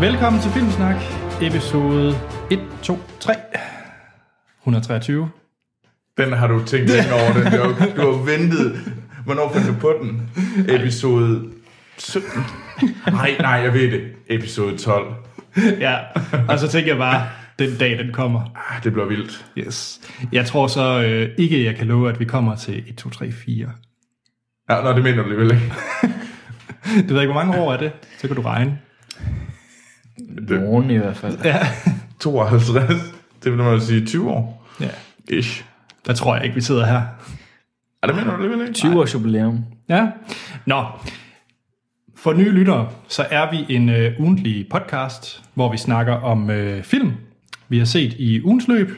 Velkommen til Filmsnak, episode 1, 2, 3, 123. Den har du tænkt længe over, den joke. Du har ventet. Hvornår fandt du på den? Episode 17. Nej, nej, jeg ved det. Episode 12. Ja, og så tænker jeg bare, den dag den kommer. Ah, det bliver vildt. Yes. Jeg tror så øh, ikke, jeg kan love, at vi kommer til 1, 2, 3, 4. Nå, nå det mener du alligevel ikke. Du ved ikke, hvor mange år er det? Så kan du regne. Det- Nogen i hvert fald. Ja. 52. Det vil man jo sige 20 år. ja. Ish. Der tror jeg ikke, vi sidder her. Ah, det mener du alligevel ikke. 20 års jubilæum. Ja. Nå, for nye lyttere, så er vi en øh, ugentlig podcast, hvor vi snakker om øh, film, vi har set i ugens løb.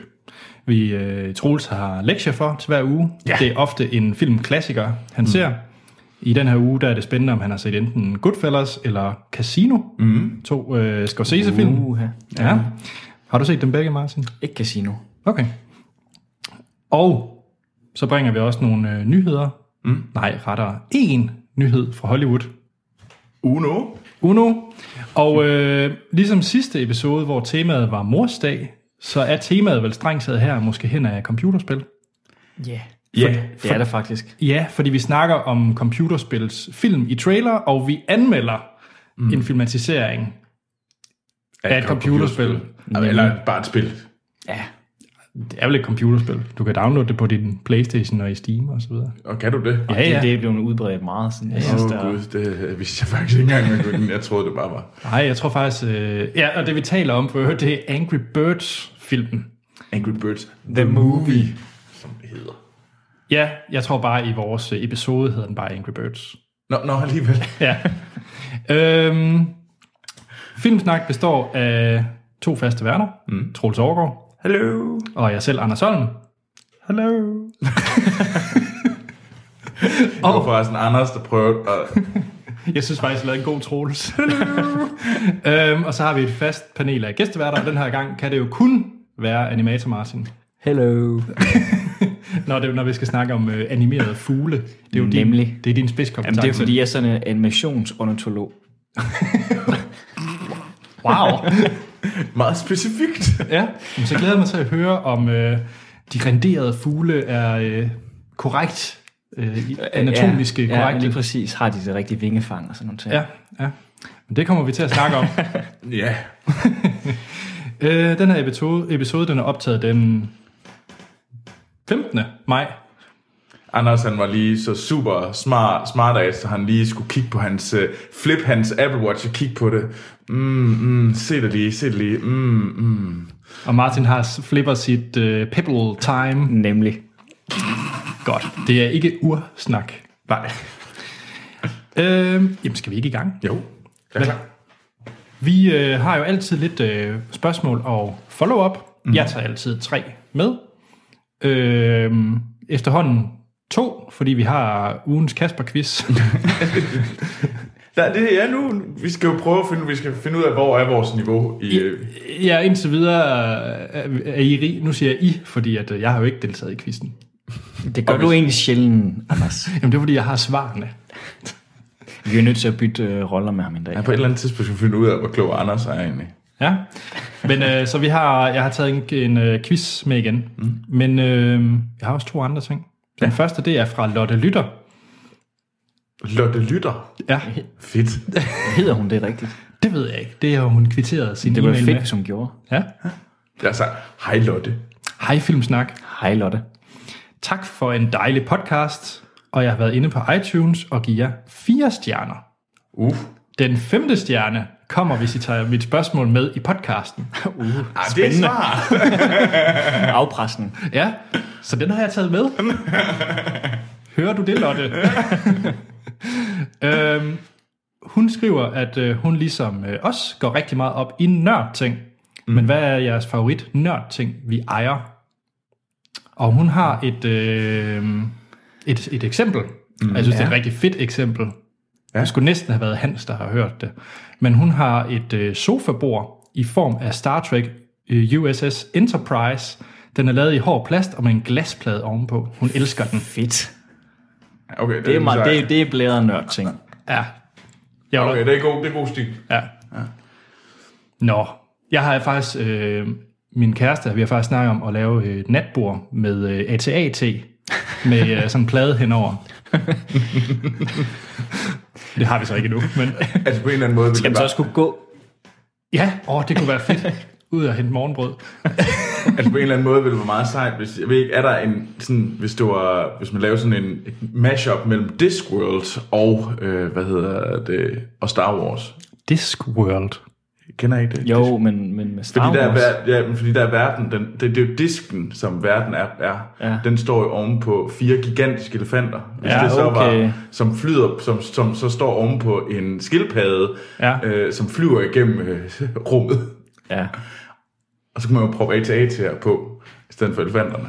Vi øh, Troels har lektier for til hver uge. Ja. Det er ofte en filmklassiker, han mm. ser. I den her uge, der er det spændende, om han har set enten Goodfellas eller Casino. Mm. To øh, Scorsese-film. Uh. Uha. Ja. Har du set dem begge, Martin? Ikke casino. Okay. Og så bringer vi også nogle øh, nyheder. Mm. Nej, rettere én nyhed fra Hollywood. Uno. Uno. Og øh, ligesom sidste episode, hvor temaet var morsdag, så er temaet vel strengt taget her måske hen af computerspil. Ja. Yeah. Ja. Det er der faktisk. Ja, fordi vi snakker om computerspils film i trailer, og vi anmelder mm. en filmatisering af et computerspil. Eller- Eller bare et spil. Ja. Det er vel et computerspil. Du kan downloade det på din Playstation og i Steam og så videre. Og kan du det? Ja, Det, ja. det er blevet udbredt meget. Sådan. Jeg Åh synes, oh, der er gud, det vidste jeg faktisk ikke engang, man kunne. Jeg troede, det bare var Nej, jeg tror faktisk... Øh, ja, og det vi taler om for øvrigt, det er Angry Birds-filmen. Angry Birds. The Movie. Som det hedder. Ja, jeg tror bare i vores øh, episode hedder den bare Angry Birds. Nå, nå alligevel. Ja. øhm, Filmsnak består af to faste værter. Mm. Troels Overgaard Hello. og jeg selv, Anders Holm. Hello. Det var forresten Anders, der prøvede at... Jeg synes faktisk, jeg lavede en god Troels. øhm, og så har vi et fast panel af gæsteværter, og den her gang kan det jo kun være Animator Martin. Hello. Når, det, når vi skal snakke om øh, animerede fugle. Det er jo Nemlig. Din, det er din Jamen, spidskompetence. det er fordi, jeg er sådan en animationsornitolog. Wow. Meget specifikt. ja. Jamen, så glæder jeg mig til at høre, om øh, de renderede fugle er øh, korrekt, øh, i- anatomiske ja, Ja, korrekte. lige præcis. Har de det rigtige vingefang og sådan noget. ja, ja. Men det kommer vi til at snakke om. Ja. øh, den her episode, episode den er optaget den 15. maj. Anders han var lige så super smart, smart af, så han lige skulle kigge på hans, øh, flip hans Apple Watch og kigge på det. Mm, mm, se det lige, se det lige. Mm, mm. Og Martin har s- flipper sit øh, pebble time. Nemlig. Godt. Det er ikke ursnak. Nej. Øh, jamen, skal vi ikke i gang? Jo. Jeg er klar. Vi øh, har jo altid lidt øh, spørgsmål og follow-up. Mm. Jeg tager altid tre med. Øh, efterhånden to, fordi vi har ugens Kasper-quiz. Der, det er nu. Vi skal jo prøve at finde, vi skal finde ud af, hvor er vores niveau i... Øh, ja, indtil videre øh, er I rig. Nu siger jeg I, fordi at, øh, jeg har jo ikke deltaget i quizzen. Det gør du egentlig sjældent, Anders. Jamen, det er fordi, jeg har svarene. Vi er nødt til at bytte øh, roller med ham en dag. ja, på et eller andet tidspunkt skal vi finde ud af, hvor klog Anders er egentlig. Ja, men øh, så vi har, jeg har taget en, en øh, quiz med igen. Mm. Men øh, jeg har også to andre ting. Den ja. første, det er fra Lotte Lytter. Lotte Lytter. Ja, Fedt. Hedder hun det rigtigt? det ved jeg ikke. Det har hun kvitteret sin Det var e-mail fedt, med. hvis hun gjorde. Ja. Jeg sagde, hej Lotte. Hej Filmsnak. Hej Lotte. Tak for en dejlig podcast, og jeg har været inde på iTunes og giver jer fire stjerner. Uh. Den femte stjerne kommer, hvis I tager mit spørgsmål med i podcasten. Ah, det er svar. Afpressen. Ja, så den har jeg taget med. Hører du det, Lotte? øhm, hun skriver, at øh, hun ligesom øh, os går rigtig meget op i nørdting. Mm. Men hvad er jeres favorit nørdting, vi ejer? Og hun har et, øh, et, et eksempel. Mm, jeg synes, ja. det er et rigtig fedt eksempel. Ja. Det skulle næsten have været Hans, der har hørt det. Men hun har et øh, sofabord i form af Star Trek øh, USS Enterprise. Den er lavet i hård plast og med en glasplade ovenpå. Hun elsker den. Fedt. Okay, Det er, en meget, sejr. det, det er blæret nørd ting. Ja. Jeg vil, Okay, det er god, det er god stil. ja. Nå, jeg har faktisk, øh, min kæreste, vi har faktisk snakket om at lave øh, et natbord med øh, ATAT, med øh, sådan en plade henover. det har vi så ikke endnu, men Altså på en eller anden måde... vil Skal det man så bare, også kunne gå? ja, åh, det kunne være fedt. Ud og hente morgenbrød. altså på en eller anden måde ville det være meget sejt, hvis, jeg ved ikke, er der en, sådan, hvis, det var, hvis man laver sådan en et mashup mellem Discworld og, øh, hvad hedder det, og Star Wars. Discworld. Kender I det? Jo, men, men med Star Fordi der, er, Wars. ver- ja, men fordi der er verden, den, det, det er jo disken, som verden er, er. Ja. den står jo ovenpå fire gigantiske elefanter, hvis Ja, det så okay. var, som flyder, som, som så står ovenpå en skildpadde, Ja. øh, som flyver igennem øh, rummet. Ja. Og så kan man jo proppe AT-AT her på, i stedet for elefanterne.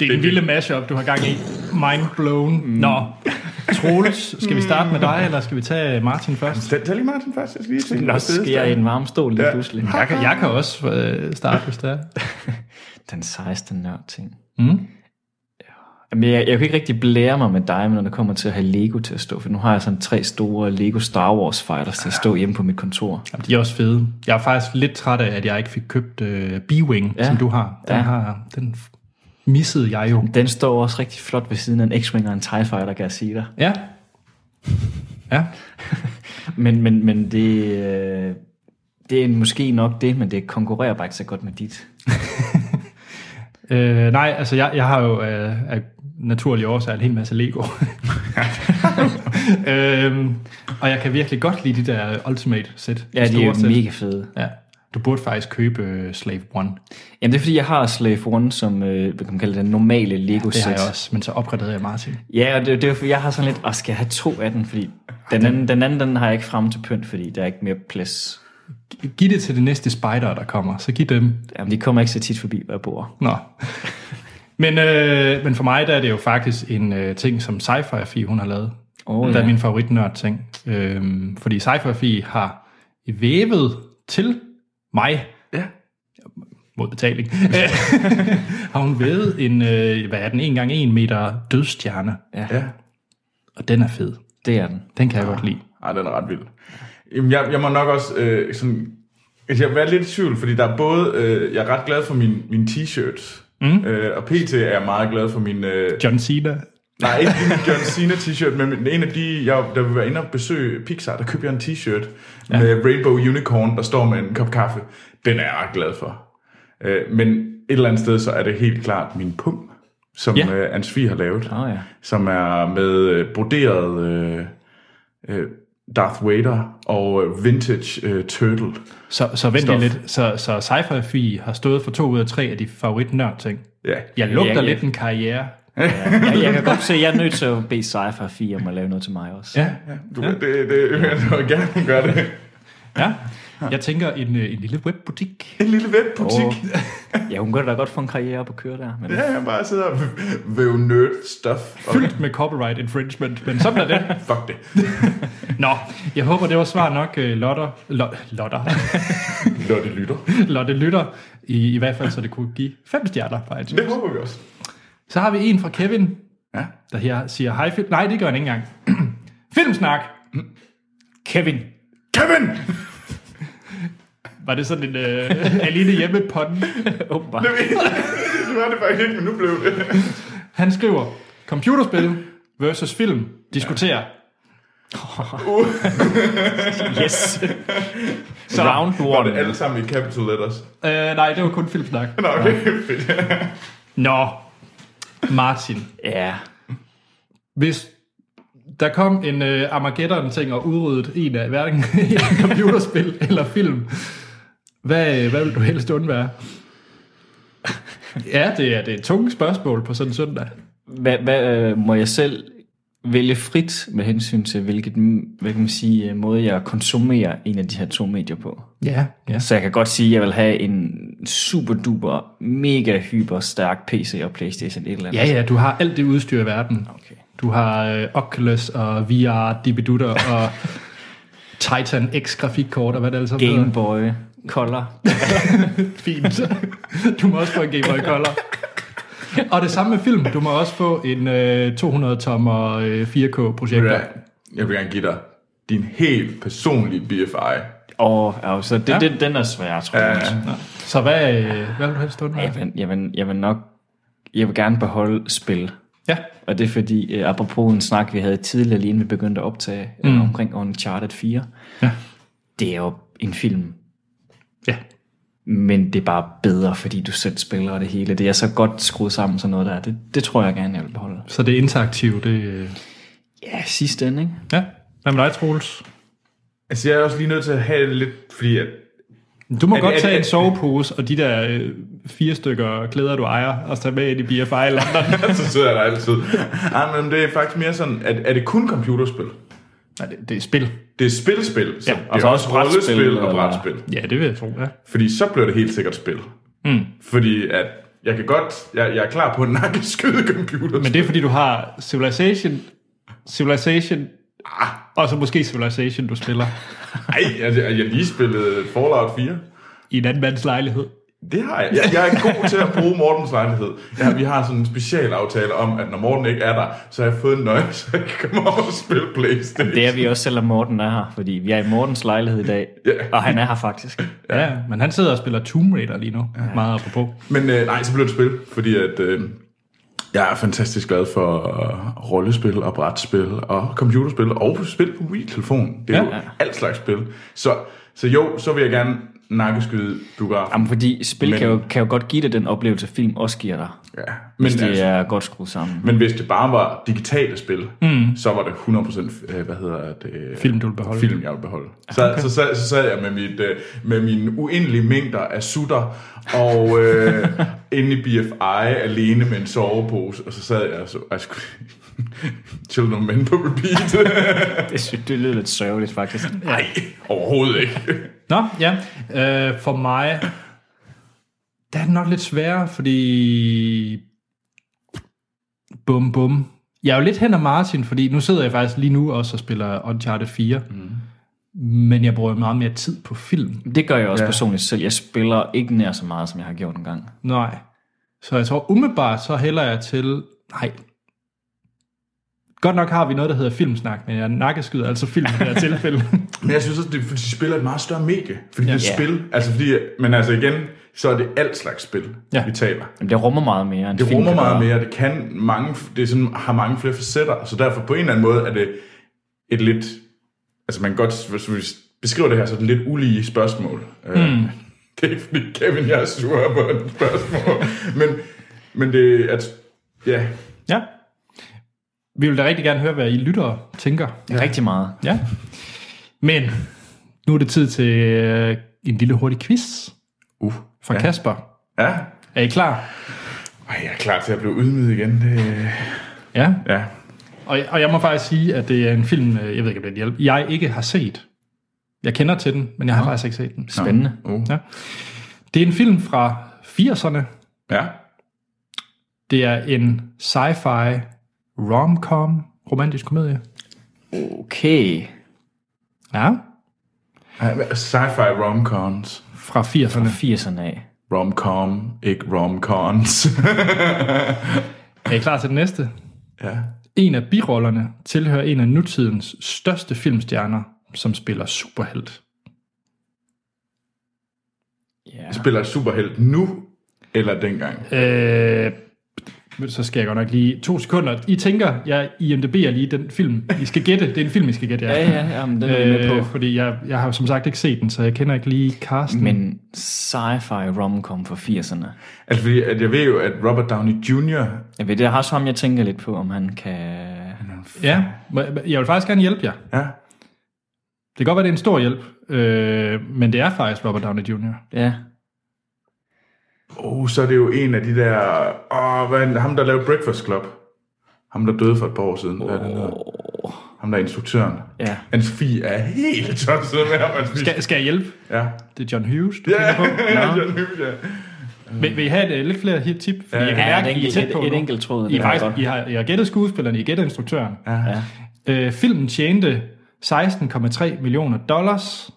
Det er en lille mashup, du har gang i. Mind blown. Mm. Nå, Troels, skal vi starte med dig, eller skal vi tage Martin først? Tag, tag lige Martin først, jeg skal lige tænke. Nå, skal jeg i en varm stol lige Ja. pludselig. Jeg kan, jeg kan også øh, starte, hvis det er. Den sejeste nørd ting. Mm. Jamen, jeg, jeg kan ikke rigtig blære mig med dig, når det kommer til at have Lego til at stå, for nu har jeg sådan tre store Lego Star Wars fighters til at stå hjemme på mit kontor. Jamen, de er også fede. Jeg er faktisk lidt træt af, at jeg ikke fik købt øh, B-Wing, ja. Ja. som du har. Den, Ja. ja. har, den f- missede jeg jo. Den står også rigtig flot ved siden af en X-Wing og en TIE Fighter, kan jeg sige dig. Ja. Ja. Men, men, men det, øh, det er måske nok det, men det konkurrerer bare ikke så godt med dit. Øh, nej, altså jeg, jeg har jo øh, af naturlige årsager en hel masse Lego. øhm, og jeg kan virkelig godt lide de der Ultimate sæt. Ja, de er jo store sæt. mega fede. Ja. Du burde faktisk købe øh, Slave One. Jamen det er fordi, jeg har Slave One som, øh, hvad kan man kalde det, den normale Lego Det set. har jeg også, men så opgraderede jeg Martin. Ja, og det, det er jo fordi, jeg har sådan lidt, og skal jeg have to af den, fordi den anden, den anden den har jeg ikke frem til pynt, fordi der er ikke mere plads. Giv det til det næste spider, der kommer, så giv dem. Jamen, de kommer ikke så tit forbi, hvor jeg bor. Nå. Men, øh, men for mig der er det jo faktisk en øh, ting, som Sci-Fi Fi, hun har lavet. Åh, der er ja. min favoritnørd ting. Øhm, fordi Sci-Fi Fi har vævet til mig Ja. mod betaling. øh, har hun vævet en, øh, hvad er den, en gang en meter dødstjerne. Ja. Og den er fed. Det er den. Den kan jeg godt lide. Ej, den er ret vild. Jamen, jeg, jeg må nok også øh, sådan... altså, Jeg har været lidt i tvivl, fordi der er både... Øh, jeg er ret glad for min, min t-shirts. Mm. Øh, og PT er jeg meget glad for min... Øh, John Cena. nej, ikke min John Cena t-shirt, men min- en af de, jeg, der vil være inde og besøge Pixar, der købte jeg en t-shirt ja. med Rainbow Unicorn, der står med en kop kaffe. Den er jeg ret glad for. Øh, men et eller andet sted, så er det helt klart min pung, som Ja. ja. øh, Ansvi har lavet Åh oh, ja. som er med øh, broderet øh, øh, Darth Vader og øh, vintage øh, turtle. Så, så vent lige Stof. lidt. Så, så sci fi har stået for to ud af tre af de favoritnørd-ting. Ja. Jeg lugter Ja, ja. lidt en karriere. Jeg, jeg kan godt se, at jeg er nødt til at bede Cypher 4 om at lave noget til mig også. Ja, Du, ja. Det, det, jeg vil gerne gøre det. ja. Jeg tænker en, øh, en lille webbutik. En lille webbutik. Og, Oh. ja, hun kan da godt få en karriere på køre der. Men, Ja, jeg bare sidder og væve nerd stuff. Og Fyldt med copyright infringement, men sådan er det. fuck det. Nå, jeg håber, det var svar nok, øh, Lotter. Lo- Lotter. Lotte lytter. Lotte Lytter. I, I hvert fald, så det kunne give fem stjerner på iTunes. Det håber vi også. Så har vi en fra Kevin, Ja. der her siger hej film. Nej, det gør han ikke engang. Filmsnak. Kevin. Kevin! Var det sådan en øh, alene hjemme podden? åbenbart. det var det faktisk ikke, men nu blev det. Han skriver, computerspil versus film. Diskuterer. Yes. Så, Round Var det one. alle sammen i capital letters? Øh, nej, det var kun filmsnak. Nå, okay, fedt. Nå, Martin. Ja. Hvis der kom en øh, Armageddon-ting og udryddede en af hverken en computerspil eller film, hvad, øh, hvad vil du helst undvære? Ja, det er, det er tunge spørgsmål på sådan en søndag. Hvad, hvad, øh, må jeg selv vælge frit med hensyn til, hvilket, hvad kan man sige, øh, måde jeg konsumerer en af de her to medier på? Ja, ja. Så jeg kan godt sige, at jeg vil have en super duper, mega hyper stærk PC og Playstation et eller andet. Ja, ja, du har alt det udstyr i verden. Okay. Du har øh, Oculus og VR, Dibidutter og Titan X grafikkort og hvad det altså Game Boy, Color. Fint. Du må også få en Game Boy Color. Og det samme med film. Du må også få en øh, 200-tommer øh, 4K-projektor. Ja, Jeg vil gerne give dig din helt personlige BFI. Og, og så det, ja. Ja. det, den er svær, tror jeg. Ja, ja. Så hvad, øh, hvad vil du helst stå med? Jeg, vil, jeg, vil, jeg vil nok... Jeg vil gerne beholde spil. Ja. Og det er fordi, øh, apropos en snak, vi havde tidligere, lige inden vi begyndte at optage mm. øh, omkring Uncharted 4. Ja. Det er jo en film, ja. men det er bare bedre, fordi du selv spiller og det hele. Det er så godt skruet sammen, sådan noget der. Det, det tror jeg gerne, jeg vil beholde. Så det er interaktivt. Det, øh, Ja, sidste ende, ikke? ja. Hvad med dig, Troels? Altså, jeg er også lige nødt til at have det lidt, fordi at Du må Er det- godt er det- tage er en det- sovepose og de der øh, fire stykker klæder, du ejer, og tage med ind i BFI London. så sidder jeg der altid. Ej, men det er faktisk mere sådan, at er det kun computerspil? Nej, det, det er spil. Det er spil-spil, så Ja, det og er så også også brætspil, rollespil og eller- brætspil. Ja, det vil jeg tro, ja. Fordi så bliver det helt sikkert spil. Mm. Fordi at jeg kan godt, jeg, jeg er klar på en nakkeskyde computer. Men Men det er, fordi du har Civilization, Civilization, og så måske Civilization, du spiller ej, jeg, jeg, jeg lige spillede Fallout 4. i en anden mands lejlighed. Det har jeg. jeg. Jeg er god til at bruge Mortens lejlighed. Ja, vi har sådan en special aftale om, at når Morten ikke er der, så har jeg fået en nøgle, så jeg kan komme over og spille Playstation. Det er vi også, selvom Morten er her, fordi vi er i Mortens lejlighed i dag, Ja. og han er her faktisk. Ja. ja, men han sidder og spiller Tomb Raider lige nu, ja. meget apropos. Men øh, nej, så blev det spil, fordi at, øh, jeg er fantastisk glad for øh, rollespil og brætspil og computerspil og spil på mobiltelefon. Det er Ja. ja. jo alt slags spil. Så, så jo, så vil jeg gerne nakkeskyde biografen. Jamen, fordi spil men, Men- kan, jo, kan jo godt give dig den oplevelse, film også giver dig, Ja. hvis Men, det altså, er godt skruet sammen. men hvis det bare var digitale spil, mm. så var det 100%, øh, hvad hedder det? Film, du vil beholde. Film, jeg vil beholde. Så, okay. så, så, så sad jeg med, mit, øh, med mine uendelige mængder af sutter, og øh, inde i BFI alene med en sovepose, og så sad jeg og så, og skulle Children of Men på repeat. Jeg synes, det lyder lidt sørgeligt, faktisk. Nej, overhovedet ikke. Nå, ja. Øh, for mig, der er det nok lidt sværere, fordi... Bum, bum. Jeg er jo lidt hen ad Martin, fordi nu sidder jeg faktisk lige nu også og spiller Uncharted 4. Mm. Men jeg bruger meget mere tid på film. Det gør jeg også ja. Ja. personligt selv. Jeg spiller ikke nær så meget, som jeg har gjort en gang. Nej. Så jeg tror umiddelbart, så hælder jeg til... Nej. Godt nok har vi noget, der hedder filmsnak, men jeg nakkeskyder altså film i det her tilfælde. Men jeg synes også, det er, fordi de spiller et meget større medie. Fordi ja. det Ja. er spil. Altså fordi, men altså igen, så er det alt slags spil, Ja. ja. vi taler. Jamen, det rummer meget mere end Det film rummer kan meget gøre. mere, det kan mange, det er sådan, har mange flere facetter, så derfor på en eller anden måde er det et lidt, altså man kan godt, hvis vi beskriver det her, så er det lidt ulige spørgsmål. Mm. Det er ikke fordi Kevin, jeg er sur på et spørgsmål, men, men det er, at, ja, ja. Vi vil da rigtig gerne høre, hvad I lyttere tænker Rigtig meget. Ja. Men nu er det tid til øh, en lille hurtig quiz uh, fra ja. Kasper. ja, Er I klar? Ej, jeg er klar til at blive ydmyget igen, det, Ja. ja, Og, og jeg må faktisk sige, at det er en film, øh, jeg ved ikke, om det er en hjælp, jeg ikke har set. Jeg kender til den, men jeg har faktisk ikke set den. Spændende. uh, Ja. Det er en film fra 80'erne. ja, Det er en sci-fi rom-com romantisk komedie. Okay. Ja, Ej, hvad- sci-fi romcons, fra 80'erne. 80'erne af. romcom, ikke romcons, Er I klar til den næste? ja. En af birollerne tilhører en af nutidens største filmstjerner, som spiller superhelt. Ja. Spiller superhelt nu, eller dengang? Øh, så skal jeg godt nok lige to sekunder. I tænker, jeg IMDB'er lige den film. I skal gætte. Det er en film, I skal gætte, Ja, ja, ja, men den er vi med Øh, på. fordi jeg, jeg har jo som sagt ikke set den, så jeg kender ikke lige casten. Men sci-fi romcom for 80'erne. Altså, fordi at jeg ved jo, at Robert Downey Jr., Jeg ved, det er også ham, jeg tænker lidt på, om han kan... Ja, må- jeg vil faktisk gerne hjælpe jer. ja, Det kan godt være, det er en stor hjælp, øh, men det er faktisk Robert Downey Jr. Ja. oh, så er det jo en af de der, åh, hvad, er han- ham der lavede Breakfast Club. Ham der døde for et par år siden. Hvad er det, han hedder? Oh. Ham. ham der er instruktøren. Ja. Hans fi er helt tosset med ham. hans fie. Skal, skal jeg hjælpe? Ja. Det er John Hughes, du Ja, yeah. på. ja, John Hughes, ja. Vil, vil I have et, øh, lidt flere hit tip? Fordi jeg kan Ja, mærke, I et er enkelt- tæt et- på et nu. enkelt tråd, det I, er er faktisk, godt. I, har, I har gættet skuespilleren, I har gættet instruktøren. ja. Øh, filmen tjente 16,3 millioner dollars.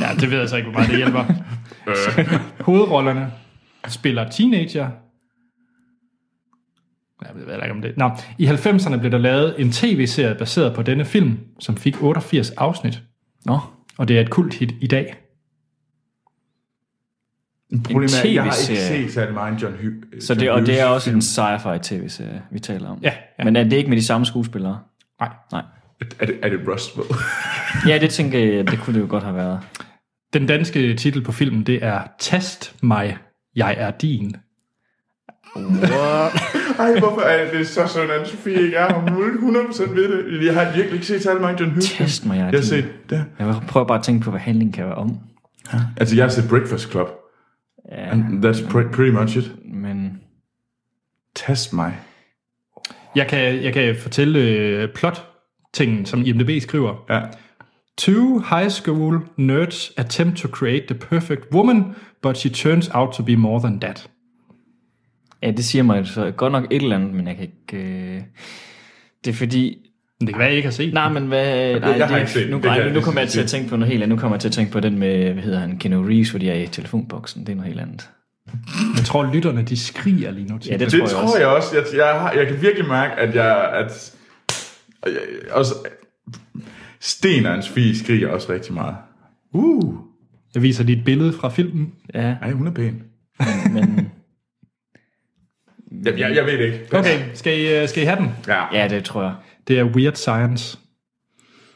Ja, det ved jeg så ikke, hvor meget det hjælper. Øh, Hovedrollerne spiller teenager. Jeg ved heller ikke om det. Nå, I 90'erne blev der lavet en tv-serie baseret på denne film, som fik 88 afsnit. Nå. Og det er et kult hit i dag. Problemet er, jeg har ikke TV-serie. set særlig meget John Hughes. Så det, og det er også en sci-fi tv-serie, vi taler om. Ja, ja. Men er det ikke med de samme skuespillere? Nej. Nej. Er det, er det Roswell? Ja, det tænker jeg, det kunne det jo godt have været. Den danske titel på filmen, det er Tast mig, jeg er din. Ej, hvorfor er det så sådan, at Sofie ikke er? Hun vil 100% ved det. Jeg har virkelig ikke set særlig meget John Hughes. Test mig, jeg er Jeg har din. set det. Jeg vil prøve bare at tænke på, hvad handlingen kan være om. Altså, jeg har set Breakfast Club. Ja, And that's pre- pretty much it. men Test mig. Jeg kan, jeg kan fortælle øh, plot-tingen, som IMDb skriver. Ja. Two high school nerds attempt to create the perfect woman, but she turns out to be more than that. ja, det siger mig så godt nok et eller andet, men jeg kan ikke... Øh... Det er fordi... Men det kan være, I ikke har set. Nej, men hvad... Nej, jeg har det, ikke set den. nu, Det kan nej, jeg nu, nu lige kommer jeg til at sige. tænke på noget helt andet. Nu kommer jeg til at tænke på den med, hvad hedder han, Keanu Reeves, hvor de er i telefonboksen. Det er noget helt andet. Jeg tror, lytterne de skriger lige nu til. Ja, det, Det, tror jeg tror også. jeg også. Jeg, jeg, har, jeg kan virkelig mærke, at jeg... At, og jeg også, Sten og hans fie skriger også rigtig meget. Uh! Jeg viser lige et billede fra filmen. Ja, Ej, hun er pæn. men... Jeg, jeg, jeg ved det ikke. Pas. Okay, skal I, øh, skal I have den? Ja. Ja, det tror jeg. Det er Weird Science.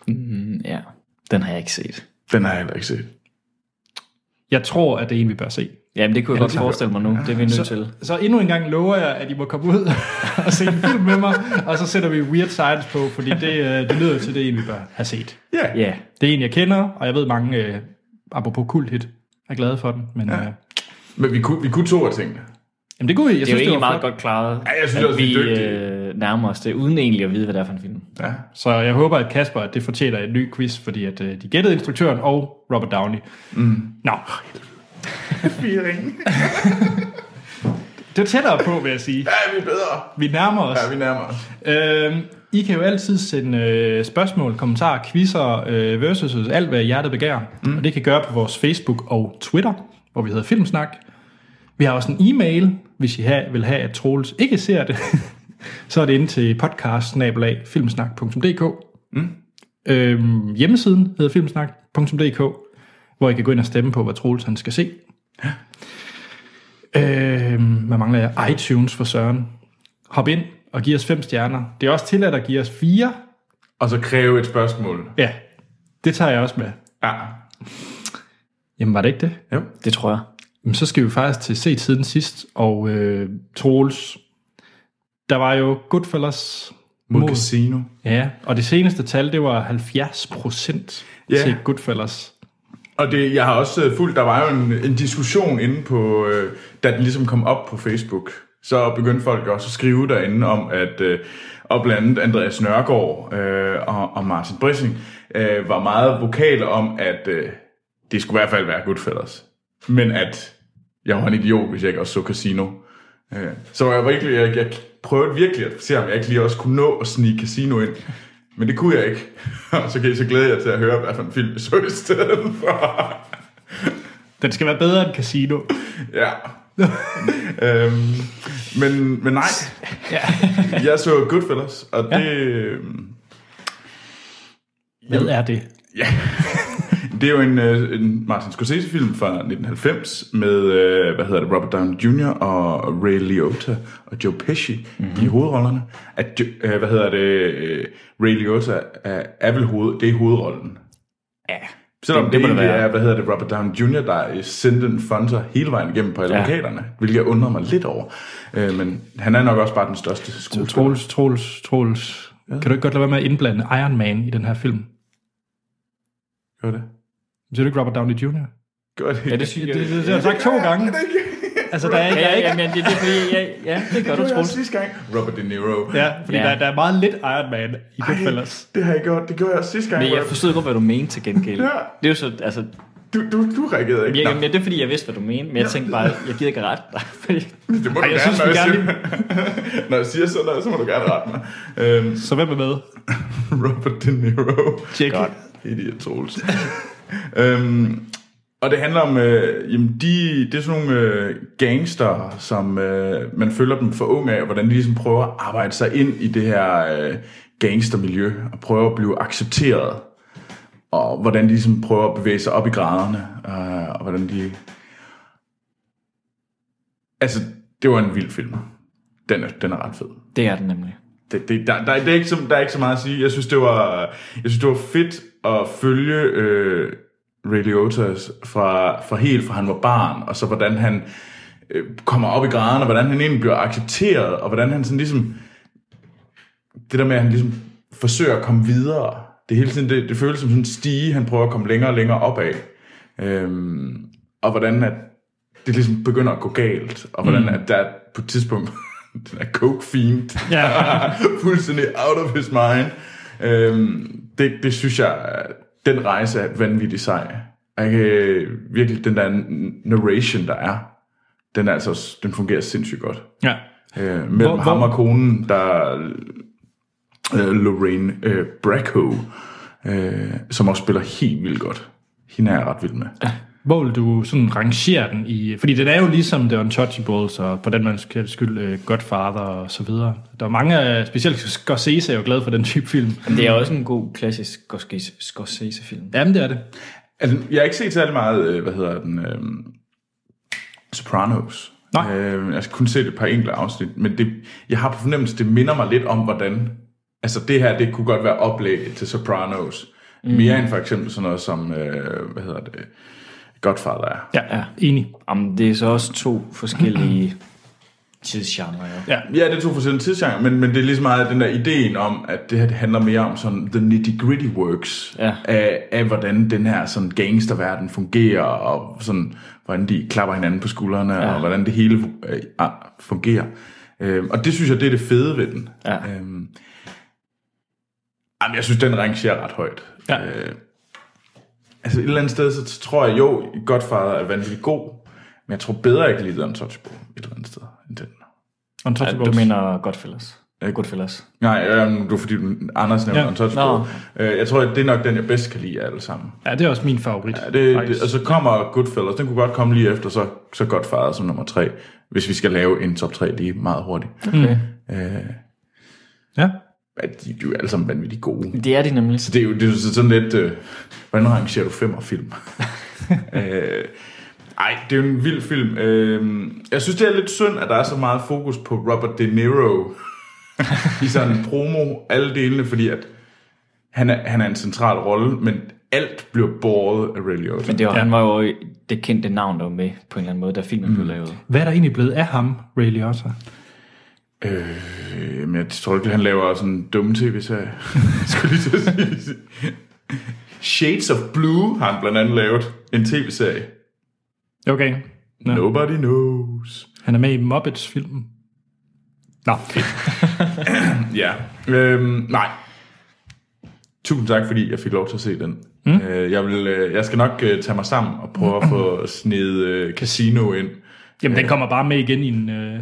Mm, ja, den har jeg ikke set. Den har jeg heller ikke set. Jeg tror, at det er en, vi bør se. Jamen, det kunne jeg Ja, godt det kan- forestille mig nu. Det er vi nødt til. Så endnu en gang lover jeg, at I må komme ud og se en film med mig, og så sætter vi Weird Science på, fordi det, øh, det lyder jo til, det er en, vi bør have set. Ja. Yeah. Ja, Det er en, jeg kender, og jeg ved mange, øh, apropos kult hit, er glade for den. Men, ja. øh, Men vi kunne, vi kunne to af tingene. jamen det kunne I. Jeg det er jo synes, egentlig var meget flot. godt klaret, Ja, jeg synes også, vi er dygtige. øh, nærmer os det, uden egentlig at vide, hvad det er for en film. Ja. Så jeg håber, at Kasper, at det fortjener en ny quiz, fordi at, øh, de gættede instruktøren og Robert Downey. Mm. Nå, Fire ringe. det er tættere på, vil jeg sige. Ja, vi er bedre. Vi nærmer os. Ja, vi nærmer os. Øhm, I kan jo altid sende øh, spørgsmål, kommentarer, quizzer, øh, versus, alt hvad hjertet begærer. Mm. Og det kan I gøre på vores Facebook og Twitter, hvor vi hedder Filmsnak. Vi har også en e-mail, hvis I ha- vil have, at Troels ikke ser det. så er det inde til podcast filmsnak.dk mm. øhm, Hjemmesiden hedder filmsnak.dk, hvor I kan gå ind og stemme på, hvad Troels han skal se. Øhm, hvad mangler jeg? iTunes for Søren. Hop ind og giv os fem stjerner. Det er også tilladt at give os fire. Og så kræve et spørgsmål. Ja, det tager jeg også med. Ja. Jamen var det ikke det? Jo. Det tror jeg. Jamen, så skal vi faktisk til se tiden sidst, og øh, Troels, der var jo Goodfellas Mod, Mod casino. Ja, og det seneste tal, det var 70 procent Ja. til Goodfellas. Og det, jeg har også øh, fulgt, der var jo en, en diskussion inde på, øh, da den ligesom kom op på Facebook, så begyndte folk også at skrive derinde om, at øh, og blandt andet Andreas Nørgaard øh, og, og Martin Brissing øh, var meget vokale om, at øh, det skulle i hvert fald være Goodfellas. Men at jeg var en idiot, hvis jeg ikke også så Casino. Øh, så var jeg virkelig, jeg, jeg prøvede virkelig at se, om jeg ikke lige også kunne nå at snige Casino ind. Men det kunne jeg ikke. Og så kan I så glæde jer til at høre, hvad for en film jeg så i stedet for. Den skal være bedre end Casino. Ja. øhm, men, men nej. Ja. jeg så Goodfellas, og det... øhm, Hvad er det? Det er jo en, øh, en Martin Scorsese-film fra 1990 med, øh, hvad hedder det, Robert Downey Jr. og Ray Liotta og Joe Pesci Mhm. mm-hmm. i hovedrollerne. At, Jo- øh, hvad hedder det, øh, Ray Liotta er, er vel hoved, det er hovedrollen. Ja. Selvom det, det det, må det egentlig være. er, hvad hedder det, Robert Downey Jr., der sendte en fonter hele vejen igennem på alle Ja. ja. plakaterne, hvilket jeg undrer mig lidt over. Øh, men han er nok også bare den største skuespiller. Troels, Troels, Troels. Ja. Kan du ikke godt lade være med at indblande Iron Man i den her film? Gør det. Siger du ikke Robert Downey Jr.? Gør det. Ja, det synes jeg. Det, det, det har jeg sagt to gange. Altså, der er ikke... Ja, ja, men det, det er fordi, ja, ja, det gør det du, gjorde jeg Troels. også sidste gang. Robert De Niro. Ja, fordi Ja. ja. Der, der er meget lidt Iron Man i Goodfellas. Ej, det har jeg gjort. Det gjorde jeg også sidste gang. Men jeg Robert. forstod godt, hvad du mente til gengæld. Ja. Det er jo så, altså, Du, du, du reagerede ikke. jeg, Nå, jamen, det er fordi, jeg vidste, hvad du mente, men jeg tænkte bare, jeg gider ikke rette dig. fordi- det må du Ej, jeg gerne, synes, når, vi jeg gerne siger, når jeg siger sådan noget, så må du gerne rette mig. Øhm, Så hvem er med? Robert De Niro. Jackie. God. Idiot Troels. øhm, og det handler om, øh, jamen de, det er sådan nogle øh, gangster, som øh, man følger dem for unge af, og hvordan de ligesom prøver at arbejde sig ind i det her øh, gangstermiljø, og prøver at blive accepteret. og hvordan de ligesom prøver at bevæge sig op i graderne, øh, og hvordan de... Altså, det var en vild film. Den er, den er ret fed. Det er den nemlig. Det, det, der, der, det er ikke så, der er ikke så meget at sige. Jeg synes, det var, jeg synes, det var fedt at følge øh, Ray Liotta's fra, fra helt fra han var barn, og så hvordan han øh, kommer op i graden, og hvordan han egentlig bliver accepteret, og hvordan han sådan ligesom... Det der med, at han ligesom forsøger at komme videre. Det, er hele tiden, det, det føles som sådan en stige, han prøver at komme længere og længere opad. Øhm, og hvordan at det ligesom begynder at gå galt, og hvordan mm. at der er på et tidspunkt, den er coke fiend, Ja. fuldstændig out of his mind. Øhm, det, det synes jeg, den rejse er vanvittig sej. Og Jeg kan, øh, virkelig, den der narration, der er, den, er altså, også- den fungerer sindssygt godt. ja. Øh, mellem Hvor- hvor, ham hvor- og konen, der øh, Lorraine øh, Bracco, øh, som også spiller helt vildt godt. Hende er jeg ret vild med. Hvor vil du sådan rangere den i... Fordi den er jo ligesom The Untouchables, og på den mands skyld øh, Godfather og så videre. Der er mange, af- specielt Scorsese er jo glad for den type film. Det er også en god klassisk Scorsese- Scorsese-film. Jamen, det er det. Altså, jeg har ikke set særlig meget, øh, hvad hedder den, øh, Sopranos. Nej. Øh, jeg har kun set et par enkelte afsnit, men det, jeg har på fornemmelse, det minder mig lidt om, hvordan... Altså det her, det kunne godt være oplægget til Sopranos. Mm. Mere end for eksempel sådan noget som, øh, hvad hedder det, Godfather er. Ja, ja. enig. Jamen, det er så også to forskellige tidsgenre, jo. Ja. Ja, det er to forskellige tidsgenre, men, men det er ligesom meget den der ideen om, at det her det handler mere om sådan the nitty gritty works Ja. af, af, hvordan den her sådan gangsterverden fungerer, og sådan, hvordan de klapper hinanden på skuldrene, ja. og hvordan det hele øh, ah, fungerer. Øhm, og det synes jeg, det er det fede ved den. Ja. Øhm, jamen, jeg synes, den rangerer ret højt. Ja. Øh, altså et eller andet sted, så tror jeg jo, Godfather er vanvittigt god, men jeg tror bedre, jeg kan lide The Untouchable et eller andet sted end den. Ja, Untouchables. du mener Godfellas. Ja. Godfellas. Nej, øh, det var fordi du- Anders nævnte Ja. ja. Untouchable. Øh, jeg tror, at det er nok den, jeg bedst kan lide af alle sammen. Ja, det er også min favorit. Ja, det, faktisk. det, og så kommer Goodfellas. Den kunne godt komme lige efter, så, så godt fader som nummer tre. Hvis vi skal lave en top tre lige meget hurtigt. Okay. Øh, ja. at de, de er jo alle sammen vanvittigt gode. Det er de nemlig. Så det er jo det er jo sådan lidt... Øh, hvordan rangerer du fem og film? øh, ej, det er jo en vild film. Øh, jeg synes, det er lidt synd, at der er så meget fokus på Robert De Niro i sådan en promo, alle delene, fordi at han er, han er en central rolle, men alt bliver båret af Ray Liotta. Men det var, ja. han var jo det kendte navn, der var med på en eller anden måde, da filmen mm. blev lavet. Hvad er der egentlig blevet af ham, Ray Liotta? Øh, men jeg tror ikke, han laver sådan en dumme tv-serie, skulle jeg lige til at sige. Shades of Blue har han blandt andet lavet en tv-serie. Okay. Nå. Nobody knows. Han er med i Muppets-filmen. Nå, fedt. Ja. Øhm, nej. Tusind tak, fordi jeg fik lov til at se den. Mm. Øh, jeg, vil, øh, jeg skal nok øh, tage mig sammen og prøve at få snedet øh, Casino ind Jamen, den kommer bare med igen i en, øh,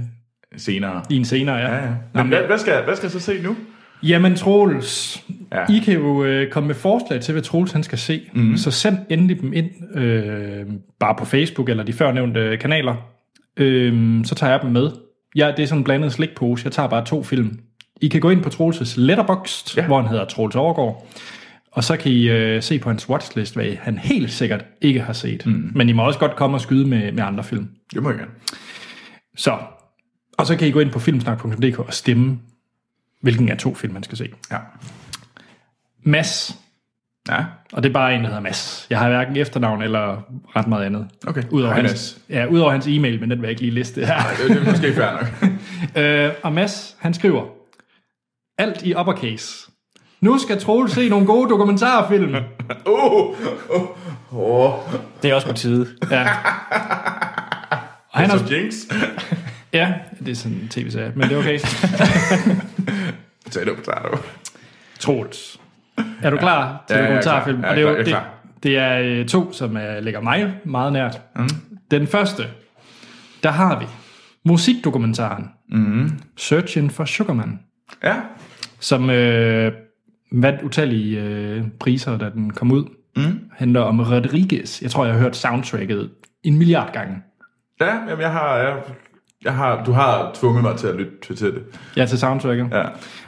senere. i en senere, ja. Ja, ja. Men hvad, hvad, skal, jeg- hvad skal jeg så se nu? Jamen, Troels, ja. Ja. I kan jo øh, komme med forslag til, hvad Troels han skal se. Mm. Så send endelig dem ind, øh, bare på Facebook eller de førnævnte kanaler. Øh, så tager jeg dem med. Ja, det er sådan en blandet slikpose. Jeg tager bare to film. I kan gå ind på Troels' Letterboxd, ja. Ja. hvor han hedder Troels Overgaard. Og så kan I øh, se på hans watchlist, hvad han helt sikkert ikke har set. Mm. Men I må også godt komme og skyde med, med andre film. Det må jeg gerne. Så. Og så kan I gå ind på filmsnak.dk og stemme, hvilken af to film man skal se. Ja. Mads, Ja, og det er bare en, der hedder Mads. Jeg har hverken efternavn eller ret meget andet. okay. Udover, Hej, hans, Mads. ja, udover hans e-mail, men den vil jeg ikke lige liste her. Det, det er måske fair nok. øh, og Mads, han skriver, alt i uppercase. Nu skal Troels se nogle gode dokumentarfilm. Åh! Oh, oh, oh. Det er også på tide. Ja. Og han har, Så Jinx. ja, det er sådan en tv-serie, men det er okay. Potato, potato. Troels. Er du klar til Ja, jeg er dokumentarfilm? klar. Jeg er Og klar, det, jeg er er jo, det, det er øh, to, som er, ligger mig meget nært. Mm. Den første, der har vi musikdokumentaren mm. Mm-hmm. Searching for Sugarman, Ja. som øh, vandt utallige øh, priser, da den kom ud. Mm. Handler om Rodriguez. Jeg tror, jeg har hørt soundtracket en milliard gange. Ja, jamen, jeg har... Jeg, jeg har, du har tvunget mig til at lytte til- til det. Ja, til soundtracket. Ja.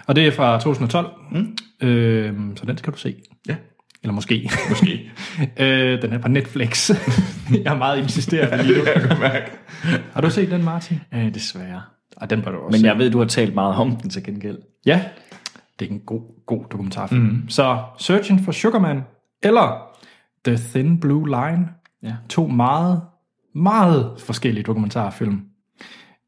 Og det er fra 2012, mm. øh, så Øhm, den skal du se. Ja. Eller måske. Måske. øh, den er på Netflix. jeg er meget insisterende lige nu. Jeg kan mærke. Har du set den, Martin? Øh, desværre. Og den bør du også Men se. jeg ved, du har talt meget om den til gengæld. Ja, det er en god, god dokumentarfilm. Mm. Så Searching for Sugar Man, eller The Thin Blue Line. Ja. To meget, meget forskellige dokumentarfilm.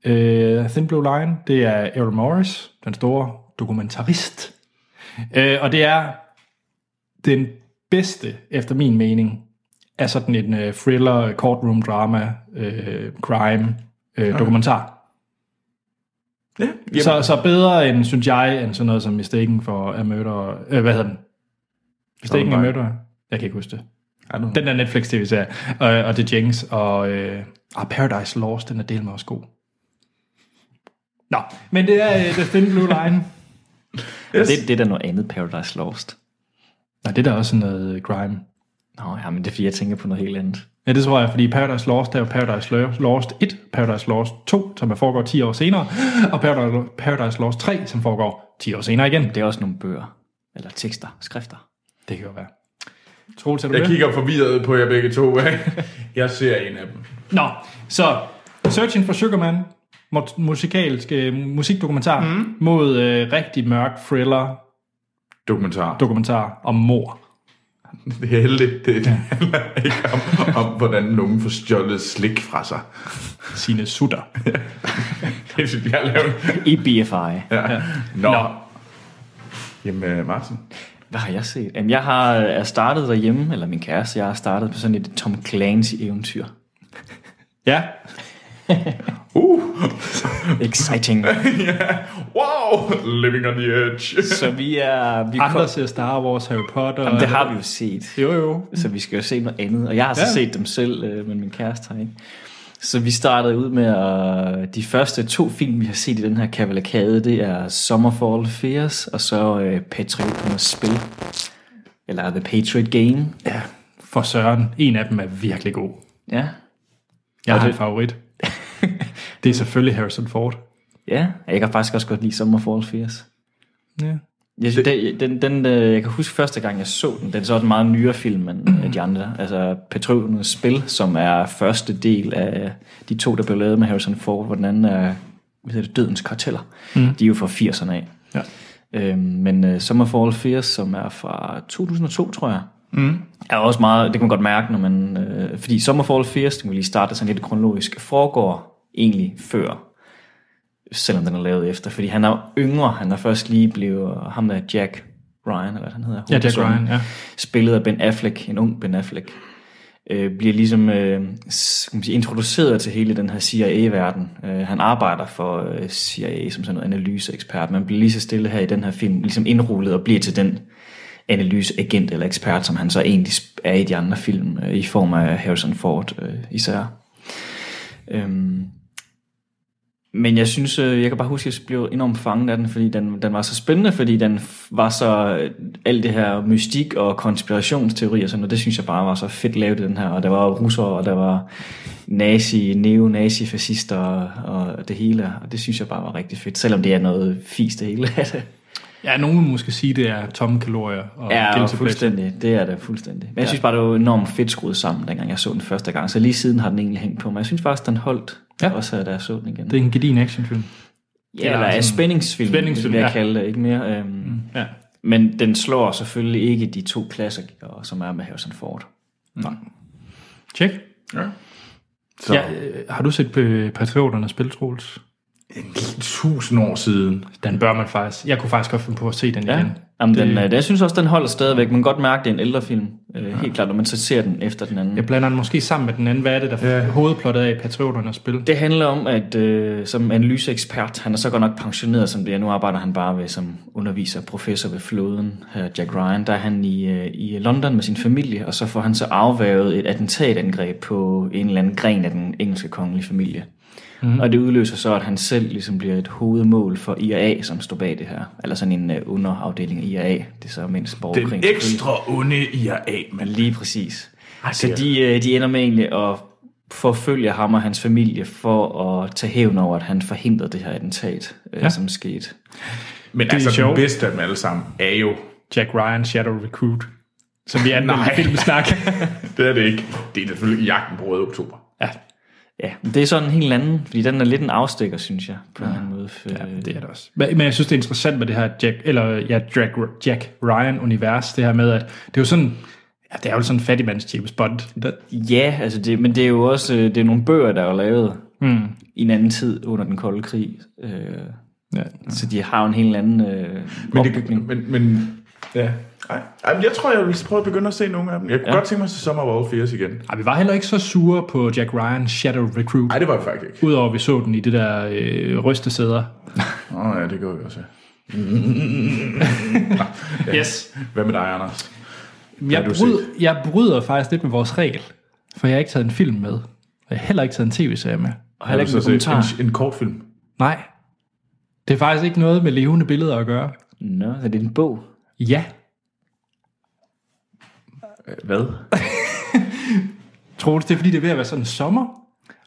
Øh, Thin Blue Line, det er Errol Morris, den store dokumentarist. Øh, og det er den bedste, efter min mening, af sådan en øh, thriller, courtroom drama, øh, crime øh, dokumentar. Ja, jamen, Så, så. så bedre end, synes jeg, end sådan noget som Mistaken for a Murder... Øh, hvad hedder den? Mistaken a Columbine. Murder? Jeg kan ikke huske det. I don't know. Den der Netflix-tv-serie, øh, og The Jinx, og øh, ah, Paradise Lost, den er del med også god. Nå, men det er øh, The Thin Blue Line. Yes. Det, det er da noget andet Paradise Lost. Nej, det er da også sådan noget øh, crime. Nå ja, men det er fordi, jeg tænker på noget helt andet. Ja, det tror jeg, fordi Paradise Lost er jo Paradise Lo- Lost 1, Paradise Lost 2, som er foregår 10 år senere, og Paradise, Paradise Lost 3, som foregår 10 år senere igen. Det er også nogle bøger. Eller tekster, skrifter. Det kan jo være. Troels, er du Jeg med? kigger forvirret på jer begge to. jeg ser en af dem. Nå, så Searching for Sugar Man, mu- musikalsk øh, musikdokumentar mm. mod øh, rigtig mørk thriller Dokumentar. dokumentar om mor. Det er heldigt. Det handler ikke om, om, hvordan nogen får stjålet slik fra sig. Sine sutter. Det synes jeg, jeg har lavet. I BFI. Ja. Nå. Nå. Nå. Jamen, øh, Martin. Hvad har jeg set? Jamen, jeg har er startet derhjemme, eller min kæreste, jeg har startet på sådan et Tom Clancy-eventyr. Ja, Uh! Exciting. Wow! Living on the edge. så vi er... Vi andre ser Star Wars, Harry Potter. Jamen, det har vi jo set. Jo, jo. Så vi skal jo se noget andet. Og jeg har så Mm. Ja. ja. set dem selv, øh, men min kæreste har ikke. Så vi startede ud med, at de første to film, vi har set i den her kavalkade, det er Summerfall Fears, og så øh, Patriot Spil. Eller The Patriot Game. Ja, for Søren. En af dem er virkelig god. Ja. Jeg Og har en det- favorit. det er selvfølgelig Harrison Ford. Ja, jeg kan faktisk også godt lide Summerfall Fears. Ja. Jeg, det, den, den, den, øh, jeg kan huske første gang, jeg så den. Den er så også en meget nyere film end øh, de andre. Altså Petronas Spil, som er første del af de to, der blev lavet med Harrison Ford, hvor den anden er hvad hedder det, Dødens Karteller. Mm. De er jo fra 80'erne af. Ja. Øhm, men øh, Summerfall Fears, som er fra 2002, tror jeg, mm. er også meget, det kan man godt mærke, når man, øh, fordi Summerfall Fears, den vil lige starte sådan lidt kronologisk, foregår egentlig før selvom den er lavet efter, fordi han er jo yngre, han er først lige blevet, ham der Jack Ryan, eller hvad han hedder, Ja, Jack hovedpersonen, Ryan, ja. spillet af Ben Affleck, en ung Ben Affleck, øh, bliver ligesom øh, s- kan man sige, introduceret til hele den her CIA-verden. Øh, han arbejder for øh, CIA som sådan noget analyseekspert, men bliver lige så stille her i den her film, ligesom indrullet og bliver til den analyseagent eller ekspert, som han så egentlig sp- er i de andre film, øh, i form af Harrison Ford øh, især. Øhm, men jeg synes, øh, jeg kan bare huske, at jeg blev enormt fanget af den, fordi den, den var så spændende, fordi den f- var så øh, alt det her mystik og konspirationsteori og sådan noget, det synes jeg bare var så fedt lavet i den her, og der var russere, og der var nazi, neonazi, fascister og, og det hele, og det synes jeg bare var rigtig fedt, selvom det er noget fis det hele af det. Ja, nogen vil måske sige, det er tomme kalorier og Ja, og guilty pleasure. fuldstændig. Det er det fuldstændig. Men jeg synes bare, det var enormt fedt skruet sammen, dengang jeg så den første gang. Så lige siden har den egentlig hængt på mig. Jeg synes faktisk, den holdt, Ja. ja. også da jeg så den igen. Det er en gedin actionfilm. Ja, eller er Spændingsfilm, spændingsfilm, spændingsfilm, vil jeg ja. kalde det, ikke mere. Øhm, mm. Ja. Men den slår selvfølgelig ikke de to klassikere, som er med Harrison Ford. Tjek. Ja. Så, Ja, ja. øh, har du set øh, Patrioterne spille, Troels? tusind år siden. Den bør man faktisk. Jeg kunne faktisk godt finde på at se den ja. igen. Jamen, den, øh, jeg synes også, den holder stadigvæk. Man kan godt mærke, det er en ældre film, øh, helt klart, når man så ser den efter den anden. Jeg blander den måske sammen med den anden. Hvad er det, der ja. Mm. Ja. hovedplottet af Patrioterne spil? Det handler om, at øh, som analyseekspert, han er så godt nok pensioneret som det er, nu arbejder han bare ved, som underviser og professor ved floden, her Jack Ryan, der er han i, øh, i London med sin familie, og så får han så afværget et attentatangreb på en eller anden gren af den engelske kongelige familie. Mm. Og det udløser så, at han selv ligesom bliver et hovedmål for IRA, som står bag det her. Eller sådan en øh, underafdeling af IRA, det er så mindst borgerkrigen. Den selvfølgelig. ekstra onde IRA, man. Lige præcis. Ej, Så det er- de, øh, de ender med egentlig at forfølge ham og hans familie for at tage hævn over, at han forhindrede det her attentat, ja. som skete. Men er altså, den sjovt. bedste af dem alle sammen er jo Jack Ryan Shadow Recruit. som vi anmeldte Nej. i filmsnak. Det er det ikke. Det er selvfølgelig jagten på røde oktober. ja, Ja, men det er sådan en helt anden, fordi den er lidt en afstikker, synes jeg, på en ja. anden måde. For, ja, det er det også. Men men jeg synes, det er interessant med det her Jack, eller, ja, Jack, Jack Ryan-univers, det her med, at det er jo sådan, ja, det er jo sådan en fattigmands James Bond. Der, Ja, altså det, men det er jo også øh, det er nogle bøger, der er jo lavet mm. i en anden tid under den kolde krig. Øh, ja. så de har jo en helt anden øh, Men, opbygning. det, men, men ja. Ej, ej, men jeg tror, jeg vil prøve at begynde at se nogle af dem. Jeg kunne ja. godt tænke mig at se Summer of All Fears igen. Ej, vi var heller ikke så sure på Jack Ryan Shadow Recruit, Nej, det var jeg faktisk ikke. udover at vi så den i det der øh, rystesæder. Åh oh, ja, det går jeg også. Yes. Hvad med dig, Anders? Jeg, har du bryd, jeg bryder faktisk lidt med vores regel, for jeg har ikke taget en film med, og jeg har heller ikke taget en tv-serie med. Og heller ikke Har en du så set kommentar. en, en kortfilm. Nej, det er faktisk ikke noget med levende billeder at gøre. Nå, så det er en bog. Ja, Hvad? Troels, det er fordi, det er ved at være sådan sommer,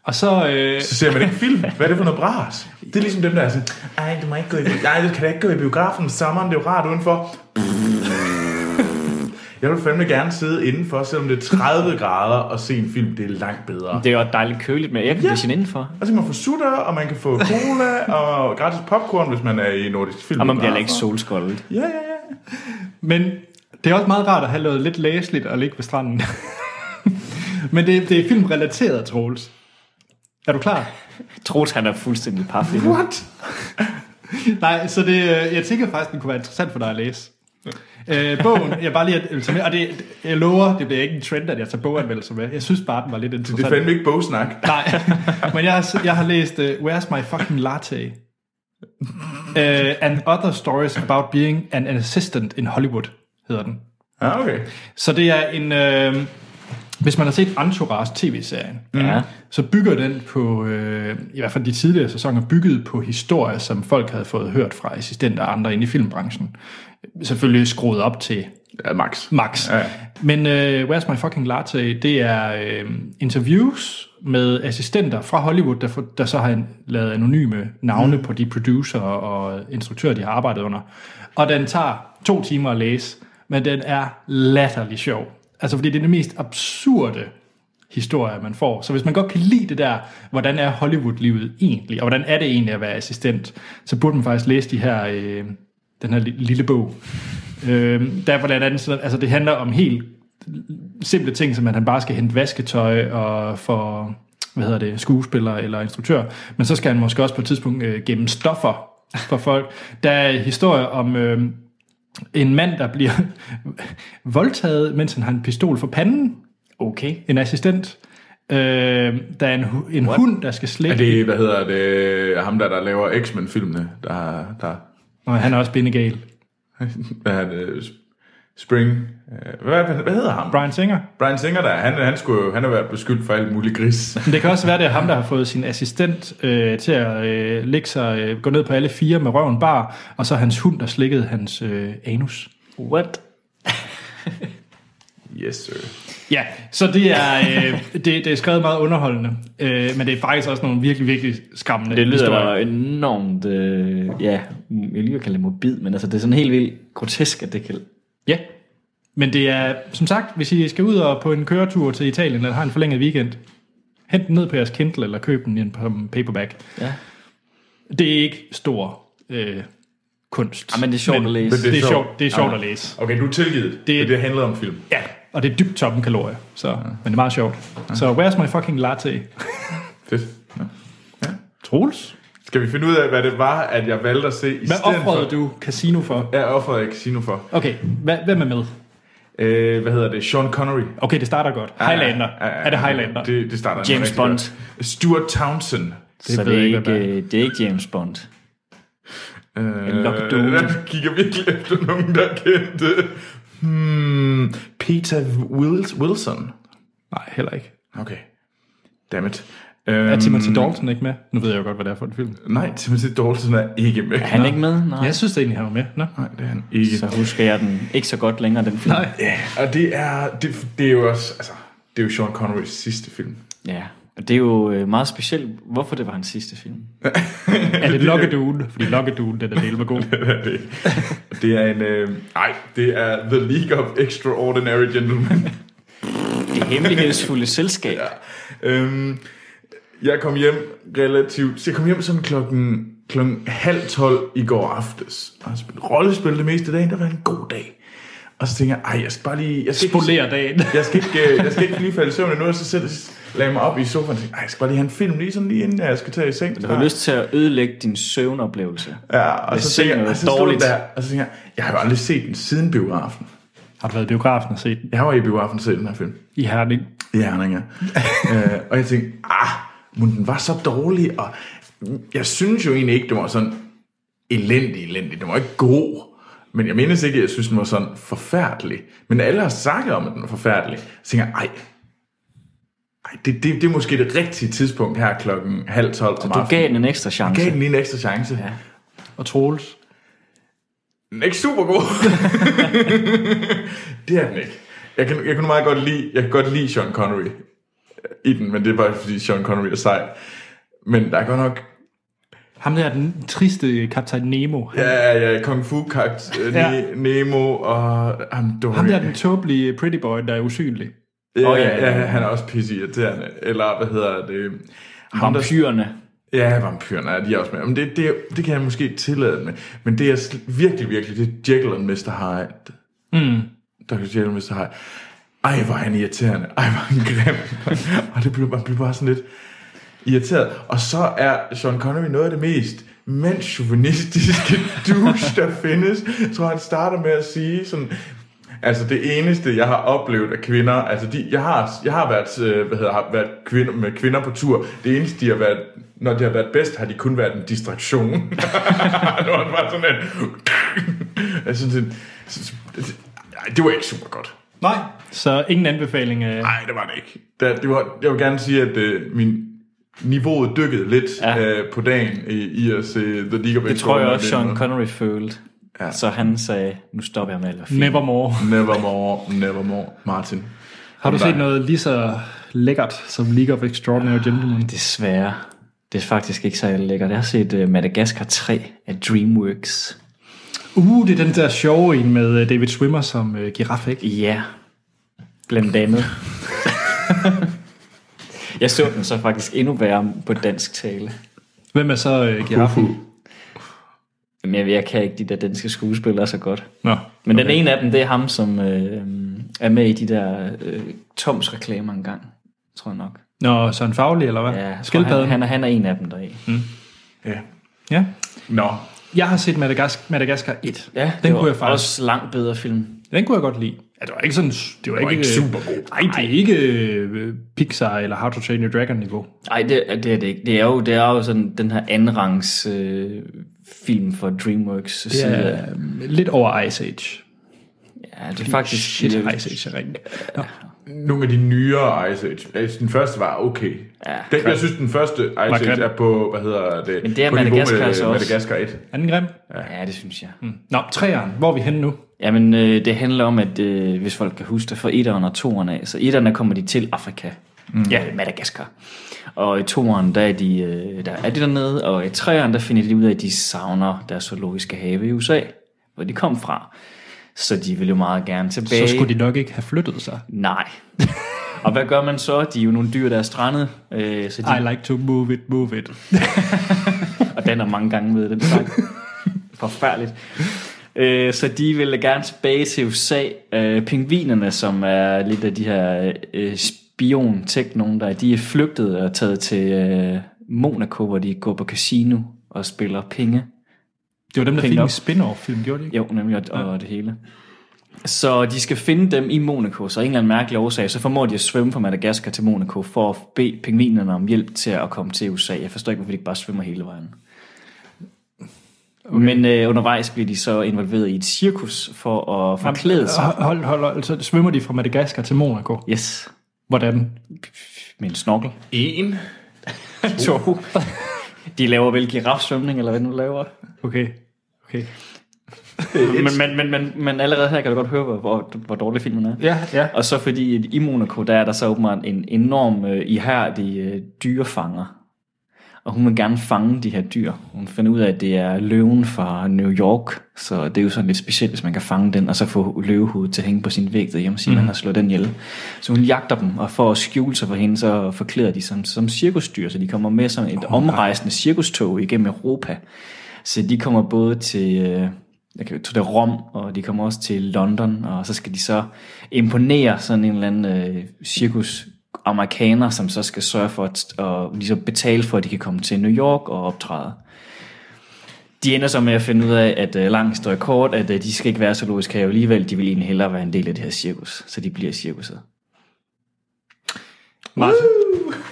og så... Øh, Så ser man ikke film. Hvad er det for noget bras? Det er ligesom dem, der er sådan, ej, du må ikke gå i, nej, du kan da ikke gå i biografen om sommeren, det er jo rart udenfor. Jeg vil fandme gerne sidde indenfor, selvom det er 30 grader og se en film. Det er langt bedre. Det er jo dejligt køligt med aircondition ja. indenfor. Og så kan man få sutter, og man kan få cola, og gratis popcorn, hvis man er i nordisk film. Ah, Og man bliver heller ikke solskoldet. Ja, ja, ja. men det er også meget rart at have noget lidt læseligt og ligge ved stranden. men det, det er filmrelateret, Troels. Er du klar? Troels, han er fuldstændig paf lige nu. What? Nej, så det, øh, jeg tænker faktisk, den kunne være interessant for dig at læse. Øh, bogen, jeg bare lige, at- vil tage med, og det, jeg lover, det bliver ikke en trend, at jeg tager boganmeldelser med. Jeg synes bare, den var lidt Det er interessant. fandme ikke bogsnak. Nej, men jeg har, jeg har læst uh, Where's My Fucking Latte? Uh, and Other Stories About Being an Assistant in Hollywood, hedder den. Ja, okay. Så det er en... Øh, hvis man har set Entourage tv-serien, Ja. så bygger den på, øh, i hvert fald de tidligere sæsoner, bygget på historier, som folk havde fået hørt fra assistenter og andre inde i filmbranchen. Selvfølgelig skruet op til Ja, Max. max. Ja. Men øh, Where's My Fucking Latte, det er øh, interviews med assistenter fra Hollywood, der, for, der så har en, lavet anonyme navne mm. på de producer og instruktører, de har arbejdet under. Og den tager to timer at læse, men den er latterlig sjov. Altså fordi det er det mest absurde historier, man får. Så hvis man godt kan lide det der, hvordan er Hollywood-livet egentlig, og hvordan er det egentlig at være assistent, så burde man faktisk læse de her, øh, den her li- lille bog. Øh, der er blandt andet sådan, altså det handler om helt simple ting, som at han bare skal hente vasketøj og for hvad hedder det, skuespiller eller instruktør, men så skal han måske også på et tidspunkt øh, gemme stoffer for folk. Der er historier om øh, en mand, der bliver voldtaget, mens han har en pistol for panden, Okay. en assistent. Øh, der er en, hu- en hund, der skal Er slikke. Det... det, hvad hedder det, ham der, der laver X-Men-filmene, der, der Nå, han er også bindegal. hvad er det, Spring, øh, hvad, hvad, hvad hedder ham? Brian Singer. Brian Singer der, han, han skulle jo, han har været beskyldt for alt muligt gris. Men det kan også være, det er ham, der har fået sin assistent øh, til at øh, lægge sig, øh, gå ned på alle fire med røven bar, og så hans hund, der slikkede hans øh, anus. What? Yes, sir. Ja, så det er, øh, det, det er skrevet meget underholdende, øh, men det er faktisk også nogle virkelig, virkelig skræmmende Det lyder historier. da enormt, øh, ja, jeg lige vil kalde det morbid, men altså det er sådan helt vildt grotesk, at det kan... Ja, men det er, som sagt, hvis I skal ud og på en køretur til Italien, eller har en forlænget weekend, hent den ned på jeres Kindle, eller køb den i en som paperback. Ja. Det er ikke stor øh, kunst. Ja, men det er sjovt at læse. Det, det er sjovt, det er sjovt Ja. at læse. Okay, du er tilgivet. Det- Det, det handlede om film. Ja, og det er dybt toppen kalorier, så, ja. men det er meget sjovt. Ja. Så where's my fucking latte? Fedt. Ja. Troels? Skal vi finde ud af, hvad det var, at jeg valgte at se i Hvad stedet offrede for? du casino for? Jeg offrede jeg Casino for. Okay, hvad, hvem er med? Øh, hvad hedder det? Sean Connery. Okay, det starter godt. Highlander. Ja, ja, ja. Er det Highlander? Det, det starter James rigtig Bond. godt. Stuart Townsend. Det så ved det er, jeg ikke, ikke, hvad det øh, det er ikke James Bond. Øh, Lock Doom. der gik jeg virkelig efter nogen, der kendte. Hmm, Peter Wills Wilson. Nej, heller ikke. Okay. Dammit. Øhm, Er Timothy Dalton ikke med? Nu ved jeg jo godt, hvad det er for en film. Nej, Timothy Dalton er ikke med. Er han ikke med? Nej. Jeg synes egentlig, han var med. Nå. Nej, det er han ikke. Så husker jeg den ikke så godt længere, den film. Nej. Ja, og det er, det, det er jo også, altså, det er jo Sean Connerys sidste film. Ja, Og det er jo øh, meget specielt, hvorfor det var hans sidste film. Er det Lokkeduen? Fordi Lokkeduen, den er del med god. det er en... Øh, nej, det er The League of Extraordinary Gentlemen. Det hemmelighedsfulde selskab. øhm, jeg kom hjem relativt... Så jeg kom hjem sådan klokken, klokken halv tolv i går aftes. Og jeg spillede rollespil det meste af dagen. Det var en god dag. Og så tænker jeg, ej, jeg skal bare lige... Jeg skal ikke- Spolerer dagen. jeg skal ikke, øh, jeg skal ikke lige falde i søvn endnu, og så sætte, lagde jeg mig op i sofaen og tænkte, "Ej, jeg skal bare lige have en film lige sådan lige inden jeg skal tage i seng. Du har lyst til at ødelægge din søvnoplevelse. Ja, og Hvis så tænker jeg, sengen er og så stod den dårligt. der, og så tænker jeg, jeg har jo aldrig set den siden biografen. Har du været i biografen og set den? Jeg var i biografen og set den her film. I Herning. I Herning, ja. øh, og jeg tænkte, ah, men den var så dårlig, og jeg synes jo egentlig ikke, den var sådan elendig, elendig. Den var ikke god. Men jeg mindes ikke, at jeg synes, den var sådan forfærdelig. Men alle har snakket om, at den var forfærdelig. Så tænker jeg, ej, ej det, det, det er måske det rigtige tidspunkt her klokken halv tolv om Du aftenen. gav den en ekstra chance. gav den lige en ekstra chance. Ja. Og Troels. Den er ikke super god. det er den ikke. Jeg kan, jeg kunne meget godt lide, jeg kan godt lide Sean Connery øh, i den, men det er bare fordi Sean Connery er sej. Men der er godt nok Ham der er den triste kaptajn Nemo. ja, ja, Kung Fu Kakt, ja. Ja. Nemo og I'm Dory. Ham der er den tåbelige pretty boy, der er usynlig. ja, Åh, ja, ja, ja, ja, han er også pisse irriterende. Eller hvad hedder det? Ham, der, Vampyrerne. ja, vampyrerne er de er også med. Men det, det, det kan jeg måske tillade dem med. Men det er sl- virkelig, virkelig, det er Jekyll og Mr. Hyde. Mm. Dr. Jekyll og Mr. Hyde. Ej, hvor er han irriterende. Ej, hvor er han grim. og det blev, man blev bare sådan lidt irriteret. Og så er Sean Connery noget af det mest mandsjuvenistiske douche, der findes. Jeg tror, han starter med at sige sådan... Altså det eneste, jeg har oplevet af kvinder, altså de, jeg, har, jeg har været, øh, hvad hedder, har været kvinder, med kvinder på tur. Det eneste, de har været, når det har været bedst, har de kun været en distraktion. det var bare sådan en... jeg synes, det, det, ej, det var ikke super godt. Nej. Så ingen anbefaling af... Nej, det var det ikke. Det, det var, jeg vil gerne sige, at øh, min niveauet dykkede lidt ja. Ja. øh, på dagen i, i at se The League of Det tror jeg også, Sean Extraordinary Connery følte. Ja. Ja. Så han sagde, nu stopper jeg med at lave film. Nevermore. Men Nevermore, nevermore, Martin. Har du Nej. set noget lige så lækkert som League of Extraordinary Gentlemen? Desværre. Det er faktisk ikke særlig lækkert. Jeg har set øh, Madagaskar 3 af DreamWorks. Uh, det er den der sjove en med øh, David Schwimmer som uh, giraf, ikke? Ja, blandt andet. jeg så den så faktisk endnu værre på dansk tale. Hvem er så uh, giraffen? Uhu. Men jeg, jeg kan ikke de der danske skuespillere så godt. Nå. Men okay. den ene af dem, det er ham, som øh, er med i de der øh, Toms reklamer engang, tror jeg nok. Nå, Søren Fagli, eller hvad? Ja, jeg tror, Skildpadden? han, han, er, han er en af dem deri. Ja. Ja. Nå, Jeg har set Madagask- Madagaskar 1. Ja, det den var kunne jeg faktisk. også langt bedre film. Den kunne jeg godt lide. Ja, det var ikke sådan... Det var, det var ikke øh, super god. Nej, det er ikke øh, Pixar eller How to Train Your Dragon niveau. Nej, det, er- det er det ikke. Det er jo, det er jo sådan den her andenrangs øh, film for DreamWorks Det side. er øh, lidt over Ice Age. ja, det er faktisk... Shit, det, Ice Age er rigtig. Nogle af de nyere Ice Age. Altså, den første var okay. Ja, den, jeg synes, den første Ice Age grim. er på, hvad hedder det? Men det er på niveau Madagaskar med, altså også. Madagaskar 1. Anden grim? ja, det synes jeg. Mm. Nå, træeren. Hvor er vi henne nu? Jamen, øh, det handler om, at øh, hvis folk kan huske det, fra etteren og toeren af, så etterne kommer de til Afrika. Mm. Ja, Madagaskar. Og i toeren, der er, de, øh, der er de dernede, og i treeren, der finder de ud af, at de savner deres zoologiske have i USA, hvor de kom fra. Så de vil jo meget gerne tilbage. Så skulle de nok ikke have flyttet sig. Nej. og hvad gør man så? De er jo nogle dyr, der er strandet, øh, så de I like to move it, move it. og danner mange gange ved den sang. Forfærdeligt. Øh, så de ville gerne tilbage til USA. Øh, pingvinerne, som er lidt af de her øh, spion nogen der de er flygtet og taget til øh, Monaco, hvor de går på casino og spiller penge. Det var dem, der Penge fik en op. spin-off-film, gjorde de ikke? Jo, nemlig, og, og det hele. Så de skal finde dem i Monaco, så af en eller anden mærkelig årsag, så formår de at svømme fra Madagaskar til Monaco for at bede pingvinerne om hjælp til at komme til USA. Jeg forstår ikke, hvorfor de ikke bare svømmer hele vejen. Okay. Men øh, undervejs bliver de så involveret i et cirkus for at forklæde sig. Hold, hold, hold, hold. Så svømmer de fra Madagaskar til Monaco. Yes, Hvordan? med en snorkel. En? To. de laver vel girafsvømning, eller hvad de nu laver. Okay. Okay. men, men, men, men, men allerede her kan du godt høre, hvor, hvor, hvor dårlig filmen er. Ja, ja. Og så fordi i Monaco, der er der så åbenbart en enorm øh, ihærdig øh, dyrefanger. Og hun vil gerne fange de her dyr. Hun finder ud af, at det er løven fra New York. Så det er jo sådan lidt specielt, hvis man kan fange den, og så få løvehovedet til at hænge på sin væg derhjemme, siger mm. man, og slå den ihjel. Så hun jagter dem, og for at skjule sig for hende, så forklæder de sig som, som cirkusdyr. Så de kommer med som et omrejsende cirkustog igennem Europa. Så de kommer både til... Øh, jeg kan, til det Rom, og de kommer også til London, og så skal de så imponere sådan en eller anden øh, cirkus amerikaner, som så skal sørge for at og ligesom betale for, at de kan komme til New York og optræde. De ender så med at finde ud af, at øh, langt står kort, at øh, de skal ikke være zoologisk have alligevel. De vil egentlig hellere være en del af det her cirkus, så de bliver i cirkuset. Martin,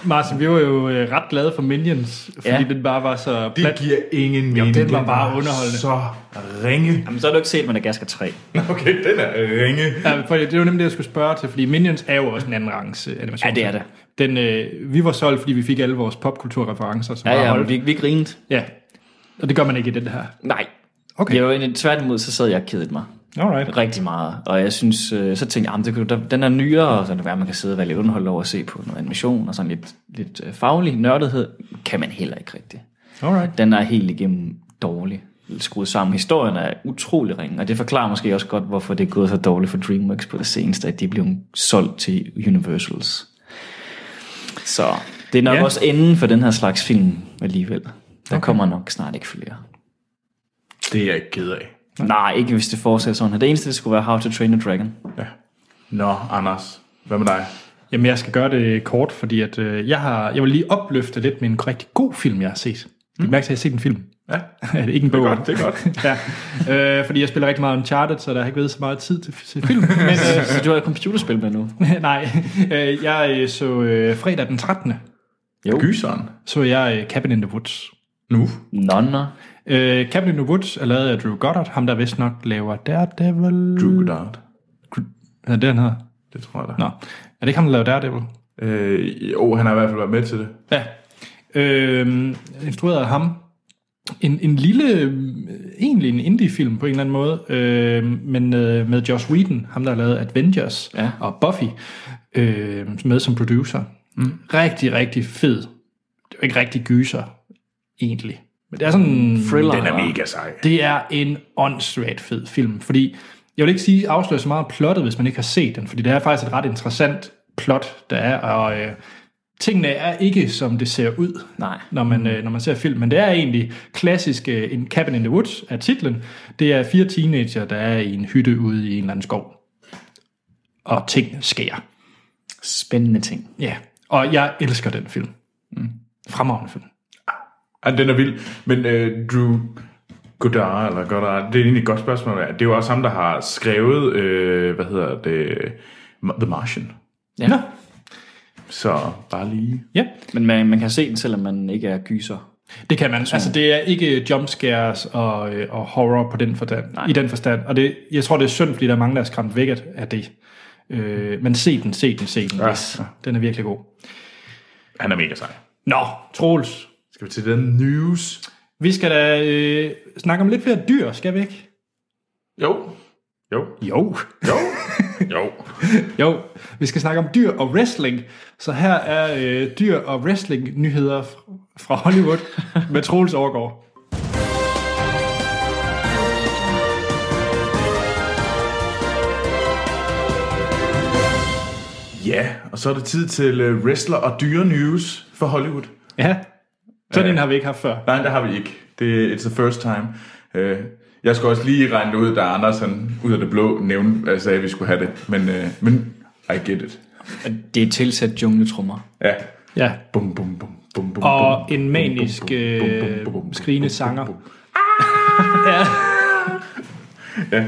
Martin, vi var jo øh, ret glade for Minions, fordi ja. Ja. den bare var så Det plat. giver ingen mening. den var bare underholdende. Så ringe. Jamen, så har du ikke set Madagaskar 3. Okay, den er ringe. Ja, for det var nemlig det, jeg skulle spørge til, fordi Minions er jo også en anden rangs øh, animation. Ja, det er det. Den, øh, vi var solgt, fordi vi fik alle vores popkulturreferencer, som Ja, var ja, men holdt. vi, vi grinede. Ja, og det gør man ikke i den her. Nej. Okay. Okay. Jeg var egentlig, tværtimod, så sad jeg og kedede mig. Alright. rigtig meget. Og jeg synes, øh, så tænkte jeg, "Jamen, det kunne, der, den er nyere, og så kan det være, man kan sidde og være lidt underholdt over at se på noget animation, og sådan lidt, lidt øh, faglig nørdethed, kan man heller ikke rigtigt. Alright. Den er helt igennem dårlig skruet sammen. Historien er utrolig ringe, og det forklarer måske også godt, hvorfor det er gået så dårligt for DreamWorks på det seneste, at de blev solgt til Universals. Så det er nok Ja. ja. også enden for den her slags film alligevel. Der okay. kommer nok snart ikke flere. Det er jeg ikke ked af. Nej, ikke hvis det fortsætter sådan her. Det eneste, det skulle være How to Train a Dragon. Ja. Nå, Anders. Hvad med dig? Jamen, jeg skal gøre det kort, fordi at, øh, jeg, har, jeg vil lige opløfte lidt med en rigtig god film, jeg har set. Mm. Mærke til, at jeg har set en film. Ja, det er ikke en bog. godt, det er godt. ja. øh, fordi jeg spiller rigtig meget Uncharted, så der har ikke været så meget tid til, til film. Men, øh, Så du har et computerspil med nu? nej, øh, jeg øh, så øh, fredag den 13. Jo. Gyseren. så jeg øh, Cabin in the Woods. Nu. Nonner. Øh, Cabin in the Woods er lavet af Drew Goddard, ham der vist nok laver Daredevil. Drew Goddard. Er det, han hedder? Det tror jeg da. Nå, er det ikke ham, der laver Daredevil? Øh, jo, han har i hvert fald været med til det. Ja. Øh, instrueret af ham. En, en lille, øh, egentlig en indie-film på en eller anden måde, øh, men øh, med Josh Whedon, ham der har lavet Avengers Ja. og Buffy, øh, med som producer. Mm. Rigtig, rigtig fed. Det er jo ikke rigtig gyser, egentlig. Men det er sådan... Thriller. Den er eller? mega sej. Det er en åndssvagt fed film, fordi jeg vil ikke sige afsløre så meget om plottet, hvis man ikke har set den, fordi det er faktisk et ret interessant plot, der er, og øh, tingene er ikke, som det ser ud, Nej. når man, øh, når man ser film, men det er egentlig klassisk øh, en Cabin in the Woods af titlen. Det er fire teenager, der er i en hytte ude i en eller anden skov, og ting sker. Spændende ting. Ja, og jeg elsker den film. Mm. Fremragende film. Ja, den er vild. Men øh, Drew Goddard, eller Goddard, det er egentlig et godt spørgsmål. Det er jo også ham, der har skrevet, øh, hvad hedder det, The Martian. Ja. Nå. Så bare lige. Ja, Men man, man kan se den, selvom man ikke er gyser. Det kan man. Altså, det er ikke jumpscares og, øh, og horror på den forstand, i den forstand. Og det, jeg tror, det er synd, fordi der er mange, der er skræmt væk af- af det. Øh, men se den, se den, se den. Yes. Den er virkelig god. Han er mega sej. Nå, Troels. Skal vi til den news? Vi skal da øh, snakke om lidt flere dyr, skal vi ikke? Jo. Jo. Jo. Jo. jo. Jo, vi skal snakke om dyr og wrestling. Så her er øh, dyr og wrestling-nyheder fr- fra Hollywood med Troels Overgaard. Ja, og så er det tid til øh, wrestler og dyre news for Hollywood. Ja, Øh. sådan en har vi ikke haft før. Nej, der har vi ikke. Det er it's the first time. Øh, jeg skulle også lige regne det ud, da Anders han, ud af det blå nævnte, altså, at vi skulle have det. Men, øh, men I get it. Det er tilsat jungletrummer. Ja. Ja, Bum, bum, bum, bum, bum, Og bum, en bum, manisk, bum, bum, bum, bum, bum, øh, bum, skrigende bum, sanger. Ah! bum, bum. ja.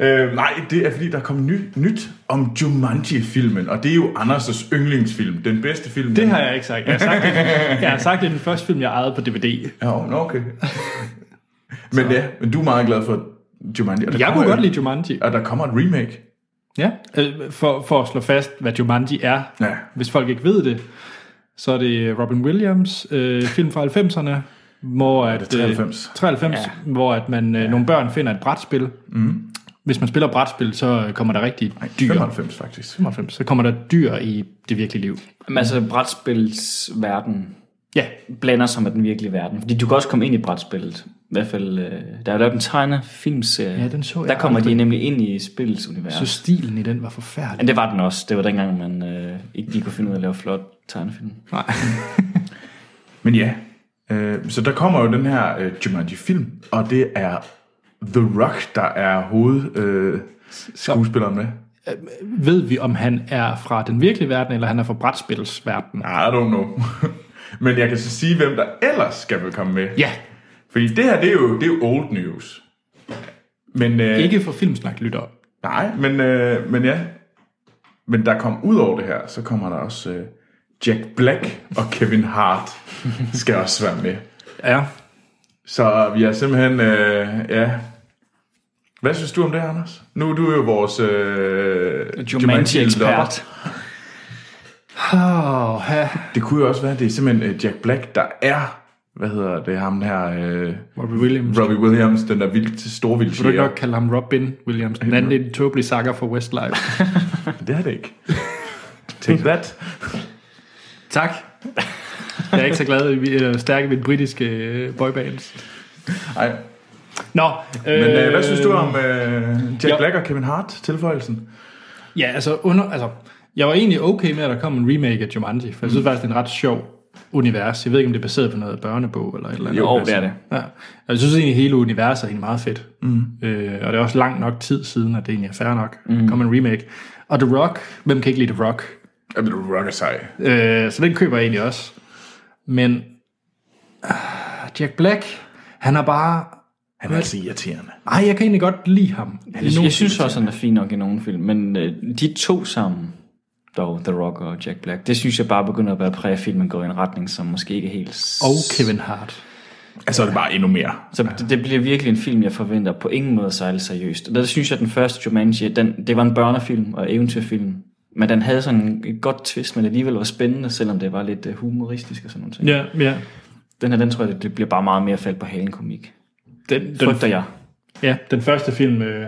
Øh, nej, det er fordi, der kom ny, nyt om Jumanji-filmen, og det er jo Anders' yndlingsfilm. Den bedste film. Det har jeg ikke sagt. Jeg har sagt, det, jeg har sagt, det er den første film, jeg ejede på DVD. Ja, nå, okay. men ja, men du er meget glad for Jumanji. og der Jeg kommer kunne jo- godt lide Jumanji. Og der kommer et remake. Ja. øh, For, for at slå fast, hvad Jumanji er. Ja. Hvis folk ikke ved det, så er det Robin Williams, øh, film fra 90'erne, hvor at, det 93? Øh, 93 ja. hvor at man, øh, nogle børn finder et brætspil. Mm. Hvis man spiller brætspil, så øh, kommer der rigtig dyr. 95 faktisk. 95. Så kommer der dyr i det virkelige liv. Men altså brætspilsverden Ja, blander sig med den virkelige verden. Fordi du kan også komme ind i brætspillet. I hvert fald, øh, der er jo lavet en tegnefilmserie. Ja, den så jeg Der kommer de aldrig. nemlig ind i spillets univers. så stilen i den var forfærdelig. Men det var den også. Det var dengang, man øh, ikke lige kunne finde ud af at lave flot tegnefilm. Men ja, øh, så der kommer jo den her øh, Jumanji-film, og det er The Rock, der er hovedskuespilleren øh, skuespilleren med. Ved vi, om han er fra den virkelige verden, eller han er fra brætspilsverdenen? I don't know. Men jeg kan så sige, hvem der ellers skal vel komme med. Ja, Fordi det her, det er jo, det er jo old news. Men, øh, ikke for filmsnak lytter. Nej, men, øh, men ja. Men der kom ud over det her, så kommer der også øh, Jack Black og Kevin Hart skal også være med. Ja, Så vi er simpelthen, øh, ja... Hvad synes du om det, Anders? Nu er du jo vores øh, Jumanji-lover. Jumanji-ekspert. Oh, ha. Det kunne jo også være, at det er simpelthen øh, Jack Black, der er, hvad hedder det, ham her, øh, Robbie Williams. Rob, Robbie Williams, den der vildt store vildt Vil du ikke nok kalde ham Robin Williams? Den anden er en tåbelig sakker for Westlife. Det er det ikke. Take that. tak. Jeg er ikke så glad, i- eller stærk ved britiske øh, boybands. Ej. Nå, øh, Men øh, hvad synes du om øh, Jack ja. Black og Kevin Hart tilføjelsen? Ja, altså, under, altså, jeg var egentlig okay med, at der kom en remake af Jumanji, for jeg Mm. synes faktisk, det er en ret sjov univers. Jeg ved ikke, om det er baseret på noget børnebog eller et eller andet. Jo, det er det. Ja. Og jeg synes egentlig, hele universet er egentlig meget fedt. Mm. Øh, og det er også lang nok tid siden, at det egentlig er fair nok. Mm. Kom en remake. Og The Rock, hvem kan ikke lide The Rock? Jamen, du rocker sej. Øh, så den køber jeg egentlig også. Men ah, Jack Black, han er bare... Han er altså irriterende. Ej, jeg kan egentlig godt lide ham. Jeg, jeg synes også, han er fin nok i nogle film. Men øh, de to sammen, dog The Rock og Jack Black, det synes jeg bare begynder at være præg af filmen går i en retning, som måske ikke er helt... s- Og Kevin Hart. Altså, er det bare endnu mere. Så det, det bliver virkelig en film, jeg forventer på ingen måde at sejle seriøst. Og der synes jeg, at den første Jumanji, den, det var en børnefilm og eventyrfilm. Men den havde sådan et godt twist, men alligevel var spændende, selvom det var lidt øh, humoristisk og sådan noget. ting. Ja, ja. Den her, den tror jeg, det- det bliver bare meget mere faldt på halen komik. Den, Frygter jeg. Ja, den første film, øh,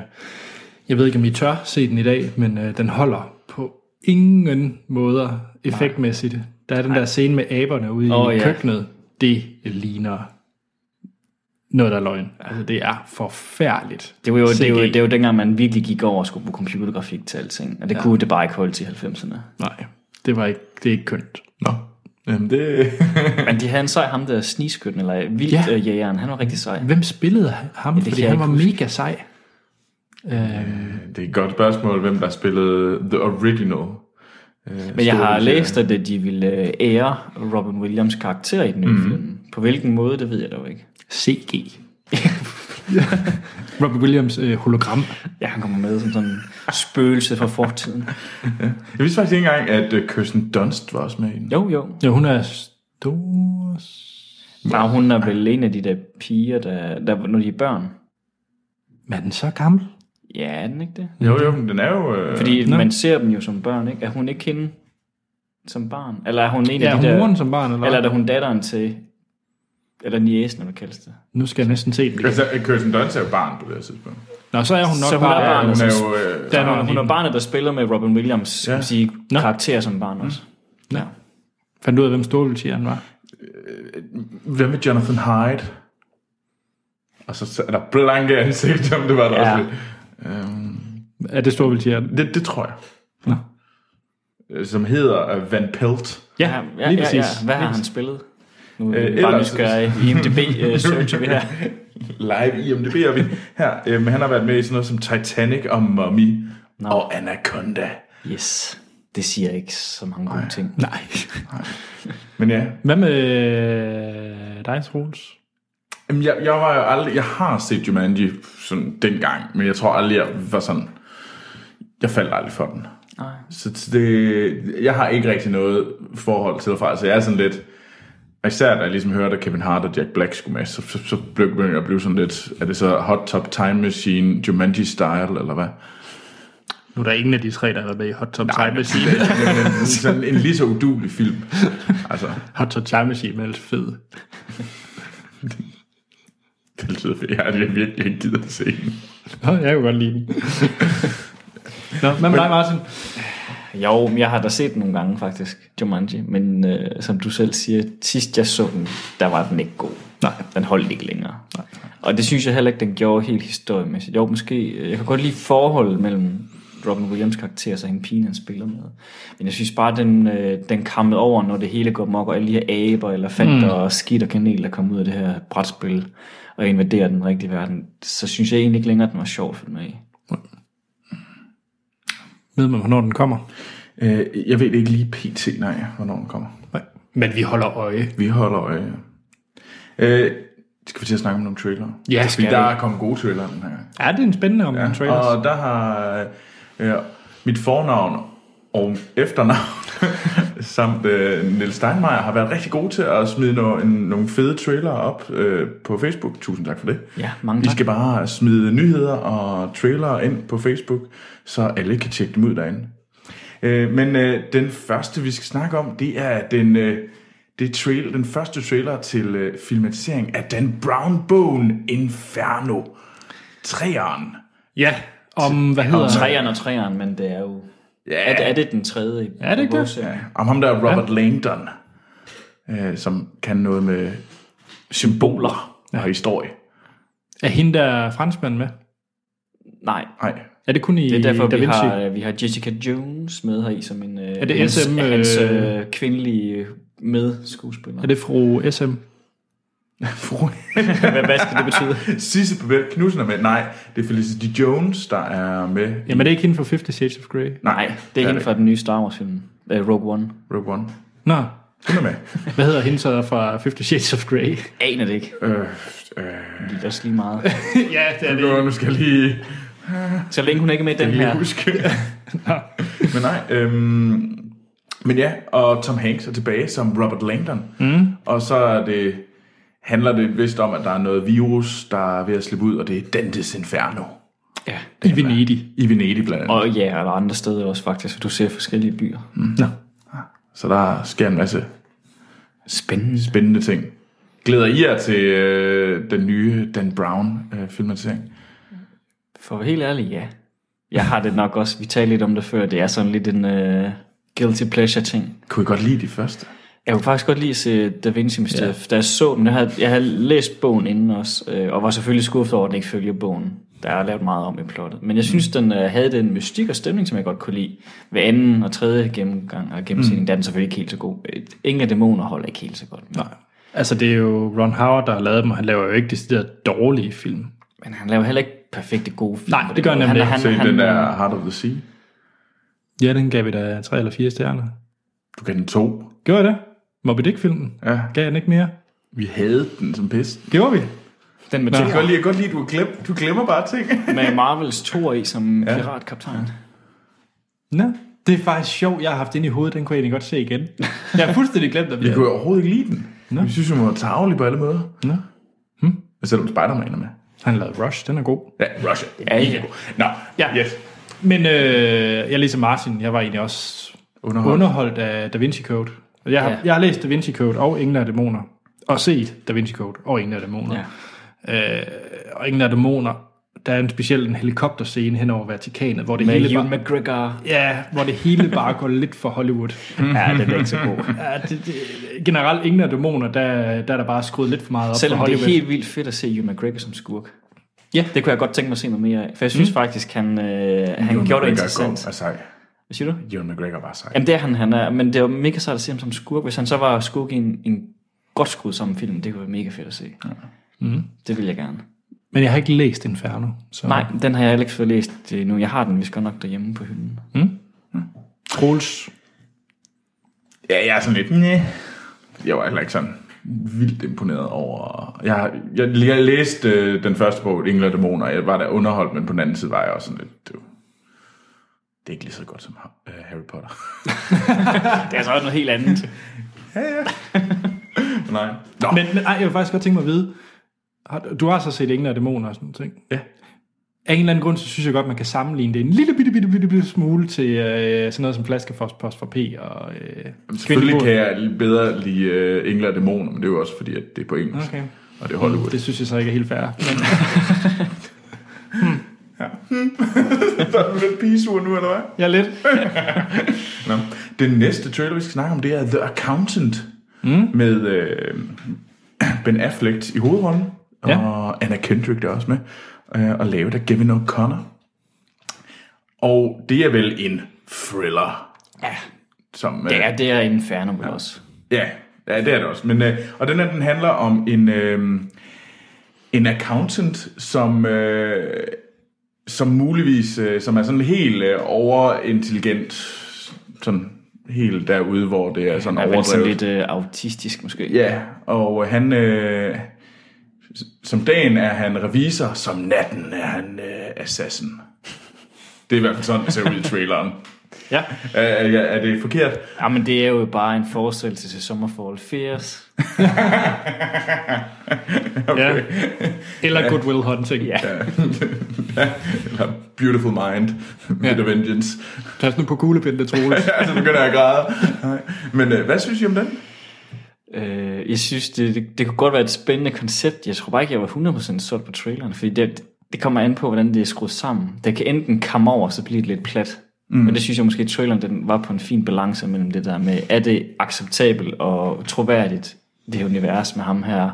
jeg ved ikke om I tør se den i dag, men øh, den holder på ingen måder effektmæssigt. Der er den der scene med aberne ude Åh, oh, i ja. køkkenet. Det ligner noget, der er løgn. Altså, det er forfærdeligt. Det var jo, det, var, CG. det var dengang, man virkelig gik over og skulle på computergrafik til alting. Og det ja. kunne det bare ikke holde til 90'erne. Nej, det, var ikke, det er ikke kønt. Nå. Jamen, det... Men de havde en sej, ham der sniskytten, eller Ja. vildjægeren, ja. han var rigtig sej. Hvem spillede ham? Ja, kan Fordi jeg han ikke var huske. mega sej. det er et godt spørgsmål, hvem der spillede The Original. Øh, Men jeg har læst, at øh, de ville øh, ære Robin Williams karakter i den Mhm. nye mm. film. På hvilken måde, det ved jeg dog ikke. CG. Robert Williams øh, hologram. Ja, han kommer med som sådan en spøgelse fra fortiden. Jeg vidste faktisk ikke engang, at øh, Kirsten Dunst var også med i den. Jo, jo. Ja, hun er stor... Bare hun er vel en af de der piger, der, der når de er børn. Men er den så gammel? Ja, er den ikke det? Jo, jo, men den er jo... Øh, Fordi Nå. man ser dem jo som børn, ikke? Er hun ikke hende som barn? Eller er hun en Ja, af hun de der... moren som barn, eller? Eller er det hun datteren til... Eller niæsen, eller hvad kaldes det? Nu skal jeg næsten se den igen. Altså, Kirsten Dunst er jo barn på det her tidspunkt. Nå, så er hun nok Så hun bare... er barn. hun altså, er jo... Øh, Der er nogen Hun, hun er lignende. barnet, der spiller med Robin Williams ja. sige, Nå. karakter som barn også. Mm. Ja. Fandt du ud af, hvem Stolvildtjeren var? Hvem med Jonathan Hyde? Og så- så er der blanke ansigt, om det var der Ja. ja. også lidt. Øhm, Er det Stolvildtjeren? det, det tror jeg. Nå. Øh, Som hedder øh, Van Pelt. Ja, ja, lige ja, ja. præcis. Hvad har han spillet? Nu er Øh, vi bare ellers- nysgerrige. IMDb-searcher øh, vi her. Live IMDb er vi her. Øhm, han har været med i sådan noget som Titanic og Mummy Nå. no. og Anaconda. Yes. Det siger ikke så mange gode ting. Nej. Men ja, Hvad med øh, dig, Troels? Jamen, jeg, jeg var jo aldrig, jeg har set Jumanji sådan dengang, men jeg tror aldrig, jeg var sådan, jeg faldt aldrig for den. Nej. Så det, jeg har ikke rigtig noget forhold til det fra, så jeg er sådan lidt, og især da jeg ligesom hørte, at Kevin Hart og Jack Black skulle med, så, så, så blev begyndte jeg at blive sådan lidt, er det så Hot Top Time Machine, Jumanji Style, eller hvad? Nu er der ingen af de tre, der har været med i Hot Top Time Machine. Men, men sådan en lige så udulig film. Altså, Hot Top Time Machine er altså fed. fængslet, for jeg har virkelig ikke givet at se den. Nå, jeg kunne godt lide den. Nå, hvad med dig, Martin? Jo, men jeg har da set den nogle gange faktisk, Jumanji, men øh, som du selv siger, sidst jeg så den, der var den ikke god. Nej. Den holdt ikke længere. Nej. Og det synes jeg heller ikke, den gjorde helt historiemæssigt. Jo, måske, øh, jeg kan godt lide forholdet mellem Robin Williams karakter og så hende pigen, han spiller med. Men jeg synes bare, den, øh, den kammede over, når det hele går mok, og alle de her aber, elefanter mm. og skidt og kanel, der kommer ud af det her brætspil, og invaderer den rigtige verden, så synes jeg egentlig ikke længere, at den var sjov at følge med i. Ved man, hvornår den kommer? Øh, jeg ved ikke lige pt, nej, hvornår den kommer. Nej. Men vi holder øje. Vi holder øje. Øh, skal vi til at snakke om nogle trailere? Ja, Fordi skal der vi. er kommet gode trailere den her gang. Ja, det er en spændende om ja, trailers. Og der har øh, mit fornavn og efternavn samt øh, Niels Steinmeier har været rigtig gode til at smide no, en, nogle fede trailere op øh, på Facebook. Tusind tak for det. Ja, mange I tak. skal bare smide nyheder og trailere ind på Facebook, så alle kan tjekke dem ud derinde. Øh, men øh, den første, vi skal snakke om, det er den, øh, det trail, den første trailer til øh, filmatisering af Dan Brown-bogen Inferno. Træeren. Ja, om hvad hedder Og træerne og træerne, men det er jo... Ja. Er, det, er det den tredje? i- Er det ikke det? vores- Ja, om ham der Robert ja. Langdon, øh, som kan noget med symboler ja. og historie. Er hende der franskmand med? Nej. Nej, Er det kun i Det er derfor, Da vi Vinci? har, vi har Jessica Jones med her i som en... Er det hans, SM, øh, Hans øh, kvindelige medskuespiller. Er det fru SM? fru Hvad, hvad skal det betyde? Sisse Babette Knudsen er med. Nej, det er Felicity Jones, der er med. Jamen, er det ikke hende fra Fifty Shades of Grey? Nej, det er hende fra den nye Star Wars film. Uh, Rogue One. Rogue One. Nå, Hun er med. hvad hedder hende så fra Fifty Shades of Grey? Aner det ikke. øh, øh, Det er også lige meget. ja, det er nu- nu skal jeg lige, Så længe hun ikke er med i den lige her. huske. men nej, øhm, men ja, og Tom Hanks er tilbage som Robert Langdon. Mm. Og så er det, handler det vist om, at der er noget virus, der er ved at slippe ud, og det er Dantes Inferno. Ja. I Venedig. I Venedig blandt andet. Og ja, og der er andre steder også faktisk, for du ser forskellige byer. Nå. Så der sker en masse Spændende. spændende ting. Glæder I jer til øh, den nye Dan Brown øh, filmatisering? For at være helt ærlig, ja. Jeg har det nok også, vi talte lidt om det før, det er sådan lidt en uh, guilty pleasure ting. Kunne I godt lide de første? Jeg kunne faktisk godt lide at se Da Vinci Mysteriet. Ja. Da jeg så den, jeg havde, jeg havde læst bogen inden også, øh, og var selvfølgelig skuffet over, at den ikke følger bogen. Der er lavet meget om i plottet. Men jeg synes, den øh, havde den mystik og stemning, som jeg godt kunne lide. Ved anden og tredje gennemgang og gennemsætning, mm. der er den selvfølgelig ikke helt så god. Øh, Ingen af dæmoner holder ikke helt så godt. Men, Nej. Altså, det er jo Ron Howard, der har lavet dem, og han laver jo ikke decideret dårlige film. men han laver heller ikke perfekte gode film. Nej, på den det gør han måde. nemlig Se den der Heart of the Sea. Ja, den gav vi da tre eller fire stjerner. Du kan den to. Gjorde jeg det? Moby Dick-filmen? Ja. Gav jeg den ikke mere? Vi havde den som pest. Gjorde vi? den med, Jeg kan godt lide, jeg kan godt lide at du, glem, du glemmer bare ting. med Marvels Thor i som ja. piratkaptajn. Nå. Det er faktisk sjovt, jeg har haft det inde i hovedet, den kunne jeg egentlig godt se igen. Jeg har fuldstændig glemt, at vi Vi kunne overhovedet ikke lide den. Nå. Vi synes, hun var tavlig på alle måder. Nå. Og Selvom Spider-Man er med. Han lavede Rush, den er god. Ja, Russia. Ja, ja. Nå, Ja. yes. Men øh, jeg læser Martin, jeg var egentlig også Underhold. underholdt af Da Vinci Code. Og Jeg har, Ja. jeg har læst Da Vinci Code og Engle af Dæmoner. Og set Da Vinci Code og Engle af Dæmoner. Ja. Øh, Og Engle af Dæmoner, der er en speciel en helikopterscene hen over Vatikanet, hvor det, Med hele Ewan bare, McGregor. ja, hvor det hele bare går lidt for Hollywood. Mm. Ja, den er ikke så god. Ja, det, det, generelt Engle af Dæmoner, der, der er der bare skruet lidt for meget op Selvom for det Hollywood. er helt vildt fedt at se Ewan McGregor som skurk. Ja. Det kunne jeg godt tænke mig at se noget mere af. For jeg synes mm. faktisk, han, øh, han Ewan gjorde det McGregor interessant. er god og sej. Hvad siger du? Ewan McGregor var sej. Jamen det er han, han er. Men det er jo mega sejt at se ham som skurk. Hvis han så var skurk i en, en godt skruet sammen film, det kunne være mega fedt at se. Mm. Det vil jeg gerne. Men jeg har ikke læst Inferno. Så. Nej, den har jeg heller ikke fået læst øh, nu. Jeg har den vist godt nok derhjemme på hylden. Mm? Troels. Ja, jeg er sådan lidt... Næh. Jeg var heller ikke sådan vildt imponeret over... Jeg, jeg, jeg læste øh, den første bog, Engler og Dæmoner, og jeg var der underholdt, men på den anden side var jeg også sådan lidt... Det, var- det er ikke lige så godt som Ha- øh, Harry Potter. Det er så noget helt andet. Nej. Nå, Men, men ej, jeg vil faktisk godt tænke mig at vide, har, du har så set Engler og Dæmoner og sådan noget ting. Ja. Af en eller anden grund, så synes jeg godt, man kan sammenligne det en lille bitte, bitte, bitte, bitte smule til øh, sådan noget som flaskepost fra P og øh, selvfølgelig Kvindelig kan jeg bedre lide øh, Engler og Dæmoner, men det er jo også fordi, at det er på engelsk. Okay. og det er Hollywood. Det synes jeg så ikke er helt fair. Men, Der er du lidt pigesur nu, eller hvad? ja, lidt. Nå. Den næste trailer, vi skal snakke om, det er The Accountant. Mm. Med øh, Ben Affleck i hovedrollen. Ja. Og Anna Kendrick der er også med. Øh, og lavet af Gavin O'Connor. Og det er vel en thriller. Ja, Som, øh, det er, det er Inferno vel også. Ja, ja, det er det også. Men, øh, og den her, den handler om en, øh, en accountant, som, øh, som muligvis, øh, som er sådan helt øh, overintelligent, sådan helt derude, hvor det er sådan Han er vel overdrevet. sådan lidt øh, autistisk måske. Ja, og han... Øh, som dagen er han revisor, som natten er han øh, assassin. Det er i hvert fald sådan, det ser ud i traileren. Ja. Er, er, er det forkert? Ja, men det er jo bare en forestillelse til Sommerfall 80. ja. Eller Goodwill Hunting. Ja. Eller Beautiful Mind, Bit Ja. of Vengeance. Pas nu på kuglepindene, Troels. altså, begynder jeg at græde. Nej. Men øh, hvad synes I om den? Øh, jeg synes, det, det, det kunne godt være et spændende koncept. Jeg tror bare ikke, jeg var 100% solgt på traileren, fordi det, det kommer an på, hvordan det er skruet sammen. Det kan enten komme over, så bliver det lidt plat. Mm. Men det synes jeg måske, at traileren den var på en fin balance mellem det der med, er det acceptabelt og troværdigt, det her univers med ham her,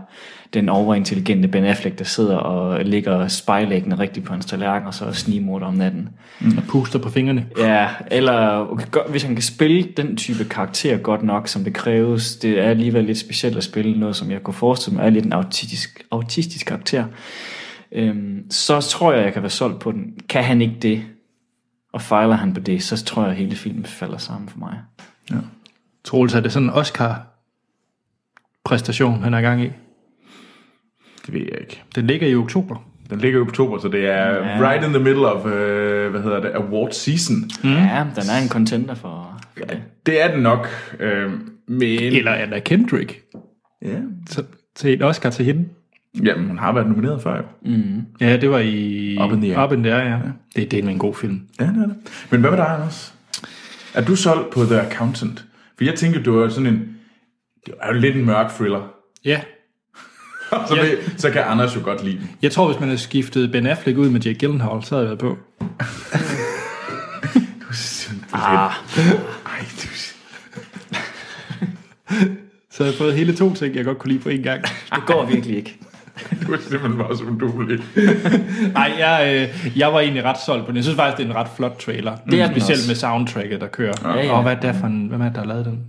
den overintelligente Ben Affleck, der sidder og ligger spejlæggende rigtigt på hans tallerken, og så snigmorder om natten. Og puster på fingrene. Ja, eller okay, gør- hvis han kan spille den type karakter godt nok, som det kræves, det er alligevel lidt specielt at spille noget, som jeg kunne forestille mig er lidt en autistisk, autistisk karakter, øhm, så tror jeg, jeg kan være solgt på den. Kan han ikke det, og fejler han på det, så tror jeg, at hele filmen falder sammen for mig. Troels, er det sådan en Oscar-præstation, han er i gang i? Det ved jeg ikke. Den ligger i oktober. Den ligger jo i oktober, så det er Ja. right in the middle of, øh, hvad hedder det, award season. Mm. Ja, den er en contender for, for det. Det er den nok, øh, men... Eller Anna Kendrick. Ja. Så, til en Oscar til hende. Jamen, hun har været nomineret før, jo. Ja, det var i... Up in the Air. Up in the Air, ja. ja. Det er del med en god film. Ja, det er det. Men hvad med dig, Anders? Er du solgt på The Accountant? For jeg tænker, du er sådan en... Det er jo lidt en mørk thriller. Ja. så, Ja. ved, så kan Anders jo godt lide den. Jeg tror, hvis man havde skiftet Ben Affleck ud med Jake Gyllenhaal, så havde jeg været på. Ah, Ej, du... Så havde jeg fået hele to ting, jeg godt kunne lide på én gang. det går virkelig ikke. Du er simpelthen bare så uduelig. Nej, jeg, øh, jeg var egentlig ret solgt på den. Jeg synes faktisk, det er en ret flot trailer. Det er den Specielt også. med soundtracket, der kører. Ja, ja. Og hvad er det for en, hvem er det, der har lavet den?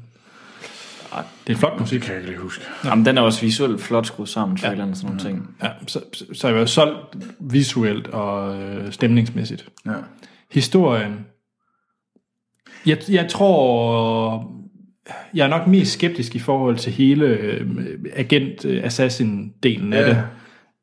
Det er en flot musik. Det kan jeg ikke lige huske. Jamen, den er også visuelt flot skruet sammen, traileren og sådan nogle ting. Ja, så, så, så jeg var solgt visuelt og øh, stemningsmæssigt. Ja. Historien. Jeg, jeg tror, jeg er nok mest skeptisk i forhold til hele øh, agent-assassin-delen af Ja. det.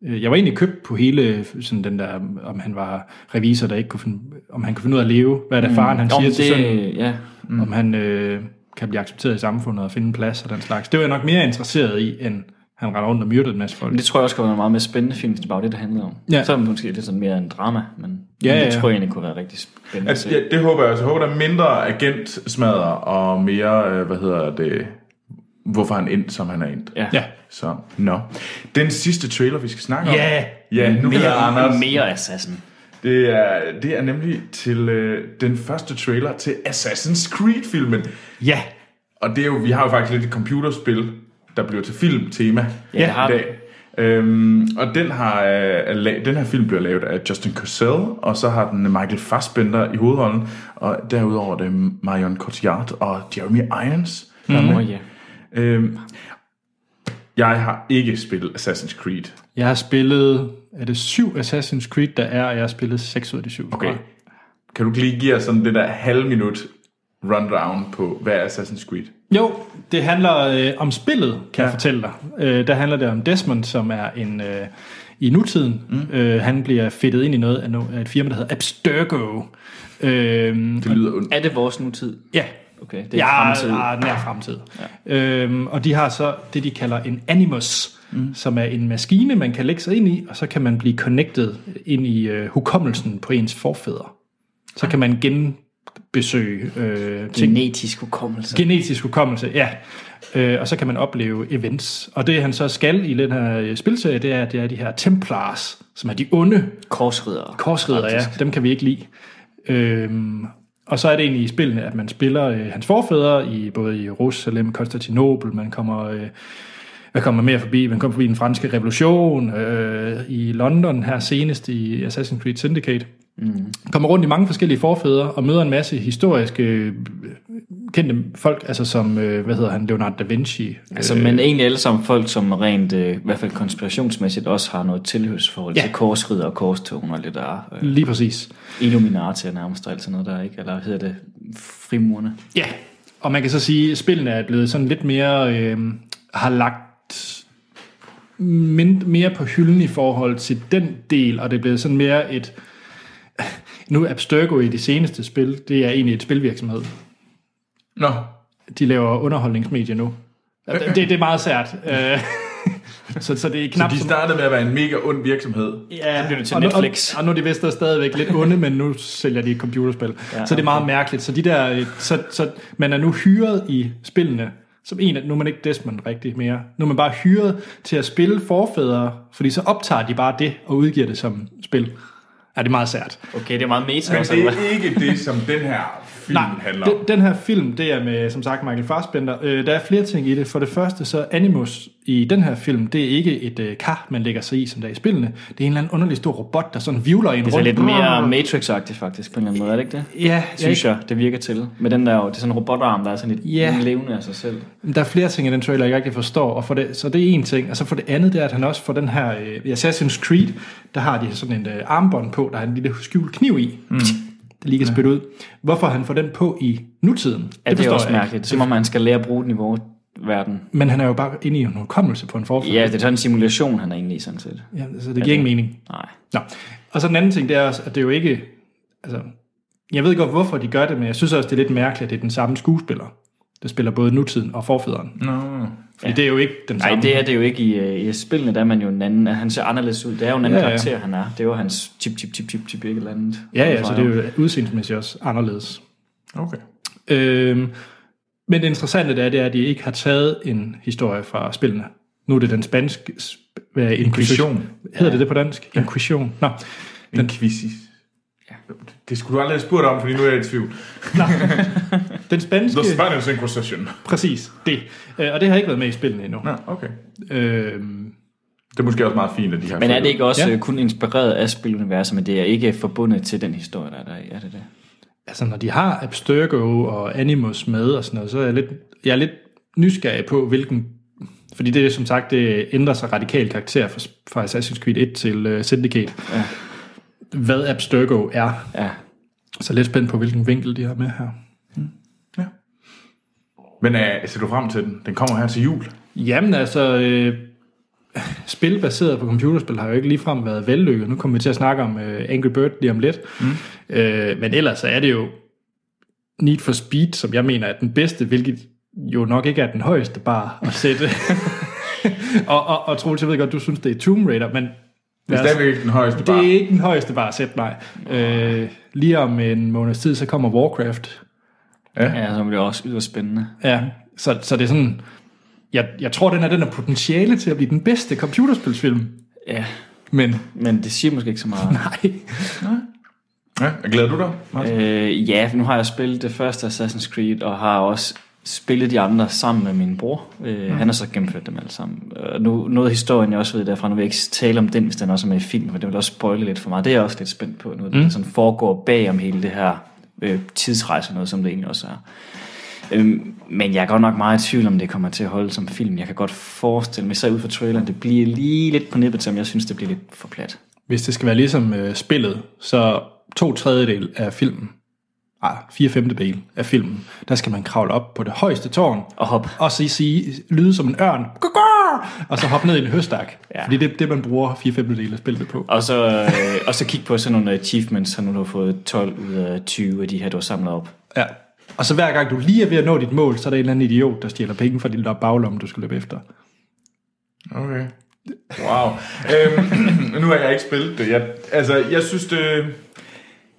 Øh, Jeg var egentlig købt på hele sådan den der, om han var revisor, der ikke kunne finde, om han kunne finde ud af at leve, hvad er det faren han Nå, siger men til sønnen, det, ja, mm. om han øh, kan blive accepteret i samfundet og finde en plads og den slags. Det var jeg nok mere interesseret i, end han render rundt og myrdede en masse folk. Men det tror jeg også kunne være en meget mere spændende film, hvis det bare var det, det handlede om. Ja. Ja. Selvom det måske er lidt sådan mere en drama, men Ja, ja, ja, det ja. tror jeg egentlig kunne være rigtig spændende at Altså, se. ja, det håber jeg også. Jeg håber, der er mindre agentsmadder og mere, øh, hvad hedder det, hvorfor han endt, som han er endt. Ja. Ja. Så, nå. Den sidste trailer, vi skal snakke om. Ja. Ja, nu mere, Mere, Anders. Mere. mere Assassin. Mhm. Det, er, det er nemlig til øh, den første trailer til Assassin's Creed-filmen. Ja, Og det er jo, vi har jo faktisk lidt et computerspil, der bliver til filmtema Ja, det har i vi. dag. Øhm, og den, har, øh, er la- den her film bliver lavet af Justin Cosell, og så har den Michael Fassbender i hovedrollen, og derudover er det Marion Cotillard og Jeremy Irons. der er Nå, med. ja. Øhm, jeg har ikke spillet Assassin's Creed. Jeg har spillet, er det syv Assassin's Creed, der er, og jeg har spillet seks ud af de syv. tror Okay. jeg. Kan du ikke lige give os sådan det der halv minut rundown på, hvad er Assassin's Creed? Jo, det handler øh, om spillet, kan ja. jeg Ja. fortælle dig. Øh, der handler det om Desmond, som er en øh, i nutiden. Mm. Øh, han bliver fedtet ind i noget af, no, af et firma, der hedder Abstergo. Øh, Det lyder ondt. Er det vores nutid? ja, Okay, det er det er ja, ja, fremtid. fremtid. nær fremtid. Ja. Øhm, og de har så det, de kalder en Animus, mm. som er en maskine, man kan lægge sig ind i, og så kan man blive Ah. connected ind i øh, hukommelsen på ens forfædre. Så kan man gen, besøge øh, ting. Genetisk hukommelse. Genetisk hukommelse, ja. Øh, og så kan man opleve events. Og det han så skal i den her øh, spilserie, det er, at det er de her Templars, som er de onde Korsridder. korsridder, ja. Dem kan vi ikke lide. Øhm, og så er det egentlig i spillene, at man spiller øh, hans forfædre i både i Jerusalem, Konstantinopel, man kommer... Øh, hvad kommer man mere forbi? Man kommer forbi den franske revolution, øh, i London her senest i Assassin's Creed Syndicate. Mm. Kommer rundt i mange forskellige forfædre og møder en masse historiske øh, kendte folk, altså som, øh, hvad hedder han, Leonardo da Vinci. Altså, men egentlig alle sammen folk, som rent, øh, i hvert fald konspirationsmæssigt, også har noget tilhørsforhold ja. Ja. Mm. til korsridder og korstogen og det der øh, Lige præcis. Illuminati er nærmest og alt sådan noget der, ikke? Eller hedder det frimurerne? Ja, og man kan så sige, at spillene er blevet sådan lidt mere, øh, har lagt mind, mere på hylden i forhold til den del, og det er blevet sådan mere et, nu er Abstergo i det seneste spil, det er egentlig et spilvirksomhed. Nå, De laver underholdningsmedier nu. Det, det er meget sært. Øh, så, så det er knap de så- startede med at være en mega ond virksomhed. Ja, det bliver det til og Netflix. Nu, og, og nu er de vist der stadigvæk lidt onde, men nu sælger de et computerspil. Ja, så det er meget mærkeligt. Så, de der, øh, så, så man er nu hyret i spillene, som en af, nu er man ikke Desmond rigtig mere. Nu er man bare hyret til at spille forfædre, fordi så optager de bare det og udgiver det som spil. Ja, det er meget sært. Okay, det er meget meta. Men også, det eller hvad? er ikke det, som den her film Nej, handler om. den, den her film, det er med, som sagt, Michael Fassbender. Øh, der er flere ting i det. For det første, så Animus i den her film, det er ikke et øh, kar, man lægger sig i, som der er i spillene. Det er en eller anden underlig stor robot, der sådan vivler en Det er så rundt. Ah. lidt mere Matrix-agtigt faktisk, på en eller anden måde, er det ikke det? Ja, jeg, Synes jeg, det virker til. Med den der, det er sådan en robotarm, der er sådan lidt Ja. levende af sig selv. Der er flere ting i den trailer, jeg ikke rigtig forstår, og for det, så det er en ting. Og så for det andet, det er, at han også får den her, øh, i Assassin's Creed, der har de sådan en øh, armbånd på, der har en lille skjult kniv i. Mm. Det lige kan spytte ud. Hvorfor han får den på i nutiden, Ja, det, det er forstår også jeg ikke. mærkeligt. Som om man skal lære at bruge den i vores verden. Men han er jo bare inde i en hukommelse på en forfælde. Ja, det er sådan en simulation, han er inde i sådan set. Ja, så det giver ingen mening. Nej. Nå. Og så den anden ting, det er også, at det er jo ikke... Altså, jeg ved godt, hvorfor de gør det, men jeg synes også, det er lidt mærkeligt, at det er den samme skuespiller, der spiller både nutiden og forfæderen. Nå. Fordi ja. det er jo ikke den samme. Nej, det er det jo ikke i, øh, i spillene, der er man jo en anden. Han ser anderledes ud. Det er jo en anden Ja, ja. ja, karakter, ja. han er. Det er jo hans tip, tip, tip, tip, tip, ikke eller andet. Ja, ja, så det er jo udseendsmæssigt også anderledes. Okay. Øhm, men det interessante det er, det er, at de ikke har taget en historie fra spillene. Nu er det den spanske... Sp- hvad er det? Inquisition. Hedder det det på dansk? Inquisition. Nå. En quiz. Det skulle du aldrig have spurgt om, fordi nu er jeg i tvivl. Den spanske... The Spanish Inquisition. Præcis, det. Øh, og det har ikke været med i spillene endnu. Nå, okay. Øhm, Det er måske også meget fint, at de har Men er det ikke også Ja. ja. kun inspireret af spiluniverset, men det er ikke forbundet til den historie, der er der i? Er det det? altså, når de har Abstergo og Animus med og sådan noget, så er jeg lidt, jeg er lidt nysgerrig på, hvilken... Fordi det, er som sagt, det ændrer sig radikalt karakter fra, fra Assassin's Creed 1 til uh, Syndicate. Ja. Hvad Abstergo er. Ja. Så lidt spændt på, hvilken vinkel de har med her. Men uh, ser du frem til den? Den kommer her til jul. Jamen altså, øh, spil baseret på computerspil har jo ikke ligefrem været vellykket. Nu kommer vi til at snakke om øh, Angry Bird lige om lidt. Mm. Øh, men ellers så er det jo Need for Speed, som jeg mener er den bedste, hvilket jo nok ikke er den højeste bare at sætte. og, og, og Troels, jeg ved godt, du synes, det er Tomb Raider, men Det er lad os- stadigvæk ikke den højeste det bar. er ikke den højeste bare at sætte, nej. Øh, lige om en måneds tid, så kommer Warcraft. Ja, så bliver det også yderst spændende. Ja, så, så det er sådan... Jeg, jeg tror, den er den er potentiale til at blive den bedste computerspilsfilm. Ja, Men men det siger måske ikke så meget. nej. Ja, glæder du dig? Martin? øh, ja, for nu har jeg spillet det første Assassin's Creed, og har også spillet de andre sammen med min bror. Øh, Han har så gennemført dem alle sammen. Og nu, noget af historien, jeg også ved derfra, nu vil jeg ikke tale om den, hvis den også er med i film, for det vil også spoile lidt for mig. Det er jeg også lidt spændt på, noget mm. der sådan foregår bag om hele det her øh, tidsrejse, noget som det egentlig også er. Øhm, men jeg er godt nok meget i tvivl om, det kommer til at holde som film. Jeg kan godt forestille mig, så ud fra traileren, det bliver lige lidt på nippet, som jeg synes, det bliver lidt for plat. Hvis det skal være ligesom øh, spillet, så to tredjedel af filmen, ah, fire femtedel af filmen, der skal man kravle op på det højeste tårn, Og hop. og så sige, lyde som en ørn, Kukur! og så hoppe ned i en høstak. Ja. Ja. Fordi det er det, man bruger fire femtedel af spillet på. Og så, øh, og så kigge på sådan nogle achievements, så nu har du fået 12 ud af 20 af de her, du har samlet op. Ja. Og så hver gang du lige er ved at nå dit mål, så er der en eller anden idiot, der stjæler penge fra din baglomme, du skal løbe efter. Okay. Wow. øhm, nu har jeg ikke spillet det. Jeg, altså, jeg synes, det,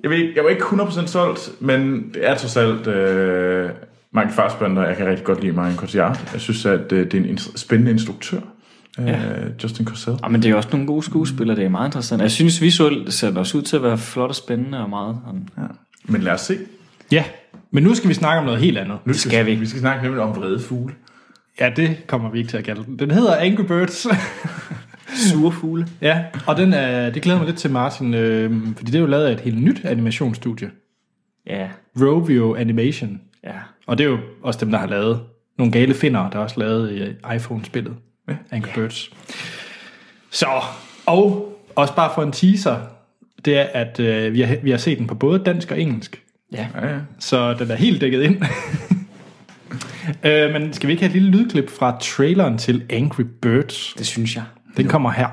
Jeg, ved, ikke- jeg var ikke 100% solgt, men det er trods alt øh, Michael Fassbender. Jeg kan rigtig godt lide Marion Cotillard. Jeg synes, at øh, det er en inst- spændende instruktør. Ja. Øh, Justin Corsell. Ja, Ah, men det er jo også nogle gode skuespillere, det er meget interessant. Jeg synes visuelt ser det også ud til at være flot og spændende og meget. sådan, Ja. Men lad os se. Ja, men nu skal vi snakke om noget helt andet. Nu skal vi. Vi skal snakke nemlig om vrede fugle. Ja, det kommer vi ikke til at kalde den. Den hedder Angry Birds. Sure fugle. ja, og den er, det glæder mig lidt til, Martin, øh, fordi det er jo lavet af et helt nyt animationsstudie. Ja, Rovio Animation. ja. Og det er jo også dem, der har lavet nogle gale finder, der også lavet øh, iPhone-spillet. Ja. Angry Birds. Så, og også bare for en teaser, det er, at øh, vi, har, vi har set den på både dansk og engelsk. Ja, Ja, ja. Så den er helt dækket ind. øh, men skal vi ikke have et lille lydklip fra traileren til Angry Birds? det synes jeg. Den kommer her.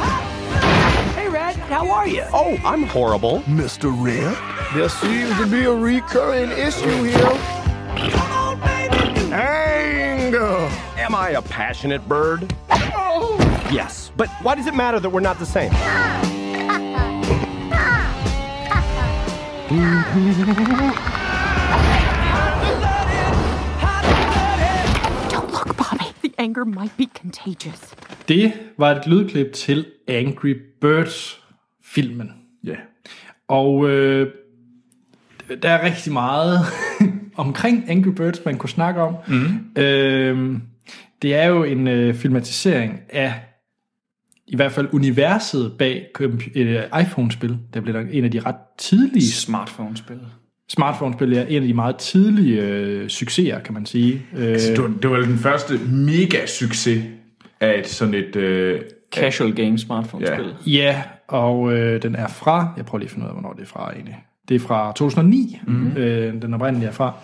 Hey, Red, how are you? Oh, I'm horrible. Mr. Red? There seems to be a recurring issue here. Come on, baby. Anger! Oh. Am I a passionate bird? Yes, but why does it matter that we're not the same? Don't look, Bobby. The anger might be contagious. Det var et lydklip til Angry Birds-filmen. Ja. Og øh, der er rigtig meget omkring Angry Birds, man kunne snakke om. Mm. Øh, det er jo en øh, filmatisering af i hvert fald universet bag comp- øh, iPhone-spil. Der blev der en af de ret tidlige Smartphone-spil. smartphone-spil er en af de meget tidlige øh, succeser, kan man sige. Øh, Det, var, det var den første mega succes af et sådan et... Øh, Casual game smartphone-spil. Ja. ja, og øh, den er fra, jeg prøver lige at finde ud af, hvornår det er fra egentlig. Det er fra 2009, mm-hmm. øh, den oprindelige er fra.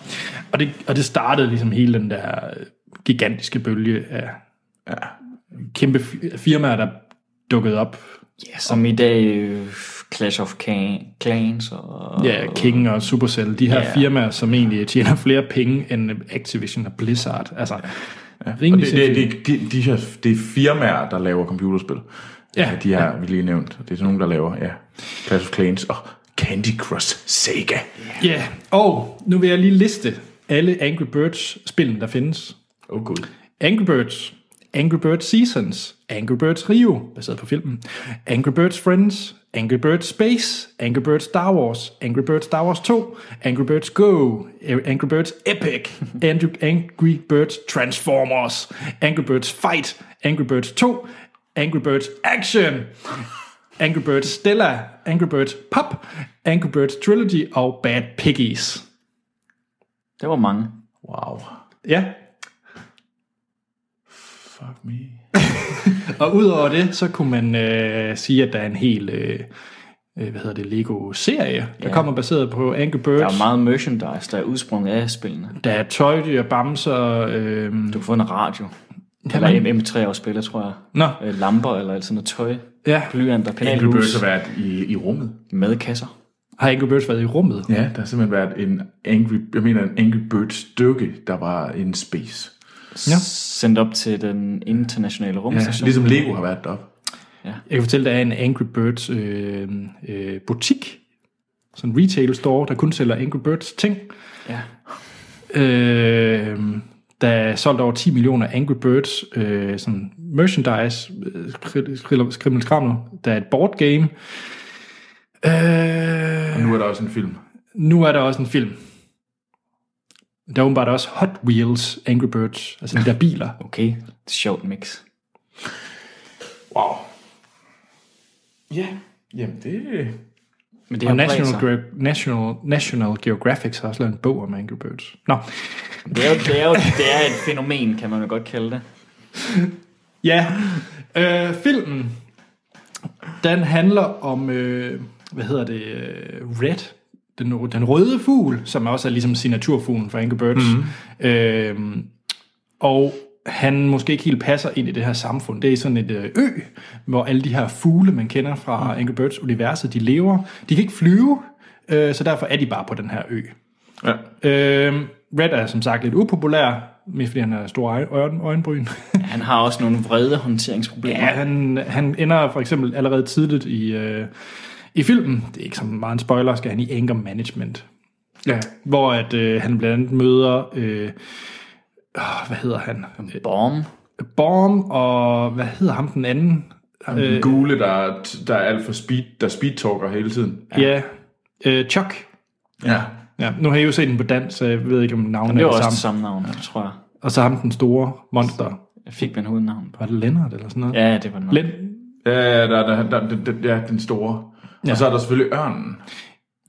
Og det, og det startede ligesom hele den der øh, gigantiske bølge af ja, kæmpe fi- firmaer, der dukkede op. Ja, som i dag øh, Clash of Ca- Clans og... Ja, King og Supercell, de her Ja. firmaer, som egentlig tjener flere penge end Activision og Blizzard. Altså, ja. og rimelig det, det, det, de, de her, det er firmaer, der laver computerspil. Altså, Ja. De her, vi lige nævnt. Det er sådan nogen, der laver, ja. Clash of Clans og Candy Crush Sega. Ja, yeah. og nu vil jeg lige liste alle Angry Birds-spillene, der findes. Åh oh, gud. Angry Birds, Angry Birds Seasons, Angry Birds Rio, baseret på filmen, Angry Birds Friends, Angry Birds Space, Angry Birds Star Wars, Angry Birds Star Wars 2, Angry Birds Go, Angry Birds Epic, Angry, Angry Birds Transformers, Angry Birds Fight, Angry Birds 2, Angry Birds Action, Angry Birds Stella, Angry Birds Pop, Angry Birds Trilogy og Bad Piggies. Det var mange. Wow. Ja, Fuck me. Og udover det, så kunne man øh, sige, at der er en hel, øh, øh, hvad hedder det, Lego-serie, der kommer baseret på Angry Birds. Der er meget merchandise, der er udsprunget af spillene. der er tøjdyr, bamser, øh, Du kan få en radio. Eller man? MP3 og spiller, tror jeg. Nå. Øh, lamper eller sådan noget tøj. ja. Blyanter, Angry Birds penalhus, har været i, i rummet. med kasser. Har Angry Birds været i rummet? Ja, der har simpelthen været en Angry, jeg mener en Angry Birds stykke, der var en space. Ja. ja. sendt op til den internationale rumstation. Ligesom Lego har været deroppe. Jeg kan fortælle, der er en Angry Birds øh, øh, butik, sådan en retail store, der kun sælger Angry Birds ting. Ja. Øh, der er solgt over 10 millioner Angry Birds øh, sådan merchandise, øh, skri- skriller- skrimmelskrammel. Der er et board game. Øh, Og nu er der også en film. nu er der også en film. Der er åbenbart også Hot Wheels Angry Birds, altså de der biler. Okay, det er sjovt mix. Wow. Ja, jamen det... Men det Og har bredt National, sig. Ge- National, National Geographic har også lavet en bog om Angry Birds. Nå, det, er jo, det, er jo, det er et fænomen, kan man jo godt kalde det. Ja, øh, filmen, den handler om, øh, hvad hedder det, øh, Red, den, den røde fugl, som også er ligesom signaturfuglen for Angry Birds. Mm. Øh, og han måske ikke helt passer ind i det her samfund. Det er sådan et øh, ø, hvor alle de her fugle, man kender fra Angry Birds-universet, de lever. De kan ikke flyve, øh, så derfor er de bare på den her ø. Ja. Øh, Red er som sagt lidt upopulær, mest fordi han har store øje- øjen- øjenbryn. Han har også nogle vrede håndteringsproblemer. Ja, han, han ender for eksempel allerede tidligt i, øh, i filmen, det er ikke så meget en spoiler, skal han i anger management. Ja. Hvor at, øh, han blandt andet møder, øh, åh, hvad hedder han? Bomb. Borm og, hvad hedder ham den anden? Den gule, der, er t- der er alt for speed, der speedtalker hele tiden. Ja, ja øh, Chuck. Ja. Ja, nu har jeg jo set den på dans, så jeg ved ikke, om navnet Det er var det også samme. det samme navn, tror jeg. Og så ham den store monster. Jeg fik man hovednavn på. Var det Lennart eller sådan noget? Ja, det var noget. Len- Ja, der, der, der, der, der, ja, den store. Ja. Og så er der selvfølgelig ørnen.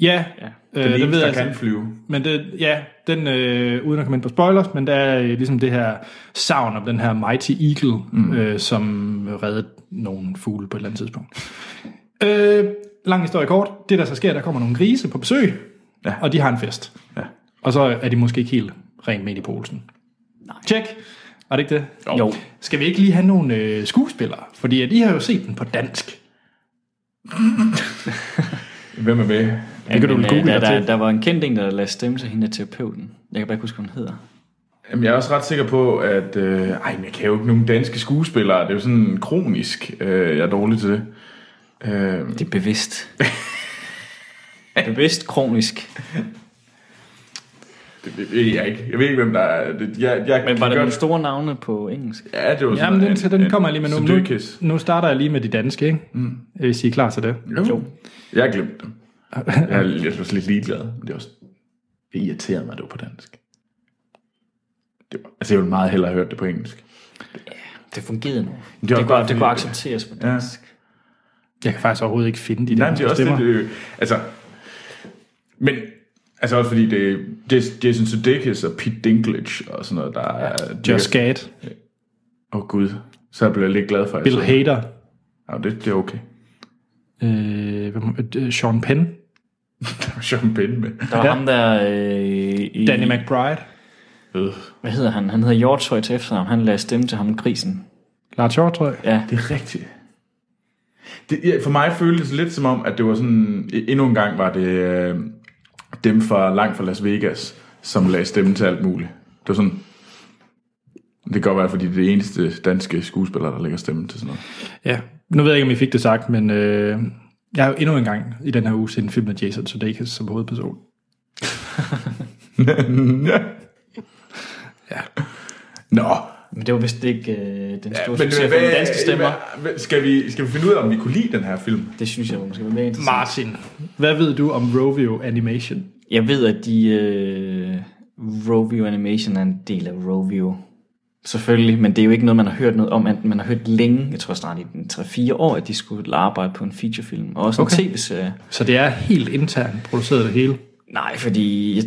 Ja, Ja. øh, Den det øh, ved eneste, der jeg kan altså. flyve. Men det, ja, den, øh, uden at komme ind på spoilers, men der er øh, ligesom det her savn om den her Mighty Eagle, mm. øh, som reddede nogle fugle på et eller andet tidspunkt. Øh, lang historie kort. Det, der så sker, der kommer nogle grise på besøg, ja. og de har en fest. Ja. Og så er de måske ikke helt rent med i polsen. Nej. Tjek. Er det ikke det? Jo. Skal vi ikke lige have nogle øh, skuespillere? Fordi at I har jo set den på dansk. Hvem er med? Det kan du vel Men, øh, google der, dig der, til. der var en kendt en, der lagde stemme til hende af terapeuten. Jeg kan bare ikke huske, hvad hun hedder. Jamen, jeg er også ret sikker på, at... Øh, ej, men jeg kan jo ikke nogen danske skuespillere. Det er jo sådan kronisk, øh, jeg er dårlig til det. Øh, Det er bevidst. bevidst kronisk. det, det ved jeg ikke. Jeg ved ikke, hvem der er... Det, jeg, jeg Men var der gør- nogle store navne på engelsk? Ja, det var sådan Jamen, den, til- den kommer jeg lige med nu. nu. nu. Nu starter jeg lige med de danske, ikke? Mm. Hvis I er klar til det. Jo. Jeg har glemt dem. Jeg er, jeg er lidt ligeglad. Men det er også... Det irriterer mig, at det var på dansk. Det var, altså, jeg ville meget hellere have hørt det på engelsk. Det fungerede nu. Det, var bare det, kunne, det fordi- kunne accepteres på dansk. Jeg kan faktisk overhovedet ikke finde de Nej, der men det er også stemmer. lidt... Øh, altså... Men... Altså også fordi det er Jason Sudeikis og Pete Dinklage og sådan noget, der øh, er... Just Åh Gad, oh, gud, så blev jeg lidt glad for, at jeg Bill så- Hader, Ja, det, det er okay. øh, hvem- øh, Sean Penn, Der var Sean Penn med. Der var Ja. ja. ham der... Øh, i, Danny McBride, Øh, Hvad hedder han? Han hedder Hjortøj til efternavn. Han lagde stemme til ham, grisen. Lars Hjortøj. Ja, Det er rigtigt. Det, ja, for mig føltes det lidt som om, at det var sådan... e, Endnu en gang var det øh, dem fra langt fra Las Vegas, som lagde stemme til alt muligt. Det var sådan... Det kan godt være, fordi det er det eneste danske skuespiller, der lægger stemme til sådan noget. Ja, nu ved jeg ikke, om I fik det sagt, men øh, jeg har jo endnu en gang i den her uge set en film med Jason Sudeikis som hovedperson. Mhm. Nå, men det var vist ikke øh, den store ja, men succes for den danske stemmer. Hvad, skal, vi, skal vi finde ud af, om vi kunne lide den her film? Det synes jeg måske var mere interessant. Martin, hvad ved du om Rovio Animation? Jeg ved, at de øh, Rovio Animation er en del af Rovio. Selvfølgelig, men det er jo ikke noget, man har hørt noget om. andet- Man har hørt længe, jeg tror snart i 3-4 år, at de skulle arbejde på en featurefilm. Og også okay. en tv-serie. Så det er helt internt produceret det hele. Nej, fordi... Jeg,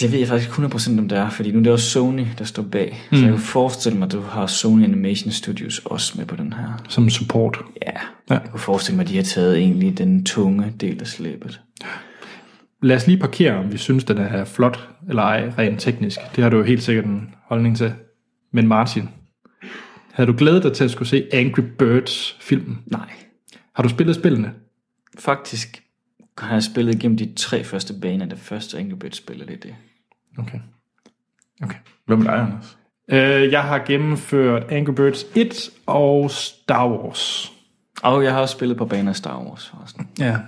det ved jeg faktisk ikke 100% om det er, fordi nu er det også Sony, der står bag. Mm. Så jeg kunne forestille mig, at du har Sony Animation Studios også med på den her. Som support. Ja, Ja. ja. jeg kunne forestille mig, at de har taget egentlig den tunge del af slæbet. Lad os lige parkere, om vi synes, den er flot eller ej, rent teknisk. Det har du jo helt sikkert en holdning til. Men Martin, havde du glædet dig til at skulle se Angry Birds-filmen? Nej, Har du spillet spillene? faktisk har jeg spillet igennem de tre første baner. Det første Angry Birds spiller, det er det. Okay. okay. Hvad med dig, Anders? Øh, jeg har gennemført Angry Birds 1 og Star Wars. Og jeg har også spillet på baner af Star Wars forresten. Ja. Jeg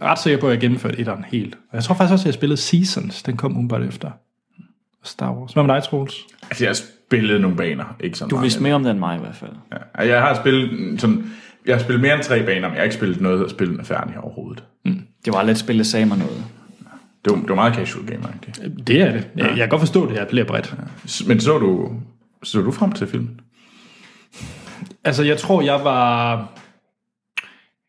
er ret sikker på, at jeg gennemførte etteren helt. Og jeg tror faktisk også, at jeg spillede Seasons. Den kom umiddelbart efter. Star Wars. Hvad med dig, Troels? Altså, jeg har spillet nogle baner, ikke så Du meget. vidste mere om det end mig i hvert fald. Ja, Jeg har spillet mm, sådan, jeg har spillet mere end tre baner, men jeg har ikke spillet noget, og spillet er færdig overhovedet. Det var aldrig et spil, der sagde mig noget. Det var, det var meget casual gamer -agtigt. Det er det. Jeg, jeg kan godt forstå, det her appellerer bredt. Men så du, så du frem til filmen? Altså, jeg tror, jeg var...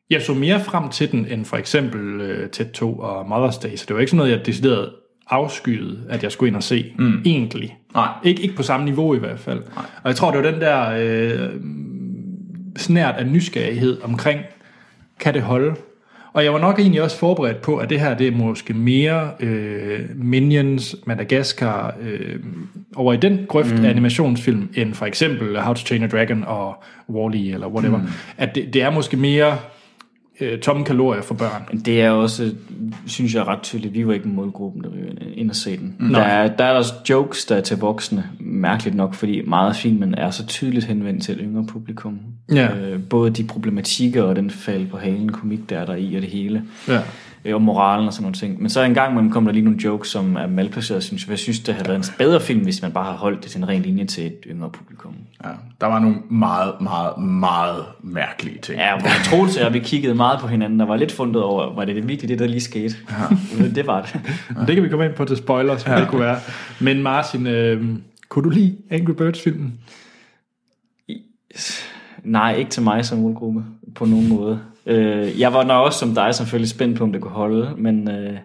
Jeg så mere frem til den, end for eksempel øh, Tæt 2 og Mother's Day, så det var ikke sådan noget, jeg decideret afskyede, at jeg skulle ind og se, mm. egentlig. Nej. Ikke, ikke på samme niveau i hvert fald. Nej. Og jeg tror, det var den der øh, snært af nysgerrighed omkring, kan det holde? Og jeg var nok egentlig også forberedt på, at det her det er måske mere øh, Minions, Madagaskar, øh, over i den grøft mm. af animationsfilm, end for eksempel How to Train a Dragon og Wall-E eller whatever. Mm. At det, det er måske mere øh, tomme kalorier for børn. Det er også, synes jeg, ret tydeligt. Vi var ikke målgruppen, der vi ind og se den. Mm. Der er, der er også jokes, der er til voksne, mærkeligt nok, fordi meget af filmen er så tydeligt henvendt til et yngre publikum. Ja. Øh, både de problematikker og den fald på halen komik, der er der i, og det hele. Ja. Øh, og moralen og sådan nogle ting. Men så en gang imellem kom der lige nogle jokes, som er malplaceret, synes jeg. Jeg synes, det havde været en bedre film, hvis man bare havde holdt det til en ren linje til et yngre publikum. Ja, der var nogle meget, meget, meget mærkelige ting. Ja, hvor Troels og jeg, vi kiggede meget på hinanden, og var lidt fundet over, var det virkelig det, der lige skete? Ja. det var det. Men Det kan vi komme ind på til spoilers, som ja. det kunne være. Men Martin, øh, kunne du lide Angry Birds-filmen? Nej, ikke til mig som målgruppe, på nogen måde. Øh, jeg var nok også som dig selvfølgelig spændt på, om det kunne holde, men øh,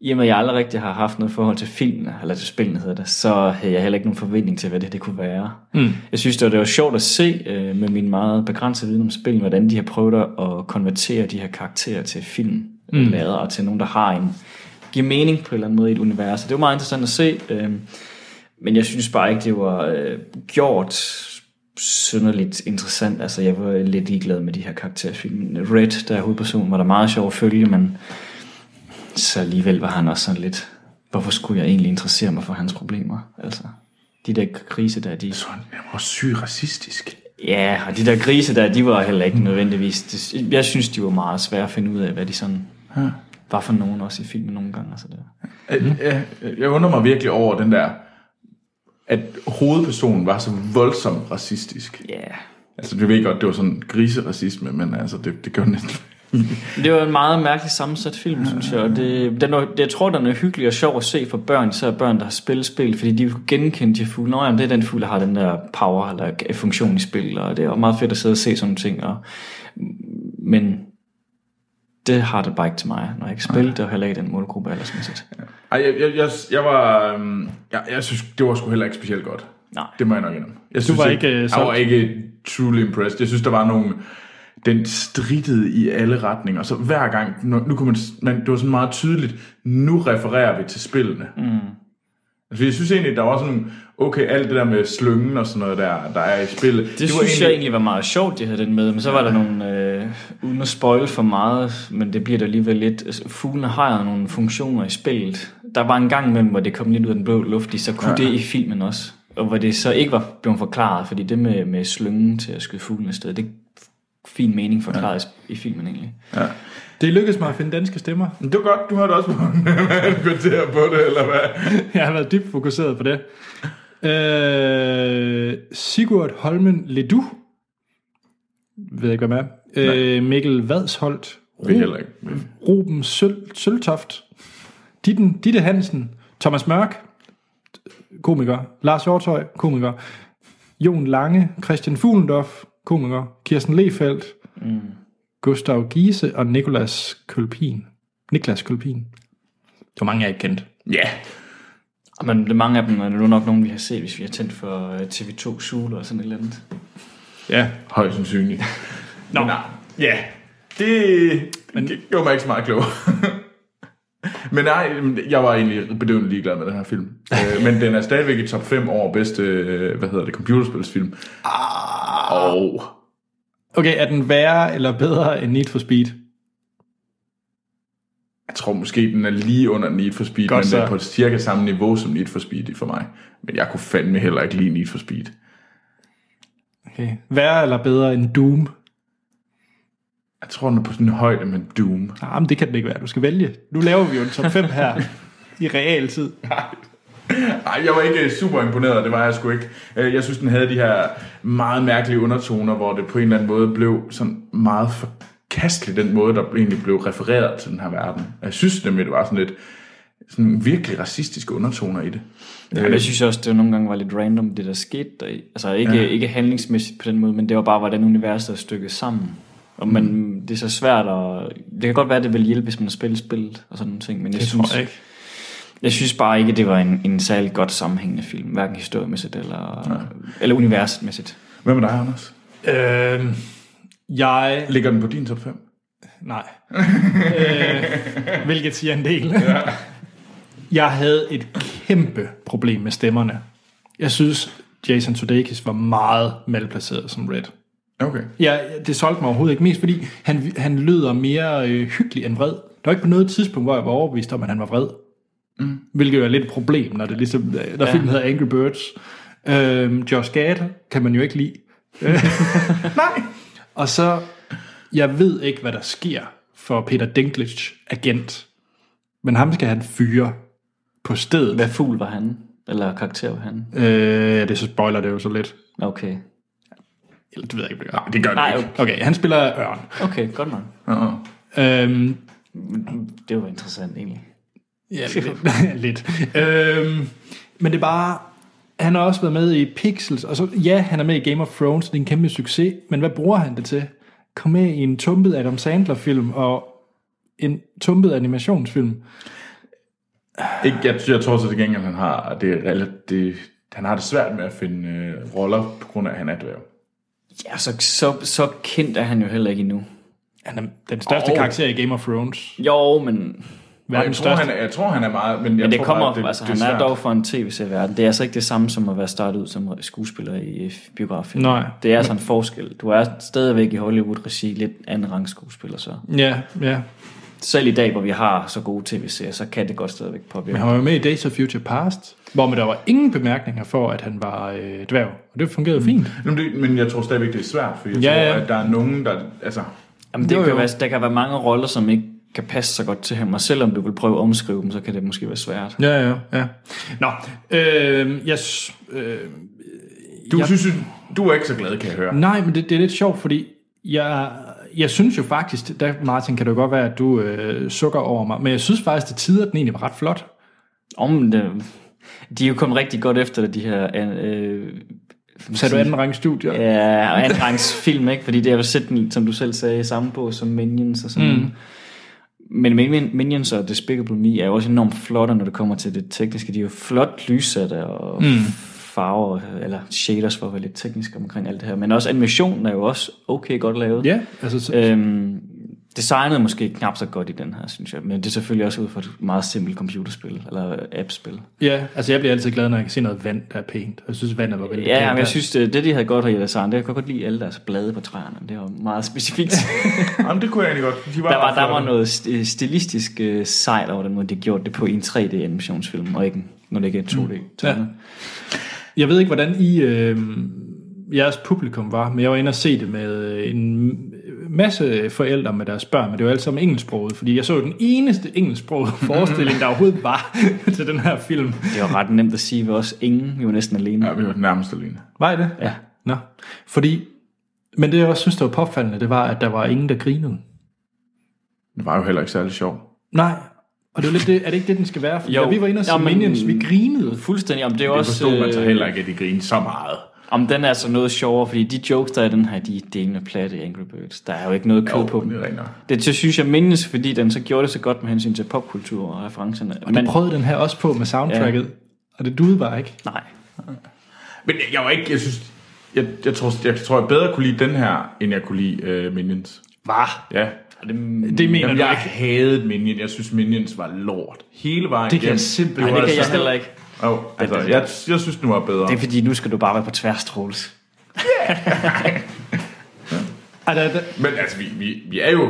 i og med, at jeg aldrig rigtig har haft noget forhold til filmen, eller til spillene hedder det, så havde jeg heller ikke nogen forventning til, hvad det, det kunne være. Mm. Jeg synes, det var, det var sjovt at se øh, med min meget begrænsede viden om spillet, hvordan de har prøvet at konvertere de her karakterer til film, mm. lader, og til nogen, der har en giver mening på en eller anden måde i et univers. Og Det var meget interessant at se. Øh, men jeg synes bare ikke, det var øh, gjort synderligt interessant. Altså, jeg var lidt ligeglad med de her karakterfilm. Red, der er hovedpersonen, var der meget sjov at følge, men så alligevel var han også sådan lidt, hvorfor skulle jeg egentlig interessere mig for hans problemer? Altså, de der grise der, de... Så han var syg racistisk. Ja, og de der grise der, de var heller ikke nødvendigvis... det- Jeg synes, de var meget svære at finde ud af, hvad de sådan... Var for nogen også i filmen nogle gange. Altså det. Mm. Jeg, jeg undrer mig virkelig over den der, at hovedpersonen var så voldsomt racistisk. Ja, yeah. Altså, vi ved godt, det var sådan griseracisme, men altså, det, det gør næsten... Det var en meget mærkelig sammensat film, synes jeg. Og det, den var, det, jeg tror, den er hyggelig og sjov at se for børn, især børn, der har spillet spil, fordi de vil kunne genkende de fugle. Nå, jamen, det er den fugle, der har den der power eller funktion i spil, og det er meget fedt at sidde og se sådan nogle ting. Og, men det har det bare ikke til mig, når jeg ikke spiller det, og heller ikke den målgruppe aldersmæssigt. Ej, jeg, jeg, jeg, jeg var... øhm, Jeg, jeg synes, det var sgu heller ikke specielt godt. Nej. Det må jeg nok indrømme. Jeg synes, var jeg- ikke, øh, Jeg solgt? var ikke truly impressed. Jeg synes, der var nogle... Den strittede i alle retninger. Så hver gang... Nu, nu kunne man, man... Det var sådan meget tydeligt. Nu refererer vi til spillene. Mm. Altså, jeg synes egentlig, der var sådan nogle... Okay, alt det der med slyngen og sådan noget der, der er i spillet. Det, det synes egentlig... jeg egentlig var meget sjovt, de havde den med, men så var der nogle, øh, uden at spoil for meget, men det bliver der alligevel lidt, altså, fuglene har jo nogle funktioner i spillet. Der var en gang imellem, hvor det kom lidt ud af den blå luft, de så kunne ja. det i filmen også, og hvor det så ikke var blevet forklaret, fordi det med, med slyngen til at skyde fuglen afsted, det er fin mening forklaret ja. i filmen egentlig. Det lykkedes mig at finde danske stemmer. Det var godt, du har da også et kvarter på det, eller hvad? Jeg har været dybt fokuseret på det. Øh, Sigurd Holmen Ledu. Ved ikke, hvad man er. Øh, Mikkel Vadsholt. Det er heller ikke. men- Ruben Søl- Søltoft, Ditten, Ditte Hansen, Thomas Mørk, komiker, Lars Hjortøj, komiker, Jon Lange, Christian Fuglendorf, komiker, Kirsten Lefeldt, mm. Gustav Giese og Nikolas Kølpin. Niklas Kølpin. Det var mange, jeg ikke kendte. Ja. Og men det- mange af dem er nu nok nogen, vi har set, hvis vi har tændt for øh, TV2 Sule og sådan et eller andet. Ja. Højst sandsynligt. Nå. Men, ja. Det, Men, det gjorde mig ikke så meget klog. men nej, jeg var egentlig bedøvende ligeglad med den her film. Øh, men den er stadigvæk i top 5 over bedste, øh, hvad hedder det, computerspilsfilm. Ah. Og Okay, er den værre eller bedre end Need for Speed? jeg tror måske, den er lige under Need for Speed, Godt men den er så. på et cirka samme niveau som Need for Speed for mig. Men jeg kunne fandme heller ikke lide Need for Speed. Okay. Værre eller bedre end Doom? Jeg tror, den er på sådan en højde med Doom. Ah, men det kan den ikke være. Du skal vælge. Nu laver vi jo en top 5 her i realtid. Nej, jeg var ikke øh, super imponeret, det var jeg sgu ikke. Øh, Jeg synes, den havde de her meget mærkelige undertoner, hvor det på en eller anden måde blev sådan meget forkastelig, den måde, der egentlig blev refereret til den her verden. Jeg synes nemlig, det var sådan lidt sådan virkelig racistiske undertoner i det. Ja, jeg synes også, det nogle gange var lidt random, det der skete der. Altså ikke, ja. ikke handlingsmæssigt på den måde, men det var bare, hvordan universet er stykket sammen. Og man, det er så svært, og det kan godt være, det vil hjælpe, hvis man har spillet spillet og sådan nogle ting, men jeg, synes, jeg ikke. jeg synes bare ikke, at det var en, en særlig godt sammenhængende film, hverken historiemæssigt eller, eller universmæssigt. Hvad med dig, Anders? Øh, jeg Ligger den på din top 5? Nej. øh, hvilket siger en del. Ja. Jeg havde et kæmpe problem med stemmerne. Jeg synes, Jason Sudeikis var meget malplaceret som Red. Okay. Ja, det solgte mig overhovedet ikke. Mest fordi han, han lyder mere øh, hyggelig end vred. Der var ikke på noget tidspunkt, hvor jeg var overbevist om, at han var vred. Mm. Hvilket jo er lidt et problem, når, det ligesom, når ja. filmen hedder Angry Birds. Øhm, Josh Gad kan man jo ikke lide. Nej. Og så, jeg ved ikke, hvad der sker for Peter Dinklage agent. Men ham skal han fyre på stedet. Hvad fugl var han? Eller karakter var han? Øh, ja, det er så spoiler det jo så lidt. Okay. Eller det ved jeg ikke, om det Det gør det Nej, ikke. okay. gør. Okay, han spiller Ørn. okay, godt nok. Uh-uh. Øhm, Det var interessant egentlig. Ja, lidt. lidt. Øhm, men det er bare, han har også været med i Pixels, og så, ja, han er med i Game of Thrones, det er en kæmpe succes, men hvad bruger han det til? Kom med i en tumpet Adam Sandler-film og en tumpet animationsfilm. Ikke, jeg, jeg tror så til gengæld, han har det, er rela- det han har det svært med at finde øh, roller, på grund af, at han er dværg. Ja, så, så, så kendt er han jo heller ikke endnu. Han er den største Åh. oh. karakter i Game of Thrones. Jo, men Og Verdens jeg, tror, største. han, er- jeg tror, han er meget... Men, jeg Men det tror kommer bare, op, altså han er svært. dog for en tv-serie-verden. Det er altså ikke det samme som at være startet ud som skuespiller i øh, biograffilm. Nej. Det er altså en forskel. Du er stadigvæk i Hollywood-regi lidt anden rang skuespiller så. Ja, ja. Selv i dag, hvor vi har så gode tv-serier, så kan det godt stadigvæk påvirke. Men han var jo med i Days of Future Past, hvor man der var ingen bemærkninger for, at han var øh, dværg. Og det fungerede fint. Jamen, det, men jeg tror stadigvæk, det er svært, for jeg Ja, ja, tror, ja. at der er nogen, der... Altså, Jamen, det Jo, kan jo. være, der kan være mange roller, som ikke kan passe så godt til ham, og selvom du vil prøve at omskrive dem, så kan det måske være svært. Ja, ja, ja. Nå, øh, jeg, s- øh, du, synes, jo- du er ikke så glad, kan jeg høre. Nej, men det, det er lidt sjovt, fordi jeg, jeg synes jo faktisk, der, Martin, kan det jo godt være, at du øh, sukker over mig, men jeg synes faktisk, at tider, den egentlig var ret flot. Om det, de er jo kommet rigtig godt efter det, de her... Øh, Sagde du anden række studier? Ja, og andenrangs film, ikke? Fordi det er jo sætte den, som du selv sagde, i samme bås som Minions og sådan mm. Men Min- Minions og Despicable Me er jo også enormt flotte, når det kommer til det tekniske. De er jo flot lyssatte og mm. farver, eller shaders for at være lidt teknisk omkring alt det her. Men også animationen er jo også okay godt lavet. Ja, altså, så, Øhm, designet er måske knap så godt i den her, synes jeg. Men det er selvfølgelig også ud fra et meget simpelt computerspil, eller appspil. ja, altså jeg bliver altid glad, når jeg kan se noget vand, der er pænt. Jeg synes, vandet var veldig Ja, pænt men der. jeg synes, det, det de havde godt her i design, det jeg kunne godt lide alle deres blade på træerne. Det var meget specifikt. Jamen, det kunne jeg egentlig godt. De var der, var, der flotte. var noget st- stilistisk øh, sejt over den måde, de gjorde det på i en 3D-animationsfilm, og ikke, en- når det ikke er 2D. Ja. Jeg ved ikke, hvordan I, øh, jeres publikum var, men jeg var inde og se det med en masse forældre med deres børn, men det var alt sammen engelsksproget, fordi jeg så jo den eneste engelsksprogede forestilling, der overhovedet var til den her film. Det var ret nemt at sige ved os. Ingen, vi var næsten alene. Ja, vi var den nærmeste alene. Var I det? Ja. Nå, fordi... Men det, jeg også synes, der var påfaldende, det var, at der var ingen, der grinede. Det var jo heller ikke særlig sjov. Nej, og det er, lidt det, er det ikke det, den skal være? For Jo. da vi var inde og se Jamen- Minions, vi grinede. Fuldstændig. Om det er Det også, forstod man så øh, heller ikke, at de grinede så meget. Om den er altså noget sjovere, fordi de jokes, der er i den her, de er delende platte i Angry Birds. Der er jo ikke noget kød på dem. det er rent nok. Det så synes jeg mindes, fordi den så gjorde det så godt med hensyn til popkultur og referencerne. Og Men, det prøvede den her også på med soundtracket, ja. og det duede bare ikke. nej. Men jeg, jeg var ikke, jeg synes, jeg, jeg, tror, jeg tror, jeg bedre kunne lide den her, end jeg kunne lide uh, Minions. Var. Ja. Det, Det mener Jamen, du jeg ikke. havde Minion. Jeg synes, Minions var lort. Hele Det vejen kan jeg igennem. simpelthen- var nej, det kan jeg altså- heller ikke. Jo, altså, jeg, jeg synes, den var bedre. Det er fordi, nu skal du bare være på tværs, Troels. Ej, der, der, Men altså, vi, vi, vi er jo,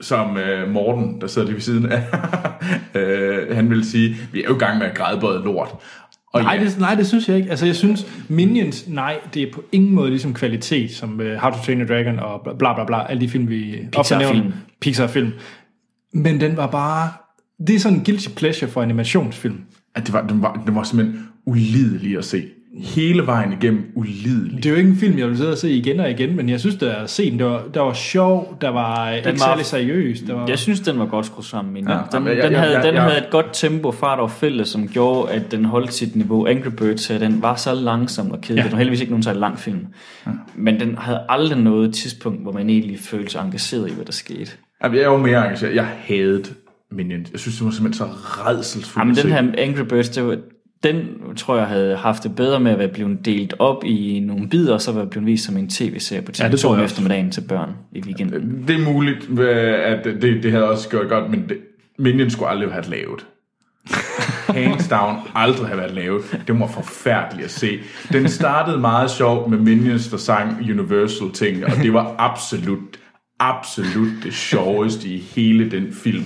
som øh, Morten, der sidder lige ved siden af, øh, han vil sige, vi er jo i gang med at grædbøde lort. Og Nej, det, nej, det synes jeg ikke. Altså, jeg synes, Minions, nej, det er på ingen måde ligesom kvalitet, som uh, How to Train Your Dragon og bla bla bla, bla alle de film, vi ofte nævner. Pixar-film. Pixar-film. Men den var bare... Det er sådan en guilty pleasure for animationsfilm. at det var, den, var, den var simpelthen ulidelig at se. Hele vejen igennem ulidelig. Det er jo ikke en film, jeg vil sidde og se igen og igen, men jeg synes, der er scenen, der var, der var sjov, der var den ikke var, var- særlig seriøs. Der var, Jeg synes, den var godt skruet sammen. Ja, den, jamen, jeg- den, jeg- havde, jeg- den jeg- havde et godt tempo, fart og fælde, som gjorde, at den holdt sit niveau. Angry Birds her, den var så langsom og kedelig. Ja. Ja. Den var heldigvis ikke nogen særlig lang film. Ja. Men den havde aldrig noget tidspunkt, hvor man egentlig følte sig engageret i, hvad der skete. Jamen, jeg er jo mere engageret. Jeg havde Minions. Jeg synes, det var simpelthen så redselsfuldt Jamen, at den se. her Angry Birds, det var, den tror jeg havde haft det bedre med at være blevet delt op i nogle bidder, og så være blevet vist som en tv-serie på TV2 det tror jeg ja, også. eftermiddagen til børn i weekenden. Det er muligt, øh, at det, det havde også gjort godt, men det, Minions skulle aldrig have været lavet. hands down aldrig have været lavet. Det var forfærdeligt at se. Den startede meget sjovt med Minions, der sang Universal ting, og det var absolut, absolut det sjoveste i hele den film.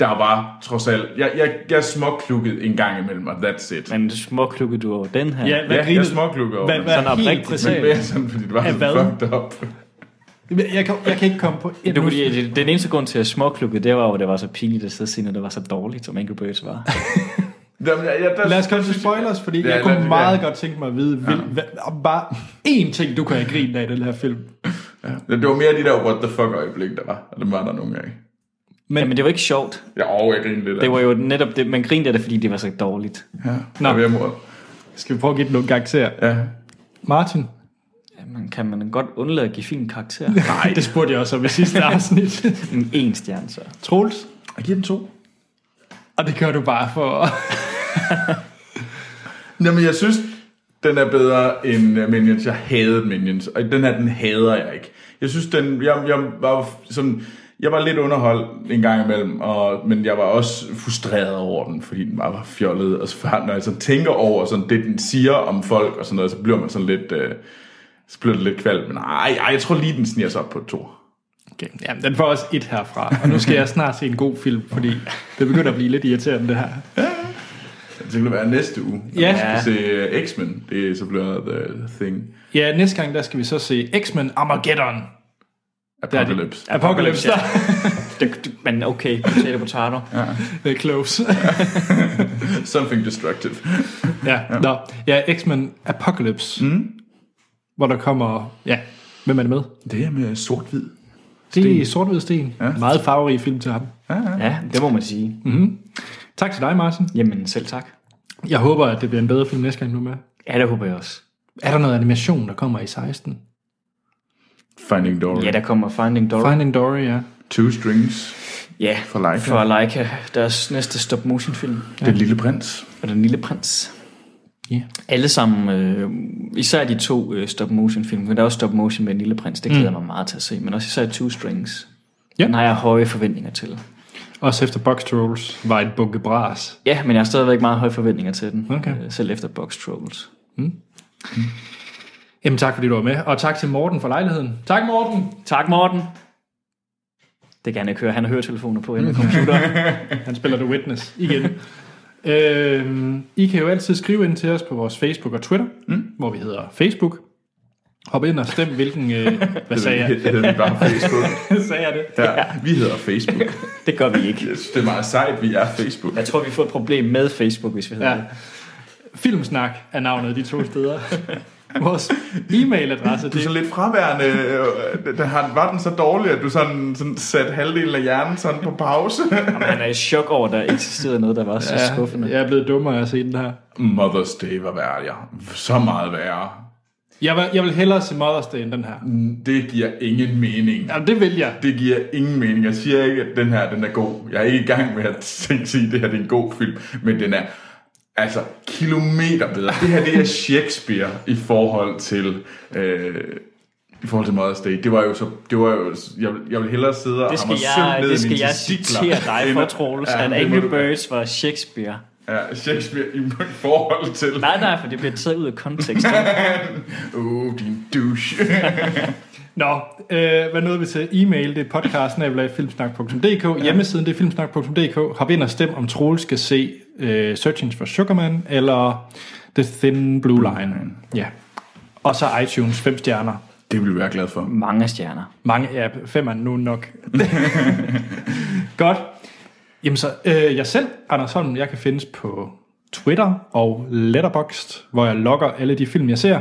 Der var trods alt... Jeg, jeg, jeg småklukkede en gang imellem, og that's it. Men småklukkede du over den her? Ja, hvad Ja, jeg grinede- småklukkede over Hvad, den. hvad, Sådan sådan helt oprigtigt. præcis. Men mere sådan, fordi det var Af så hvad? fucked up. Jeg kan, jeg kan ikke komme på et Det var, nu. fordi, den eneste grund til, at jeg småklukkede, det var, hvor det var så pinligt at sidde og se, når det var så dårligt, som Angry Birds var. Jamen, jeg, jeg, der, Lad os komme til spoilers, fordi Ja, jeg kunne lad- ja. meget godt tænke mig at vide, vil, hvad, om bare én ting, du kan have grinet af i den her film. Det var mere de der what the fuck øjeblik, der var. Og dem var der nogle gange. Men, Jamen, det var ikke sjovt. Ja, og jeg grinede lidt af Det var jo netop det, man grinede af det, fordi det var så dårligt. Nå. Ved måde. Skal vi prøve at give den nogle karakterer? Ja. Martin? Man kan man godt undlade at give film karakter. Nej, det spurgte jeg også om i sidste afsnit. Men en stjerne så. Troels? Jeg giver den to. Og det gør du bare for... Jamen, jeg synes, den er bedre end øh, Minions. Jeg hadede Minions, og den her, den hader jeg ikke. Jeg synes, den, jeg, jeg var sådan, jeg var lidt underholdt en gang imellem, og, men jeg var også frustreret over den, fordi den bare var fjollet. Og så, før- når jeg sådan tænker over sådan, det, den siger om folk og sådan noget, så bliver man sådan lidt, øh, så bliver det lidt kvalm. Men ej, ej, jeg tror lige, den sniger sig op på et to. Okay, jamen, den får også et herfra. Og nu skal jeg snart se en god film, fordi det begynder at blive lidt irriterende, det her. Det skal være næste uge. Ja. Vi skal se øh, X-Men. Det er så bliver The Thing. Ja, næste gang, der skal vi så se X-Men Armageddon. Apocalypse. Det. Apocalypse, ja. Det, det, men okay, potato potato. Ja. Det er close. Something destructive. ja, nå. Ja, X-Men Apocalypse. Mm. Hvor der kommer... Ja, hvem er det med? Det er med sort-hvid. Det er sort Sten. Ja. Meget farverig film til ham. ja, det må man sige. Tak til dig, Martin. Jamen, selv tak. Jeg håber, at det bliver en bedre film næste gang, du er med. Ja, det håber jeg også. Er der noget animation, der kommer i 16? Finding Dory. Ja, der kommer Finding Dory. Finding Dory, ja. Two Strings. ja, for Laika. For Leica, deres næste stop motion film. Ja. Den lille prins. Og Den Lille Prins. Ja. Alle sammen, øh, især de to øh, stop motion film, men der er også stop motion med Den Lille Prins, det glæder mm. mig meget til at se, men også især Two Strings. Ja. Ja. Den har jeg høje forventninger til. Også efter Box Trolls var et bunke bras. Ja, men jeg har stadigvæk meget høje forventninger til den, Okay. øh, selv efter Box Trolls. Jamen tak, fordi du var med. Og tak til Morten for lejligheden. Tak, Morten! Tak Morten! Det kan jeg ikke høre, han har høretelefoner på inde ved computeren. Han spiller The Witness igen. øhm, I kan jo altid skrive ind til os på vores Facebook og Twitter, mm. hvor vi hedder Facebook. Hop ind og stem, hvilken... Øh, hvad sagde jeg? Det hedder vi bare Facebook. sagde jeg det? Der, ja. Vi hedder Facebook. det gør vi ikke. Jeg synes, det er meget sejt, vi er Facebook. Jeg tror, vi får et problem med Facebook, hvis vi hedder Ja. det. Filmsnak er navnet de to steder. Vores e-mailadresse, Du er så Altså, det lidt fraværende. øh, Den har, var den så dårlig, at du sådan, sådan satte halvdelen af hjernen sådan på pause? Jamen, han er i chok over, at der eksisterede noget, der var så ja, skuffende. er, jeg er blevet dummere at se den her. Mother's Day var værre, ja. Så meget værre. Jeg vil, jeg vil hellere se Mother's Day end den her. Det giver ingen mening. Jamen, det vil jeg. Det giver ingen mening. Jeg siger ikke, at den her den er god. Jeg er ikke i gang med at sige, at det her det er en god film, men den er altså kilometer bedre. Det her det er Shakespeare i forhold til... Øh, i forhold til Mother's Day. Det var jo så... Det var jo, jeg, vil- jeg vil hellere sidde og Det skal hamre søm jeg, ned i det skal mine jeg testikler, citere dig for, end- Troels, Ja, at det må Angry du- Birds var Shakespeare. Ja, Shakespeare i i forhold til... Nej, nej, for det bliver taget ud af kontekst. Uh, din douche. Nå, øh, hvad nåede vi til? E-mail, det er podcasten-filmsnak.dk. Hjemmesiden, det er filmsnak.dk. Hop ind og stem, om Troel skal se øh, Searching for Sugarman eller The Thin Blue Line. Ja. Og så iTunes, fem stjerner. det vil vi være glad for. Mange stjerner. Mange af fem er nu nok. Godt. Jamen så, øh, jeg selv, Anders Holm, jeg kan findes på Twitter og Letterboxd, hvor jeg logger alle de film, jeg ser.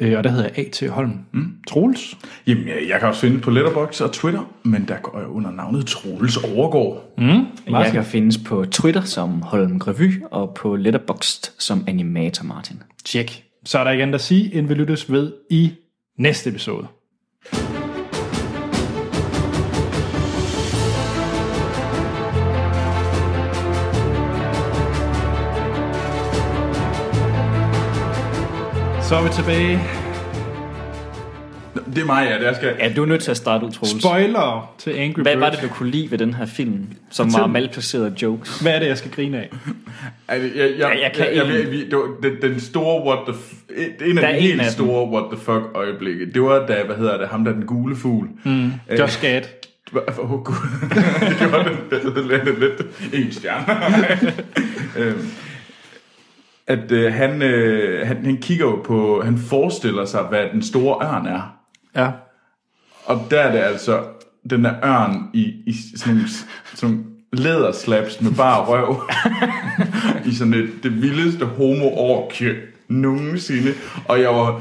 Øh, og der hedder jeg A.T. Holm. Mm. Troels. Jamen, jeg jeg kan også finde på Letterboxd og Twitter, men der går jeg under navnet Troels Overgaard. Jeg kan findes på Twitter som Holm Grevy, og på Letterboxd som Animator Martin. Tjek. Så er der ikke andet at sige, end vi lyttes ved i næste episode. Så er vi tilbage. Nå, Det er mig, ja, der skal... Ja, du er nødt til at starte ud, Troels. Spoiler til Angry Hvad Birds. var det, du kunne lide ved den her film, som var malplacerede jokes? Hvad er det, jeg skal grine af? Er det- Altså, Jeg, jeg, jeg, jeg jeg, kan jeg, jeg, ikke. vi- det var- den, den store what the f- en- en Der er af de en helt af dem. store what the fuck øjeblikke. Det var da, hvad hedder det, ham der den gule fugl. Mm. Josh Gad. Hva- Åh oh, gud, det gjorde den lidt, lidt, lidt en stjerne. Øhm, at øh, han, øh, han, han kigger jo på, han forestiller sig, hvad den store ørn er. Ja. Og der er det altså den der ørn i, i sådan nogle, sådan nogle læderslaps med bare røv. I sådan et, det vildeste homo-orkje nogensinde. Og jeg var,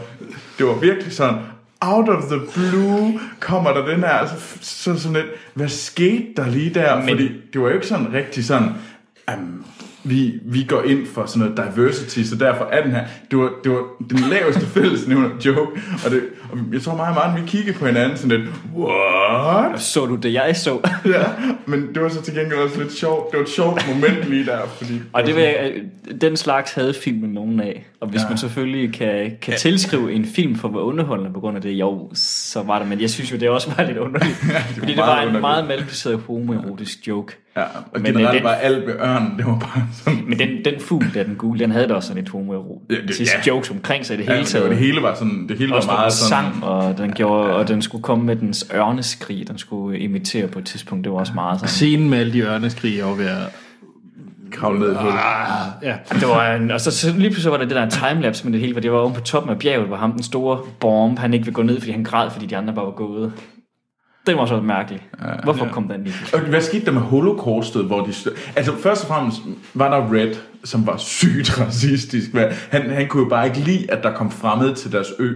det var virkelig sådan, out of the blue kommer der den her, altså, f- så sådan lidt, hvad skete der lige der? Men, Fordi det var jo ikke sådan rigtig sådan, um, vi, vi går ind for sådan noget diversity, så derfor er den her, det var, det var den laveste fællesnævner joke, og, det, og jeg tror meget, meget, vi kiggede på hinanden sådan lidt, what? Så du det, jeg så? Ja, men det var så til gengæld også lidt sjovt, det var et sjovt moment lige der, fordi... Og det vil jeg, øh, den slags havde filmen nogen af. Og hvis ja. man selvfølgelig kan, kan tilskrive en film for at være underholdende på grund af det, jo, så var det. Men jeg synes jo, det også var lidt underligt. ja, det fordi det meget var en underligt. meget malplaceret homoerotisk joke. Ja, og Men, øh, generelt den- var alt ved ørnen, det var bare sådan... Men den, den fugl der, den gule, den havde da også sådan et homoerotisk Ja, ja, det- ja. jokes omkring sig i det Ja, hele men det, var, taget. det hele var sådan, det hele var også meget meget sådan... sang, og den, gjorde, og den skulle komme med dens ørneskrig, den skulle imitere på et tidspunkt. Det var også meget sådan. Scenen med alle de ørneskrig over ved at... kravle ned på det. Ah, Ja. Det var en, og så, så lige pludselig var der det der timelapse med det hele, hvor det var oven på toppen af bjerget, hvor ham den store bomb, han ikke ville gå ned, fordi han græd, fordi de andre bare var gået. Det var så mærkeligt. Hvorfor kom den lige? Og hvad skete der med holocaustet, hvor de... stø- Altså, først og fremmest var der Red, som var sygt racistisk. Hvad- Han, han kunne jo bare ikke lide, at der kom fremmede til deres ø.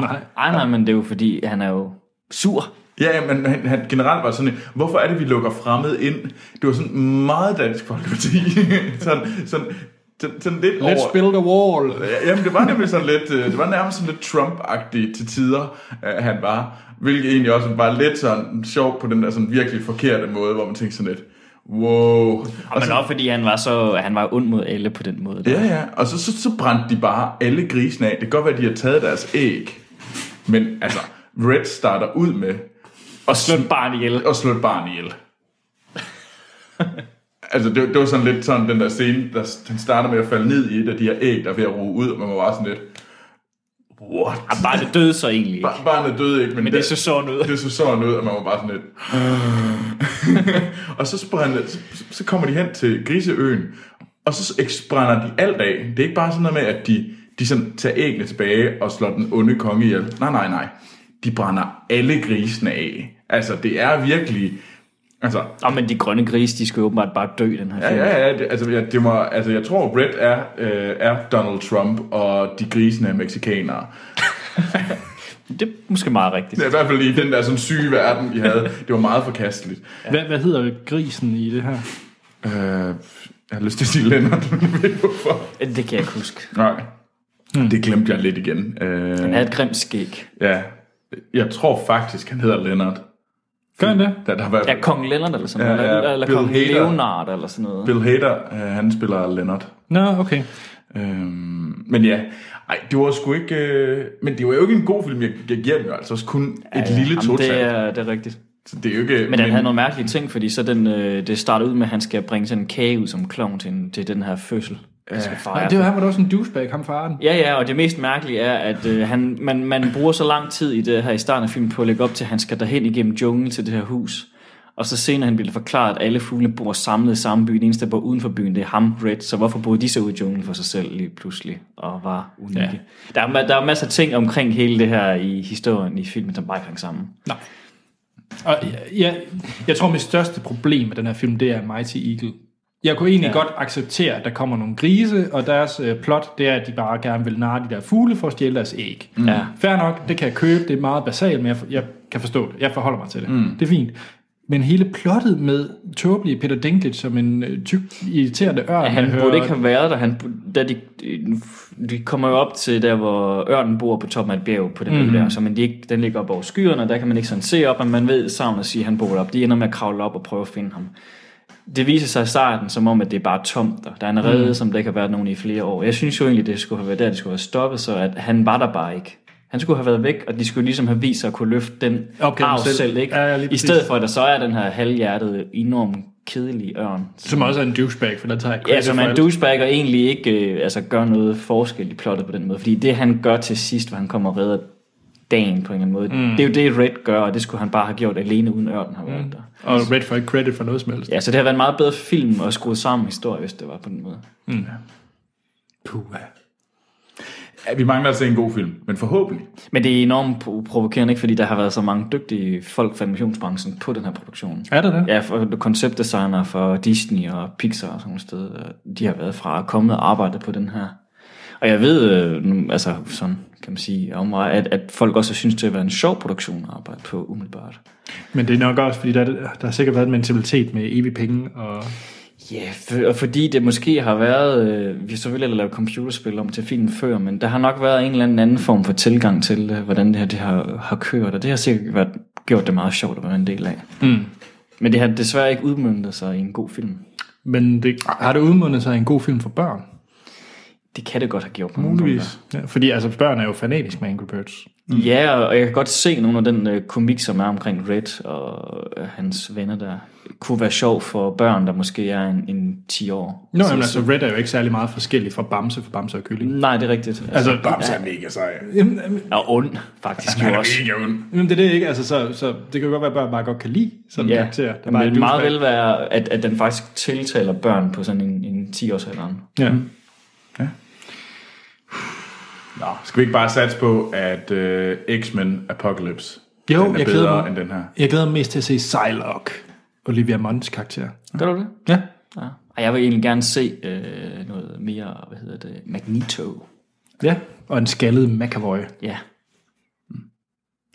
Nej. Ej nej, men det er jo fordi, han er jo sur. Ja, ja, men han, han generelt var sådan, en, hvorfor er det, vi lukker fremmede ind? Det var sådan meget dansk folkeparti. sådan, sådan, sådan, sådan lidt over... Let's build a wall. Ja, Jamen, det var nemlig sådan lidt, øh, det var nærmest sådan lidt Trump-agtigt til tider, øh, han var. Hvilket egentlig også var lidt sådan sjovt på den der sådan virkelig forkerte måde, hvor man tænkte sådan lidt, wow. Og Og men så- også fordi, han var så han var ond mod alle på den måde. Der. Ja, ja. Og så, så, så brændte de bare alle grisene af. Det kan godt være, at de har taget deres æg. Men altså, Red starter ud med Og slå et barn ihjel. at slå et barn ihjel. altså, det, det, var sådan lidt sådan den der scene, der den starter med at falde ned i et af de her æg, der er ved at ruge ud, og man var bare sådan lidt, what? Barnet døde så egentlig ikke. Bar- Barnet døde ikke, men, Men det så sådan ud. det så sådan ud, og man var bare sådan lidt... og så, sprænder, så, så kommer de hen til Griseøen, og så eks- brænder de alt af. Det er ikke bare sådan noget med, at de, de sådan tager æggene tilbage og slår den onde konge ihjel. Nej, nej, nej. De brænder alle grisene af. Altså, det er virkelig... Altså, Og men de grønne grise, de skal åbenbart bare dø, den her ja, film. ja, ja. Det, altså, jeg, det var, altså, jeg tror, Red er, øh, er Donald Trump, og de grisene er mexikanere. Det er måske meget rigtigt. Det er i hvert fald i den der sådan syge verden, vi havde. Det var meget forkasteligt. Hvad, hvad hedder grisen i det her? Øh, jeg har lyst til at sige Lennart, men jeg ved ikke hvorfor. Det kan jeg ikke huske. Nej, hmm. det glemte jeg lidt igen. Han Øh, havde et grimt skæg. ja, jeg tror faktisk, han hedder Lennart. Gør han det? Der, der var Ja, kong Leonard eller sådan noget. Ja, ja, eller eller Bill kong Hader. Leonard eller sådan noget. Bill Hader, øh, han spiller Lennart. Nå, okay. Øhm, men ja, ej, det var sgu ikke... Øh, men det var jo ikke en god film. Jeg, jeg giver den jo altså også kun et lille Jamen, total. det Det er, er, det er rigtigt. så det er jo ikke... Men den havde nogle mærkelige ting, fordi så den, øh, det starter ud med, at han skal bringe sådan en kage ud som klovn til, en- til den her fødsel. Ja. Skal Nej, fejre. det var, han var da også en douchebag, ham faren. ja, ja, og det mest mærkelige er, at øh, han, man, man bruger så lang tid i det her i starten af filmen på at lægge op til, at han skal derhen igennem junglen til det her hus. Og så senere han bliver det forklaret, at alle fuglene bor samlet i samme by. Den eneste, der bor uden for byen, det er ham, Red. Så hvorfor boede de så ude i junglen for sig selv lige pludselig? Og var unikke. Ja. Der, er, ma- der er masser af ting omkring hele det her i historien i filmen, som bare ikke hang sammen. Nej. Og jeg, jeg, jeg tror, mit største problem med den her film, det er Mighty Eagle. Jeg kunne egentlig ja. godt acceptere, at der kommer nogle grise, og deres øh, plot, det er, at de bare gerne vil narre de der fugle for at stjæle deres æg. Mm. Ja. Fair nok, det kan jeg købe, det er meget basalt, men jeg, for- jeg kan forstå det. Jeg forholder mig til det. Mm. Det er fint. Men hele plottet med tåbelige Peter Dinklage som en øh, tyk, irriterende ørn. Han der burde hører- ikke have været der. Han, bu- da de, de kommer jo op til der, hvor ørnen bor på toppen af et bjerg på den Mhm. mm-hmm. der, så man de ikke, den ligger op over skyerne, og der kan man ikke sådan se op, men man ved savn at sige, at han bor deroppe. De ender med at kravle op og prøve at finde ham. Det viser sig i starten som om, at det er bare tomt der. Der er Mhm. en rede, mm. som der ikke har været nogen i flere år. Jeg synes jo egentlig, det skulle have været der, det skulle have stoppet, så at han var der bare ikke. Han skulle have været væk, og de skulle ligesom have vist sig at kunne løfte den Opgaven arv selv. selv, selv ikke? Ja, ja, lige I præcis. stedet for, at der så er den her halvhjertede, enormt kedelige ørn. Som også er en douchebag, for der tager jeg Ja, credit som for er en alt. douchebag og egentlig ikke øh, altså, gør noget forskel i plottet på den måde. Fordi det, han gør til sidst, hvor han kommer og redder dagen på en eller anden måde, mm. det er jo det, Red gør, og det skulle han bare have gjort alene, uden ørnen har været mm. der. Og Red får ikke credit for noget som helst. Ja, så det har været en meget bedre film at skrue sammen historie, hvis det var på den måde. Puh. Ja, vi mangler altså en god film, men forhåbentlig. Men det er enormt pro- provokerende, ikke? fordi der har været så mange dygtige folk fra animationsbranchen på den her produktion. Er det det? Ja, for konceptdesigner for Disney og Pixar og sådan nogle steder, og de har været fra at komme og arbejde på den her. Og jeg ved, øh, nu- altså sådan kan man sige, om mig, at, at folk også synes, det har været en sjov produktion at arbejde på umiddelbart. Men det er nok også, fordi der, der har sikkert været en mentalitet med evig penge. Og... Ja, for, og fordi det måske har været, øh, vi selvfølgelig har lavet computerspil om til film før, men der har nok været en eller anden anden form for tilgang til, øh, hvordan det her det har, har kørt, og det har sikkert været, gjort det meget sjovt at være en del af. Mm. Men det har desværre ikke udmyndtet sig i en god film. Men det, har det udmundet sig i en god film for børn? Det kan det godt have gjort på nogle Muligvis. Ja, fordi altså, børn er jo fanatisk med Angry Birds. punkter. Ja, og- og jeg kan godt se nogle af den øh, komik, som er omkring Red og øh, hans venner der, kunne være sjov for børn, der måske er en, en 10 år. Nå, jamen, altså, Red er jo ikke særlig meget forskellig fra Bamse for Bamse og Kylling. Nej, det er rigtigt. Altså, Altså, Bamse er mega sej. jamen, jamen, og ond, faktisk Han jo er også. mega ond. jamen, det er det ikke, altså, så, så det kan jo godt være, at børn bare godt kan lide sådan en Ja, karakter. Der det bare er vil meget douchebag. vel være, at, at den faktisk tiltaler børn på sådan en, en 10-årsalder. Ja. Nå, skal vi ikke bare satse på, at uh, X-Men Apocalypse Jo, den er jeg glæder bedre mig. end den her? Jeg glæder mig mest til at se Psylocke, Olivia Munns karakter. Gør du det? Ja. Ja. Og jeg vil egentlig gerne se øh, noget mere, hvad hedder det, Magneto. Ja, og en skaldet McAvoy. Ja.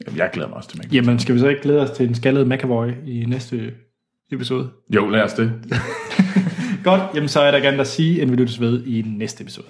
Jamen, jeg glæder mig også til mig. Jamen, skal vi så ikke glæde os til en skaldet McAvoy i næste episode? Jo, lad os det. Godt, jamen så er der gerne at sige, end vi lyttes ved i næste episode.